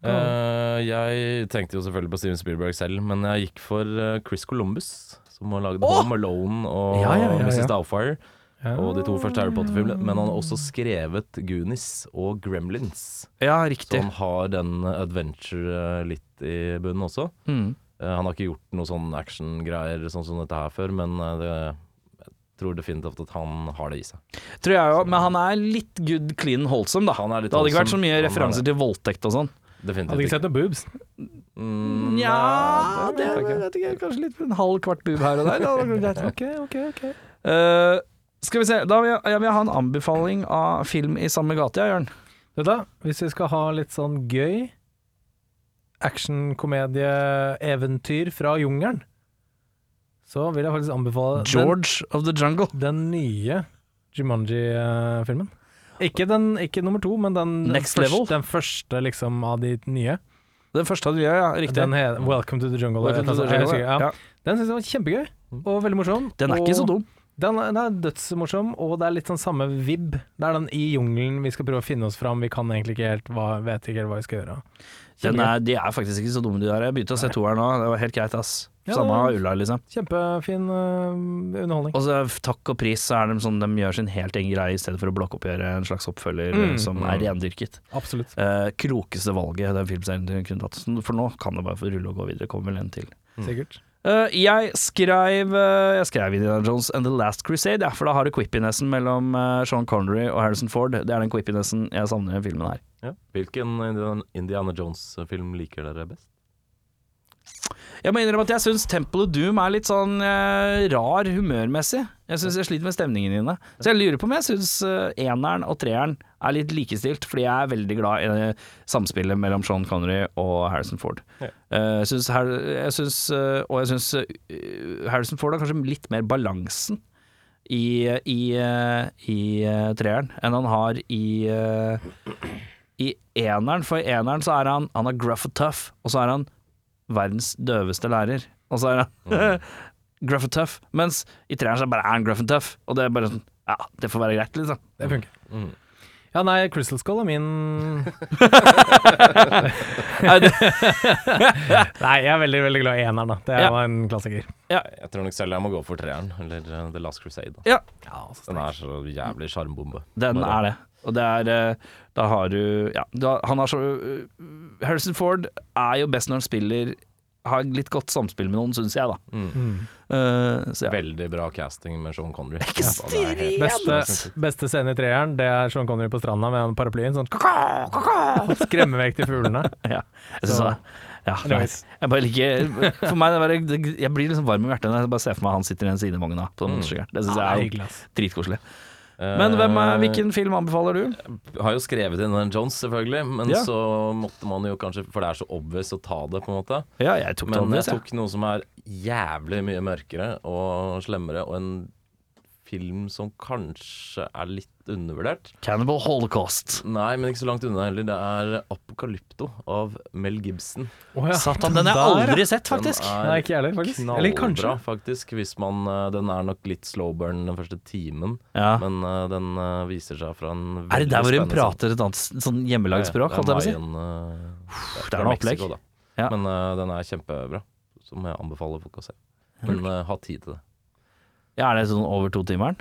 Speaker 2: Eh, jeg tenkte jo selvfølgelig på Steven Spielberg selv, men jeg gikk for eh, Chris Columbus, som har lagd Home Alone og
Speaker 1: Ja, ja, Ah. ja, ja.
Speaker 2: Mrs. Doubtfire.
Speaker 3: Ja.
Speaker 2: Og de to første
Speaker 3: Ah.
Speaker 2: Harry Potter-filmene. Men han har også skrevet Goonies og Gremlins.
Speaker 1: Ja,
Speaker 2: Så
Speaker 1: riktig.
Speaker 2: han har den adventure eh, litt i bunnen også.
Speaker 1: Mm.
Speaker 2: Eh, Han har ikke gjort noe sånn actiongreier sånn som dette her før, men eh, det, jeg tror definitivt at han har det i seg.
Speaker 1: Tror jeg òg, men han er litt good clean holdsom, da.
Speaker 2: Han er litt
Speaker 1: det hadde ikke vært så mye
Speaker 2: wholesome. Han er
Speaker 1: referanser til voldtekt og sånn.
Speaker 2: Definitivt
Speaker 3: Hadde ikke sett noen boobs.
Speaker 2: Mm,
Speaker 1: Nja,
Speaker 2: nei, det vet jeg ikke.
Speaker 1: vet ikke, kanskje litt en halv kvart bub her og der. Det hadde vært greit.
Speaker 3: Ok, ok, ok.
Speaker 1: Eh, skal vi se, da vil jeg, jeg vil ha en anbefaling av film i samme gate, ja, Jørn.
Speaker 3: Vet du, hva? hvis vi skal ha litt sånn gøy actionkomedie-eventyr fra jungelen, så vil jeg faktisk anbefale den,
Speaker 1: George of the Jungle.
Speaker 3: den nye Jumanji-filmen. Ikke, den- ikke nummer to, men den, den
Speaker 1: Next
Speaker 3: første,
Speaker 1: Level?
Speaker 3: den første liksom, av de nye.
Speaker 1: Den første hadde vi, ja, ja, riktig.
Speaker 3: Den he- Welcome to the Jungle.
Speaker 1: Welcome to the
Speaker 3: Jeg
Speaker 1: Jungle,
Speaker 3: husker- ja.
Speaker 1: altså ja.
Speaker 3: Den syns jeg var kjempegøy, og veldig morsom.
Speaker 1: Den er ikke så
Speaker 3: og-
Speaker 1: dum.
Speaker 3: Den er, den er dødsmorsom, og det er litt sånn samme vibb. Det er den i jungelen vi skal prøve å finne oss fram, vi kan egentlig ikke helt hva, vet ikke helt hva vi skal gjøre.
Speaker 1: Den er, de er faktisk ikke så dumme, de der. Jeg begynte å se toeren nå. Det var helt greit, ass.
Speaker 3: Ja,
Speaker 1: Samme
Speaker 3: det-
Speaker 1: ulla, liksom.
Speaker 3: Kjempefin øh, underholdning.
Speaker 1: Og så takk og pris, så er de sånn De gjør sin helt egen greie i stedet for å blokkoppgjøre en slags oppfølger
Speaker 3: Mm.
Speaker 1: eh, som
Speaker 2: Mm.
Speaker 1: er rendyrket.
Speaker 3: Absolutt.
Speaker 1: Eh, krokeste valget den filmserien du kunne tatt. Så For nå kan det bare få rulle og gå videre. Kommer vel en til.
Speaker 3: Sikkert.
Speaker 1: Eh, jeg skrev uh, Jeg skrev Indiana Jones and The Last Crusade, ja, for da har du quippinessen mellom eh, Sean Connery og Harrison Ford. Det er den quippinessen jeg savner i den filmen her.
Speaker 2: Ja. Hvilken Indian- Indiana Jones-film liker dere best?
Speaker 1: Jeg må innrømme at jeg syns Temple of Doom er litt sånn eh, rar humørmessig. Jeg syns jeg sliter med stemningen dine. Så jeg lurer på om jeg syns eh, eneren og treeren er litt likestilt, fordi jeg er veldig glad i det samspillet mellom Sean Connery og Harrison Ford.
Speaker 2: Ja.
Speaker 1: Eh, jeg syns Har- jeg syns, eh, og jeg syns eh, Harrison Ford har kanskje litt mer balansen i, i, eh, i eh, treeren enn han har i eh, i eneren, for i eneren så er han Han er gruff og tough, og så er han verdens døveste lærer. Og så er han gruff og tough. Mens i treeren så bare er han gruff and tough, og det er bare sånn Ja, det får være greit, liksom.
Speaker 3: Det funker.
Speaker 2: Mm,
Speaker 3: Ja, nei, Crystal Skull er min
Speaker 1: Nei, det,
Speaker 3: Nei, jeg er veldig, veldig glad i eneren, da. Det er
Speaker 1: Ja.
Speaker 3: jo en klassiker.
Speaker 2: Jeg tror nok selv jeg må gå for treeren, eller eh, The Last Crusade. Da.
Speaker 1: ja,
Speaker 2: Den er så jævlig sjarmbombe.
Speaker 1: den
Speaker 2: Bare-
Speaker 1: er det. Og det er eh, Da har du Ja, da, han har så øh, Harrison Ford er jo best når han spiller Har litt godt samspill med noen, syns jeg, da. Eh, så ja.
Speaker 2: Veldig bra casting med Sean Connery.
Speaker 1: Ikke
Speaker 2: Ja, det er helt-
Speaker 3: Beste, beste scene i treeren, det er Sean Connery på stranda med den paraplyen, sånn kaka, kaka, skremme vekk de fuglene.
Speaker 1: Ja, jeg synes det. Ja, nei.
Speaker 3: Nice.
Speaker 1: jeg bare liker For meg, det er bare, det- jeg blir liksom varm i hjertet når jeg bare ser for meg han sitter i en sidevogn da, på den motorsykkelen. Det syns
Speaker 3: Ja, det er
Speaker 1: jeg er
Speaker 3: hyggelig, ass.
Speaker 1: dritkoselig.
Speaker 2: Eh,
Speaker 1: Men hvem er,
Speaker 2: Eh,
Speaker 1: hvilken film anbefaler du?
Speaker 2: Har jo skrevet inn den Jones, selvfølgelig, men
Speaker 1: Ja.
Speaker 2: så måtte man jo kanskje For det er så obvious å ta det, på en måte.
Speaker 1: Ja, jeg tok
Speaker 2: Men jeg
Speaker 1: Thomas, jeg.
Speaker 2: tok noe som er jævlig mye mørkere og slemmere, og en film som kanskje er litt undervurdert.
Speaker 1: Cannibal Holocaust.
Speaker 2: Nei, men ikke så langt unna heller. Det er 'Apokalypto' av Mel Gibson.
Speaker 3: Å ja,
Speaker 1: Satan, den har jeg
Speaker 3: der, ja.
Speaker 1: aldri sett, faktisk.
Speaker 2: Den
Speaker 3: Nei, ikke jeg heller, faktisk. Eller
Speaker 2: Knallbra,
Speaker 3: kanskje.
Speaker 2: faktisk. Hvis man, eh, den er nok litt slow burn den første timen,
Speaker 1: Ja.
Speaker 2: men eh, den eh, viser seg fra en
Speaker 1: Er det der hvor hun
Speaker 2: veldig spennende
Speaker 1: prater et annet s- sånn hjemmelagd språk, holdt jeg på å si?
Speaker 2: eh, si.
Speaker 1: det er noe opplegg. Ja.
Speaker 2: Men eh, den er kjempebra, som jeg anbefaler folk å se. Men eh, ha tid til det.
Speaker 1: Ja, er det sånn over to timeren?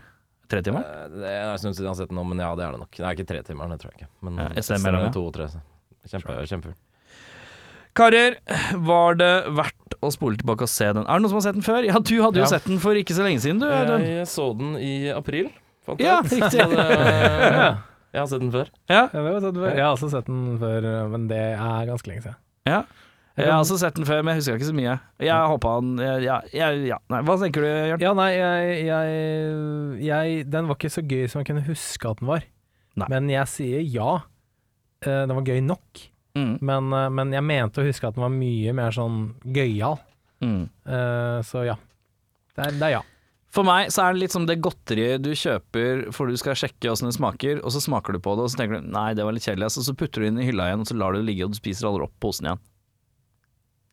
Speaker 1: Tre timeren?
Speaker 2: Eh, det er en stund siden jeg har sett den nå, men ja, det er det nok. Det er ikke tre timer, det tror jeg ikke. Men
Speaker 1: Ja,
Speaker 2: jeg
Speaker 1: et sted
Speaker 2: ser
Speaker 1: mellom, ja.
Speaker 2: den to og tre. så. Kjempe, kjempeful.
Speaker 1: Karer, var det verdt å spole tilbake og se den? Er det noen som har sett den før? Ja, du hadde jo
Speaker 3: Ja.
Speaker 1: sett den for ikke så lenge siden, du. Audun.
Speaker 2: Eh, Jeg så den i april, fant jeg
Speaker 1: Ja,
Speaker 2: ut.
Speaker 1: riktig.
Speaker 2: Så det- Eh, Jeg har sett den før.
Speaker 1: Ja,
Speaker 3: Ja, det var sånn det var. Jeg har også sett den før, men det er ganske lenge siden.
Speaker 1: ja. Jeg har også sett den før, men jeg husker ikke så mye. Jeg håpa han ja, ja, ja. Nei, Hva tenker du, Jørn?
Speaker 3: Ja, nei, jeg, jeg, jeg Den var ikke så gøy som jeg kunne huske at den var.
Speaker 1: Nei.
Speaker 3: Men jeg sier ja. Eh, Den var gøy nok,
Speaker 1: Mm,
Speaker 3: men, eh, men jeg mente å huske at den var mye mer sånn gøyal.
Speaker 1: mm.
Speaker 3: Eh, Så ja. Det er, det er ja.
Speaker 1: For meg så er det litt som det godteriet du kjøper for du skal sjekke åssen det smaker, og så smaker du på det, og så tenker du nei, det var litt kjedelig, ass», og så putter du det inn i hylla igjen, og så lar du det ligge, og du spiser aldri opp posen igjen.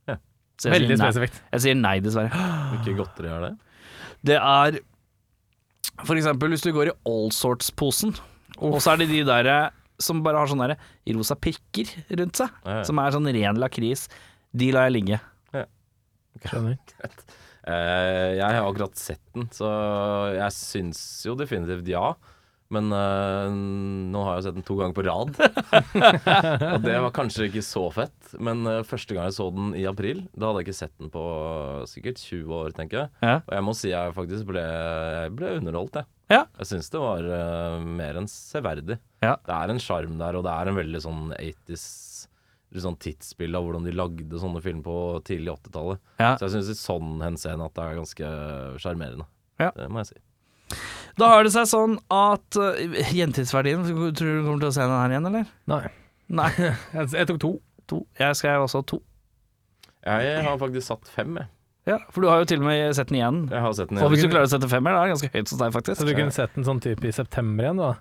Speaker 2: Ja.
Speaker 1: Så jeg sier
Speaker 3: Veldig
Speaker 1: nei.
Speaker 3: spesifikt.
Speaker 1: Jeg sier nei, dessverre.
Speaker 2: Hvilke godteri er det?
Speaker 1: Det er for eksempel hvis du går i all sorts-posen, og så er det de der eh, som bare har sånne der rosa prikker rundt seg,
Speaker 2: Ja, ja.
Speaker 1: som er sånn ren lakris, de lar jeg ligge.
Speaker 3: Skjønner.
Speaker 2: Eh, jeg har akkurat sett den, så jeg syns jo definitivt ja. Men eh, nå har jeg jo sett den to ganger på rad. og det var kanskje ikke så fett. Men eh, første gang jeg så den i april, da hadde jeg ikke sett den på sikkert 20 år, tenker jeg.
Speaker 1: Ja.
Speaker 2: Og jeg må si jeg faktisk ble, jeg ble underholdt, jeg.
Speaker 1: Ja.
Speaker 2: Jeg syns det var eh, mer enn severdig.
Speaker 1: Ja.
Speaker 2: Det er en sjarm der, og det er en veldig sånn 80s litt sånn tidsspill av hvordan de lagde sånne filmer på tidlig 80-tallet.
Speaker 1: Ja.
Speaker 2: Så jeg syns i sånn henseende at det er ganske sjarmerende.
Speaker 1: Ja.
Speaker 2: Det må jeg si.
Speaker 1: Da har det seg sånn at eh, Gjentidsverdien, tror du du kommer til å se den her igjen, eller?
Speaker 3: Nei.
Speaker 1: Nei.
Speaker 3: Jeg, jeg tok to.
Speaker 1: To. Jeg skrev også to.
Speaker 2: Jeg har faktisk satt fem, jeg.
Speaker 1: Ja, for du har jo til og med sett den igjen.
Speaker 2: Jeg har sett den
Speaker 1: Og hvis du
Speaker 2: igjen.
Speaker 1: klarer å sette femmer, da er det ganske høyt hos deg,
Speaker 3: Så
Speaker 1: faktisk.
Speaker 3: du kunne sett den sånn type i september igjen, da?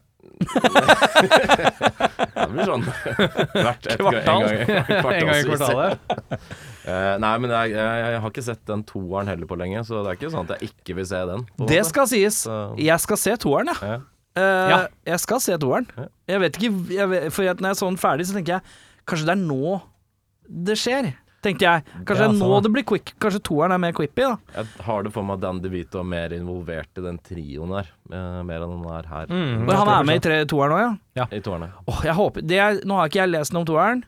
Speaker 2: Ja, Det blir sånn hvert et,
Speaker 1: Kvartal.
Speaker 2: En gang, i-
Speaker 3: En gang i
Speaker 2: kvartalsvis.
Speaker 3: kvartalet?
Speaker 2: Eh, nei, men jeg, jeg, jeg har ikke sett den toeren heller på lenge, så det er ikke sånn at jeg ikke vil se den. på en
Speaker 1: Det
Speaker 2: måte.
Speaker 1: skal sies.
Speaker 2: Så-
Speaker 1: Jeg skal se toeren, ja.
Speaker 2: Ja.
Speaker 1: Eh,
Speaker 3: Ja.
Speaker 1: Jeg skal se toeren.
Speaker 2: Ja.
Speaker 1: Jeg vet ikke jeg vet, For jeg, når jeg så den ferdig, så tenker jeg kanskje det er nå det skjer. Tenkte jeg. Kanskje
Speaker 2: Ja, Mm,
Speaker 1: det er nå
Speaker 2: sånn.
Speaker 1: det blir quick. Kanskje toeren er mer quippy, da.
Speaker 2: Jeg har det for meg at Dan DeVito er mer involvert i den trioen her, eh, mer enn han er her.
Speaker 3: Mm.
Speaker 1: Men han
Speaker 3: Ja,
Speaker 1: er med i tre- toeren òg, ja.
Speaker 2: I toerne.
Speaker 1: Åh, jeg håper det er, Nå har ikke jeg lest noe om toeren,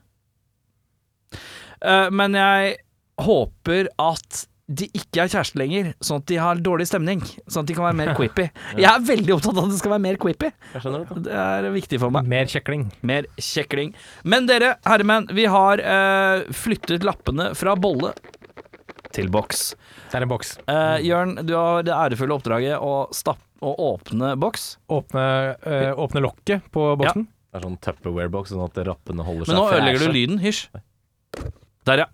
Speaker 1: Eh, men jeg håper at de ikke er kjærester lenger, sånn at de har dårlig stemning. Sånn at de kan være mer quippy. Jeg er veldig opptatt av at det skal være mer quippy.
Speaker 2: Jeg skjønner det.
Speaker 1: Det er viktig for meg.
Speaker 3: Mer kjekling.
Speaker 1: Mer kjekling. Men dere, herremenn, vi har eh, flyttet lappene fra bolle til boks.
Speaker 3: Det er en boks.
Speaker 1: Eh, Jørn, du har det ærefulle oppdraget å, stapp, å åpne boks.
Speaker 3: Åpne, eh, åpne lokket på boksen.
Speaker 2: Det er sånn Tupperware-boks, sånn at rappene holder seg
Speaker 1: Men nå
Speaker 2: freshe.
Speaker 1: ødelegger du lyden. Hysj. Der, ja.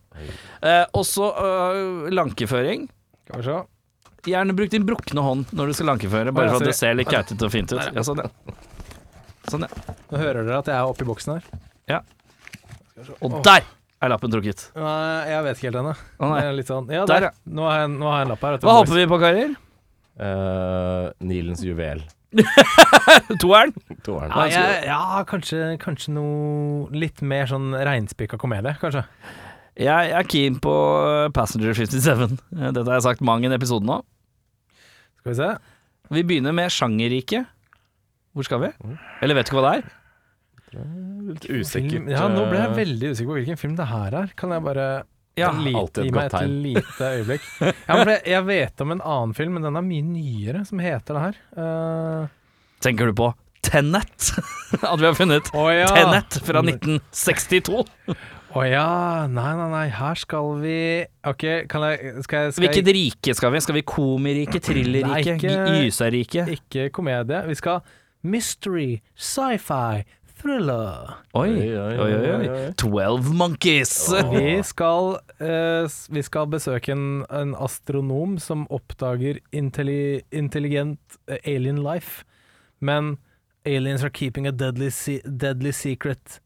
Speaker 1: Eh, også eh, lankeføring.
Speaker 3: Skal vi se.
Speaker 1: Gjerne bruk din brukne hånd når du skal lankeføre,
Speaker 3: Å,
Speaker 1: bare
Speaker 3: ja,
Speaker 1: for at det
Speaker 3: sorry.
Speaker 1: ser litt gautete og fint ut. Ja, sånn, ja. Sånn, ja.
Speaker 3: Nå hører dere at jeg er oppi boksen her.
Speaker 1: Og der er lappen trukket.
Speaker 3: Nei, jeg vet ikke helt ennå.
Speaker 1: Å,
Speaker 3: Det
Speaker 1: nei.
Speaker 3: er litt sånn Ja,
Speaker 1: Der,
Speaker 3: der. Nå har jeg, nå har jeg en lapp her.
Speaker 1: Hva håper vi på, karer?
Speaker 2: Eh, Nilens juvel.
Speaker 1: Toeren?
Speaker 2: Toeren.
Speaker 3: Nei, jeg, ja, kanskje, kanskje noe litt mer sånn reinspikka komedie, kanskje.
Speaker 1: Jeg er keen på eh, Passenger 57. Eh, Dette har jeg sagt mang en episode nå.
Speaker 3: Skal vi se.
Speaker 1: Vi begynner med sjangerriket. Hvor skal vi? Eller vet du ikke hva det er?
Speaker 2: Litt usikkert.
Speaker 3: Film, ja, nå ble jeg
Speaker 1: eh,
Speaker 2: eh,
Speaker 3: veldig usikker på hvilken film det her er. Kan jeg bare
Speaker 1: Ja,
Speaker 3: en lite-
Speaker 2: alltid et
Speaker 3: gi meg
Speaker 2: godt
Speaker 3: et
Speaker 2: tegn.
Speaker 3: lite øyeblikk? Ja, for jeg, jeg vet om en annen film, men den er mye nyere, som heter det her. Eh,
Speaker 1: Tenker du på Tenet? At vi har funnet
Speaker 3: Å ja.
Speaker 1: Tenet fra 1962?
Speaker 3: Å ja. Nei, nei, nei. Her skal vi OK, kan jeg Skal jeg, skal
Speaker 1: Hvilket rike skal vi? Skal vi komirike, thrillerrike,
Speaker 3: Nei, ikke-
Speaker 1: gyserrike?
Speaker 3: jeg Ikke komedie. Vi skal mystery, sci-fi, thriller.
Speaker 1: Oi,
Speaker 2: Oi, oi,
Speaker 1: oi, oi,
Speaker 2: oi,
Speaker 1: oi.
Speaker 2: oi.
Speaker 1: Twelve Monkeys!
Speaker 3: Vi skal, eh, s- vi skal besøke en, en astronom som oppdager intelli, intelligent eh, alien life. Men aliens are keeping a deadly, se deadly secret.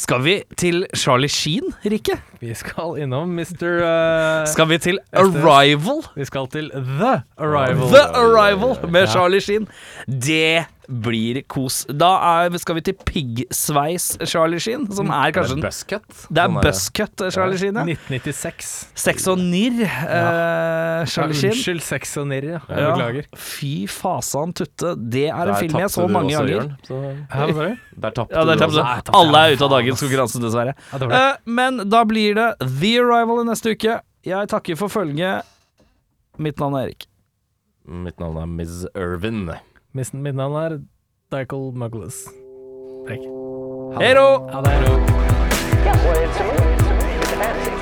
Speaker 1: Skal vi til Charlie Sheen, Rikke?
Speaker 3: Vi skal innom Mr. eh,
Speaker 1: Skal vi til
Speaker 3: Estes.
Speaker 1: Arrival?
Speaker 3: vi skal til The Arrival.
Speaker 1: The Arrival med Charlie Sheen. Det blir kos. Da er, skal vi til piggsveis Charlie Sheen, som er kanskje den-
Speaker 2: Buscut.
Speaker 1: Det er buzzcut Charlie Sheen, ja.
Speaker 3: 1996.
Speaker 1: Sex og nirr, eh, Charlie Sheen.
Speaker 3: Unnskyld, sex og nirr, ja.
Speaker 1: Ja.
Speaker 3: Beklager.
Speaker 1: Fy fasan tutte, det er en film jeg så mange ganger.
Speaker 3: Hæ, hva sa du?
Speaker 2: Der tapte
Speaker 1: Ja, det er
Speaker 2: du
Speaker 1: tapt.
Speaker 2: også.
Speaker 1: så Alle er ute av dagens konkurranse, dessverre.
Speaker 3: Ja, det var det.
Speaker 1: Eh, men da blir det The Arrival i neste uke. Jeg takker for følget. Mitt navn er Erik.
Speaker 2: Mitt navn er Miss Irvin.
Speaker 3: Mitt mitt navn er Dykel Muggles. Prekk.
Speaker 1: Hei då!
Speaker 3: Ha det.
Speaker 4: Yeah, well, it's a movie. It's a movie. It's a fantasy.